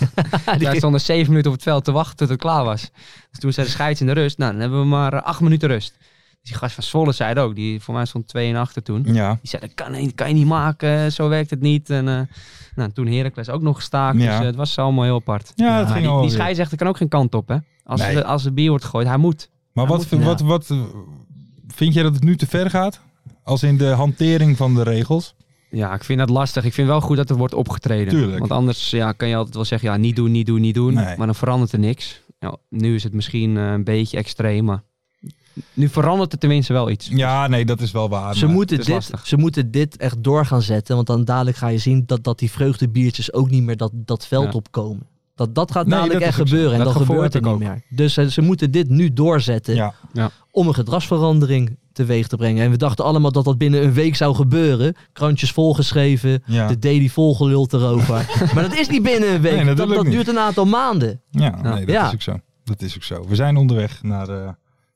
Speaker 5: Wij stonden zeven minuten op het veld te wachten tot het klaar was. Dus toen zei de scheids in de rust, nou dan hebben we maar eh, acht minuten rust. Dus die gast van Zwolle zei het ook. Die voor mij stond 2 en achter toen.
Speaker 3: Ja.
Speaker 5: Die zei, dat kan, niet- kan je niet maken, zo werkt het niet. En eh, nou, toen Heracles ook nog gestaakt,
Speaker 3: Ja.
Speaker 5: dus eh, het was allemaal heel apart.
Speaker 3: Ja, dat
Speaker 5: Maar
Speaker 3: ging
Speaker 5: die,
Speaker 3: wel
Speaker 5: die
Speaker 3: weer.
Speaker 5: scheidsrechter kan ook geen kant op, hè. Als,
Speaker 3: Nee.
Speaker 5: de, als de bier wordt gegooid, hij moet.
Speaker 3: Maar
Speaker 5: Hij
Speaker 3: wat,
Speaker 5: moet-
Speaker 3: wat, wat, eh, vind jij dat het nu te ver gaat? Als in de hantering van de regels?
Speaker 5: Ja, ik vind dat lastig. Ik vind wel goed dat er wordt opgetreden.
Speaker 3: Tuurlijk.
Speaker 5: Want anders ja, kan je altijd wel zeggen, ja, niet doen, niet doen, niet doen.
Speaker 3: Nee.
Speaker 5: Maar dan verandert er niks. Nou, nu is het misschien eh, een beetje extreem, maar nu verandert er tenminste wel iets.
Speaker 3: Ja, nee, dat is wel waar.
Speaker 4: Ze
Speaker 3: maar-
Speaker 4: moeten,
Speaker 5: het is
Speaker 4: dit,
Speaker 5: lastig.
Speaker 4: ze moeten dit echt door gaan zetten. Want dan dadelijk ga je zien dat, dat die vreugdebiertjes ook niet meer dat, dat veld
Speaker 5: Ja.
Speaker 4: opkomen. Dat, dat gaat
Speaker 3: Nee,
Speaker 4: dadelijk
Speaker 3: dat
Speaker 4: echt
Speaker 3: is ook zo.
Speaker 4: gebeuren. En
Speaker 3: Dat
Speaker 4: dat,
Speaker 3: gevoel
Speaker 4: gebeurt er
Speaker 3: heb ik
Speaker 4: niet meer. Dus eh, ze moeten dit nu doorzetten
Speaker 3: Ja.
Speaker 4: om een gedragsverandering teweeg te brengen. En we dachten allemaal dat dat binnen een week zou gebeuren. Krantjes volgeschreven,
Speaker 3: Ja.
Speaker 4: de daily volgeluld
Speaker 3: [LAUGHS]
Speaker 4: erover. maar dat is niet binnen een week. dat
Speaker 3: Nee, natuurlijk
Speaker 4: dat
Speaker 3: niet.
Speaker 4: duurt een aantal maanden.
Speaker 3: Ja, nee, dat
Speaker 4: Ja.
Speaker 3: is ook zo. Dat is ook zo. We zijn onderweg naar eh,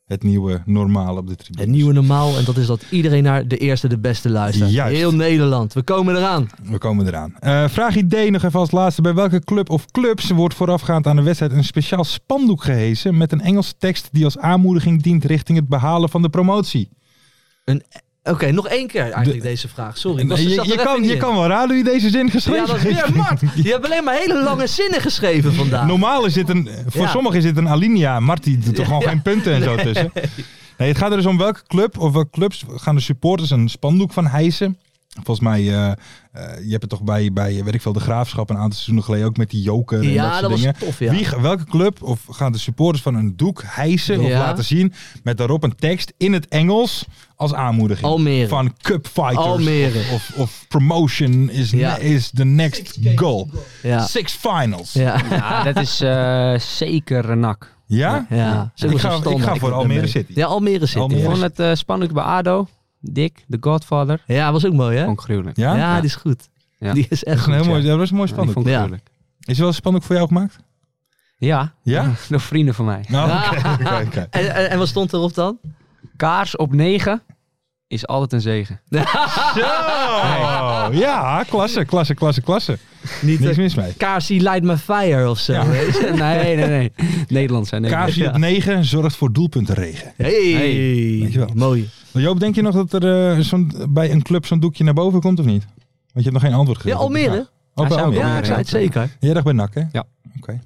Speaker 3: het nieuwe normaal op de tribune.
Speaker 4: Het nieuwe normaal, en dat is dat iedereen naar de eerste de beste luistert.
Speaker 3: Juist.
Speaker 4: Heel Nederland, we komen eraan.
Speaker 3: We komen eraan. Eh, vraag D nog even als laatste. Bij welke club of clubs wordt voorafgaand aan de wedstrijd een speciaal spandoek gehesen met een Engelse tekst die als aanmoediging dient richting het behalen van de promotie?
Speaker 4: Oké, nog één keer eigenlijk
Speaker 3: De-
Speaker 4: deze vraag. Sorry, ik
Speaker 3: Nee,
Speaker 4: was-
Speaker 3: je,
Speaker 4: zat er
Speaker 3: je
Speaker 4: even
Speaker 3: kan,
Speaker 4: niet
Speaker 3: je
Speaker 4: in.
Speaker 3: kan wel raden wie deze zin geschreven
Speaker 4: Ja, dat is weer
Speaker 3: heeft.
Speaker 4: Mart. Je hebt alleen maar hele lange zinnen geschreven vandaag.
Speaker 3: [LAUGHS] Normaal is dit een, voor
Speaker 4: Ja.
Speaker 3: sommigen is dit een alinea. Marti doet er gewoon geen punten en zo tussen. Nee, het gaat er dus om welke club of welke clubs gaan de supporters een spandoek van hijsen. Volgens mij, eh, eh, je hebt het toch bij, bij, weet ik veel, de Graafschap een aantal seizoenen geleden ook met die joker en dat
Speaker 4: ja,
Speaker 3: soort
Speaker 4: dat was
Speaker 3: dingen.
Speaker 4: tof, ja.
Speaker 3: Wie, welke club of gaan de supporters van een doek hijsen of
Speaker 4: Ja.
Speaker 3: laten zien met daarop een tekst in het Engels als aanmoediging?
Speaker 4: Almere.
Speaker 3: Van Cup Fighters.
Speaker 4: Almere.
Speaker 3: Of, of promotion is,
Speaker 4: Ja.
Speaker 3: is the next goal.
Speaker 4: Ja.
Speaker 3: Six finals. Ja?
Speaker 4: Ja.
Speaker 5: Ja, dat is eh, zeker een nak.
Speaker 4: Ja, zo
Speaker 3: Ik
Speaker 4: was
Speaker 3: ga-
Speaker 4: het
Speaker 3: ik
Speaker 4: standaard.
Speaker 3: ga voor
Speaker 4: ben
Speaker 3: Almere
Speaker 4: mee.
Speaker 3: City.
Speaker 4: Ja, Almere City.
Speaker 3: Almere
Speaker 5: Ik
Speaker 3: City.
Speaker 5: vond het eh, spannend bij ADO. Dick, The Godfather.
Speaker 4: Ja, was ook mooi, hè?
Speaker 5: Vond ik gruwelijk.
Speaker 3: Ja?
Speaker 4: Ja,
Speaker 3: Ja,
Speaker 4: die is goed.
Speaker 5: Ja.
Speaker 4: Die is
Speaker 3: Dat
Speaker 4: echt
Speaker 3: is een heel
Speaker 4: goed,
Speaker 3: mooi,
Speaker 4: ja.
Speaker 3: dat was een mooi
Speaker 5: Ja, die
Speaker 3: spandoek.
Speaker 5: vond ik
Speaker 4: Ja.
Speaker 5: gruwelijk.
Speaker 3: Is er wel een spandoek voor jou gemaakt?
Speaker 5: Ja, [LAUGHS]
Speaker 3: Ja?
Speaker 5: door vrienden van mij.
Speaker 3: Nou,
Speaker 4: Ja.
Speaker 3: oké, oké,
Speaker 4: [LAUGHS]
Speaker 3: oké.
Speaker 4: En, en, en wat stond erop dan?
Speaker 5: Kaars op 9 is altijd een
Speaker 3: [LAUGHS]
Speaker 5: zegen.
Speaker 3: Zo! Oh, Ja, klasse, klasse, klasse, klasse.
Speaker 4: Niet
Speaker 3: Niks
Speaker 4: eh,
Speaker 3: mis mee.
Speaker 4: Kaarsie Light My Fire of zo. weet je?
Speaker 5: Nee, nee, nee. Nederlands zijn Nederlands.
Speaker 3: Kaasje op 9 zorgt voor doelpuntenregen.
Speaker 4: Hey,
Speaker 3: Dankjewel.
Speaker 4: mooi.
Speaker 3: Joop, denk je nog dat er eh, zo'n, bij een club zo'n doekje naar boven komt of niet? Want je hebt nog geen antwoord
Speaker 4: Ja,
Speaker 3: gegeven.
Speaker 4: Almere?
Speaker 3: Ook bij
Speaker 5: zou
Speaker 3: Almere.
Speaker 4: Ja,
Speaker 5: Almere,
Speaker 4: ik zei het zeker.
Speaker 3: Jij dacht bij NAC, hè?
Speaker 5: Ja.
Speaker 3: Oké.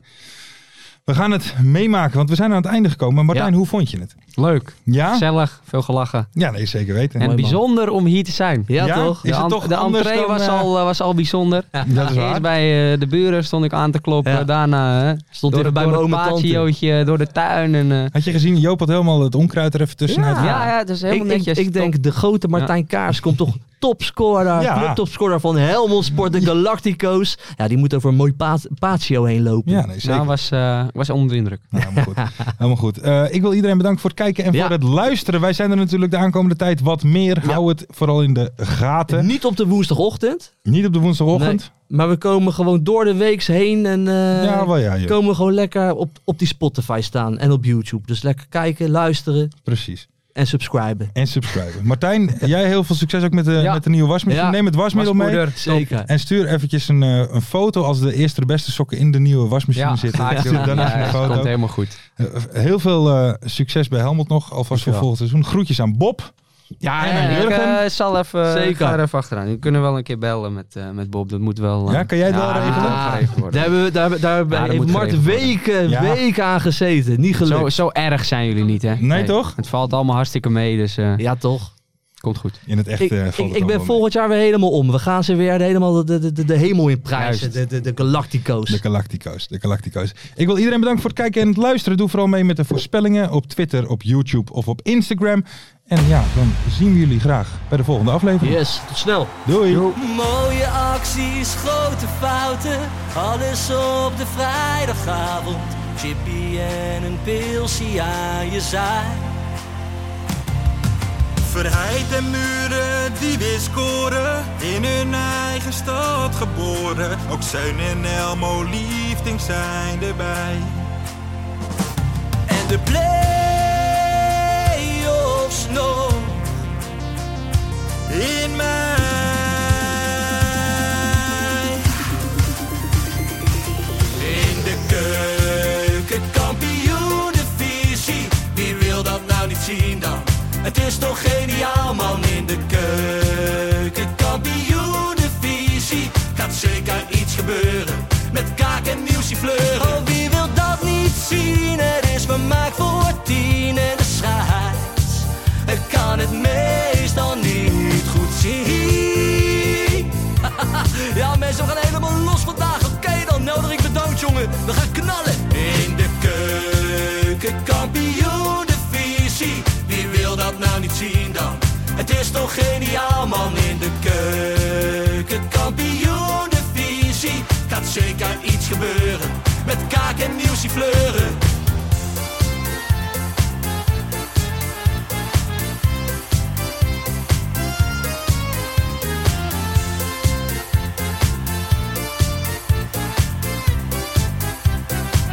Speaker 3: We gaan het meemaken, want we zijn aan het einde gekomen. Martijn,
Speaker 5: Ja.
Speaker 3: hoe vond je het?
Speaker 5: Leuk,
Speaker 3: Ja?
Speaker 5: gezellig, veel gelachen.
Speaker 3: Ja, nee, zeker weten.
Speaker 5: En
Speaker 3: Mooi man.
Speaker 5: bijzonder om hier te zijn.
Speaker 4: Ja,
Speaker 3: Ja?
Speaker 4: toch?
Speaker 3: Is
Speaker 5: de
Speaker 3: het
Speaker 5: an-
Speaker 3: toch
Speaker 5: de
Speaker 3: anders
Speaker 5: entree
Speaker 3: dan,
Speaker 5: was,
Speaker 3: eh,
Speaker 5: al, eh, was al bijzonder.
Speaker 3: [LAUGHS]
Speaker 5: [LAUGHS]
Speaker 3: Dat is waar.
Speaker 5: Eerst bij eh, de buren stond ik aan te kloppen.
Speaker 4: Ja.
Speaker 5: Daarna eh, hè,
Speaker 4: Stond
Speaker 5: door,
Speaker 4: even bij
Speaker 5: door
Speaker 4: mijn
Speaker 5: het
Speaker 4: oom en tante.
Speaker 5: patiootje, door de tuin. En, eh,
Speaker 3: Had je gezien, Joop had helemaal het onkruid er even tussenuit.
Speaker 5: ja, ja, het is
Speaker 4: Ik,
Speaker 5: helemaal
Speaker 4: ik,
Speaker 5: netjes.
Speaker 4: ik denk, de grote Martijn Kaars komt toch topscorer,
Speaker 3: Ja.
Speaker 4: clubtopscorer van Helmond Sport, de Galactico's. Ja, die moet over een mooi pa- patio heen lopen.
Speaker 3: Ja, nee, zeker.
Speaker 5: Nou, was, eh, was onder de indruk.
Speaker 3: Nou, helemaal
Speaker 5: [LAUGHS]
Speaker 3: goed. helemaal goed. Eh, ik wil iedereen bedanken voor het kijken en
Speaker 4: Ja.
Speaker 3: voor het luisteren. Wij zijn er natuurlijk de aankomende tijd wat meer. Hou het vooral in de gaten.
Speaker 4: Niet op de woensdagochtend,
Speaker 3: Niet op de woensdagochtend.
Speaker 4: maar we komen gewoon door de weeks heen en eh,
Speaker 3: ja, wel ja, joh.
Speaker 4: komen we gewoon lekker op, op die Spotify staan en op YouTube. Dus lekker kijken, luisteren
Speaker 3: Precies.
Speaker 4: en subscriben.
Speaker 3: En subscriben. [LAUGHS] Martijn, jij heel veel succes ook met de,
Speaker 5: Ja.
Speaker 3: met de nieuwe wasmachine.
Speaker 4: Ja.
Speaker 3: Neem het wasmiddel mee.
Speaker 5: Waspoeder,
Speaker 4: Zeker.
Speaker 3: En stuur eventjes een, eh, een foto als de eerste de beste sokken in de nieuwe wasmachine
Speaker 5: Ja,
Speaker 3: zitten. [LAUGHS]
Speaker 5: ga ik doen.
Speaker 3: Stuur dan even
Speaker 5: Ja,
Speaker 3: een
Speaker 5: dat komt
Speaker 3: foto.
Speaker 5: helemaal goed.
Speaker 3: Eh, heel veel eh, succes bij Helmond nog. Alvast voor
Speaker 5: Dankjewel.
Speaker 3: volgend seizoen. Groetjes aan Bob.
Speaker 5: Ja,
Speaker 3: en aan
Speaker 5: ik
Speaker 3: Jurgen.
Speaker 5: eh, zal even,
Speaker 4: Zeker.
Speaker 5: Zeker. ga er even achteraan. We kunnen wel een keer bellen met, eh, met Bob. Dat moet wel... eh,
Speaker 3: Ja, kan jij het wel regelen?
Speaker 5: dat moet geregeld worden.
Speaker 4: Daar hebben we, daar, hebben- daar hebben-
Speaker 5: Ja, dat
Speaker 4: heeft
Speaker 5: moet
Speaker 4: Mart
Speaker 5: geregeld worden.
Speaker 4: weken,
Speaker 3: Ja.
Speaker 4: weken aan gezeten. Niet gelukt.
Speaker 5: Zo, zo erg zijn jullie niet, hè?
Speaker 3: Nee, toch?
Speaker 5: Het valt allemaal hartstikke mee, dus eh,
Speaker 4: Ja, toch?
Speaker 5: komt goed.
Speaker 3: In het echt
Speaker 4: Ik,
Speaker 3: eh,
Speaker 4: ik,
Speaker 3: valt het
Speaker 4: ik ben
Speaker 3: allemaal mee.
Speaker 4: volgend jaar weer helemaal om. We gaan ze weer helemaal de, de, de, de hemel in prijzen. De,
Speaker 5: Juist.
Speaker 4: de, de Galactico's.
Speaker 3: De Galactico's, de Galactico's. Ik wil iedereen bedanken voor het kijken en het luisteren. Doe vooral mee met de voorspellingen op Twitter, op YouTube of op Instagram. En ja, dan zien we jullie graag bij de volgende aflevering.
Speaker 4: Yes, tot snel.
Speaker 3: Doei!
Speaker 1: Mooie acties, grote fouten, alles op de vrijdagavond. Chippy en een pilsie aan je zaai.
Speaker 2: Verheid en muren die weer scoren, in hun eigen stad geboren. Ook Zijn en Elmo liefding zijn erbij.
Speaker 1: En de play-offs nog
Speaker 2: In mij.
Speaker 1: in de keuken, kampioenenvisie. Wie wil dat nou niet zien dan? Het
Speaker 4: gaat zeker iets gebeuren. Met kaak en nieuwsje fleuren. Oh, wie wil dat niet zien? Het is vermaakt voor tien en de scheids. Ik kan het meestal niet goed zien. Ja, mensen, we gaan helemaal los vandaag. Oké, dan nodig ik bedankt, jongen. We gaan knallen. In de keuken, kampioen, de visie. Wie wil dat nou niet zien dan? Het is toch geniaal, man. In de keuken, kampioen, de visie. Gaat zeker iets gebeuren. Met kaak en nieuwsie fleuren.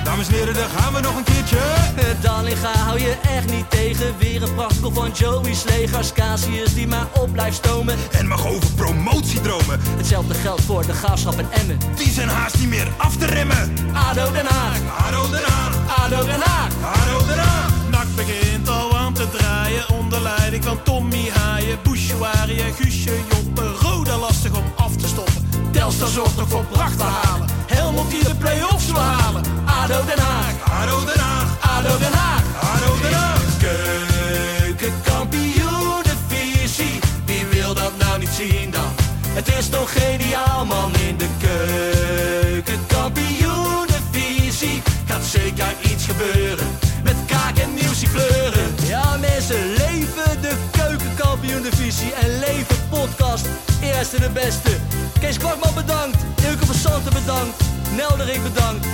Speaker 3: Dames en heren, daar gaan we nog een keertje.
Speaker 4: Eh, Dallinga hou je echt niet tegen. Weer een prachtkel van Joey's legers. Casius die maar op blijft stomen.
Speaker 3: En mag over promotiedromen.
Speaker 4: Hetzelfde geldt voor de graafschap en Emmen.
Speaker 3: Die zijn haast niet meer af te remmen.
Speaker 4: ADO Den Haag,
Speaker 3: Haro eraan,
Speaker 4: ADO Den Haag.
Speaker 3: haro eraan.
Speaker 7: Nak begint al aan te draaien onder leiding van Tommy Haaien, Bouchouari en Guusje Joppen. Roda lastig om af te stoppen.
Speaker 4: Telstar zorgt nog voor pracht te halen. Helmond die de play-offs wil halen. ADO Den Haag,
Speaker 3: Haro eraan,
Speaker 4: ADO Den Haag.
Speaker 3: haro eraan.
Speaker 4: Keukenkampioenenvisie, wie wil dat nou niet zien dan? Het is toch geniaal man in de keukenkampioenenvisie. Gaat zeker iets gebeuren, met kaak en nieuwsie kleuren. Ja mensen, leven de keukenkampioenenvisie en leven podcast. Eerste de beste. Kees Kwakman bedankt, Ilke van Santen bedankt, Nelderik bedankt.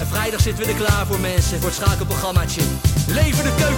Speaker 4: En vrijdag zitten we er klaar voor mensen, voor het schakelprogrammaatje. Leven de keuken.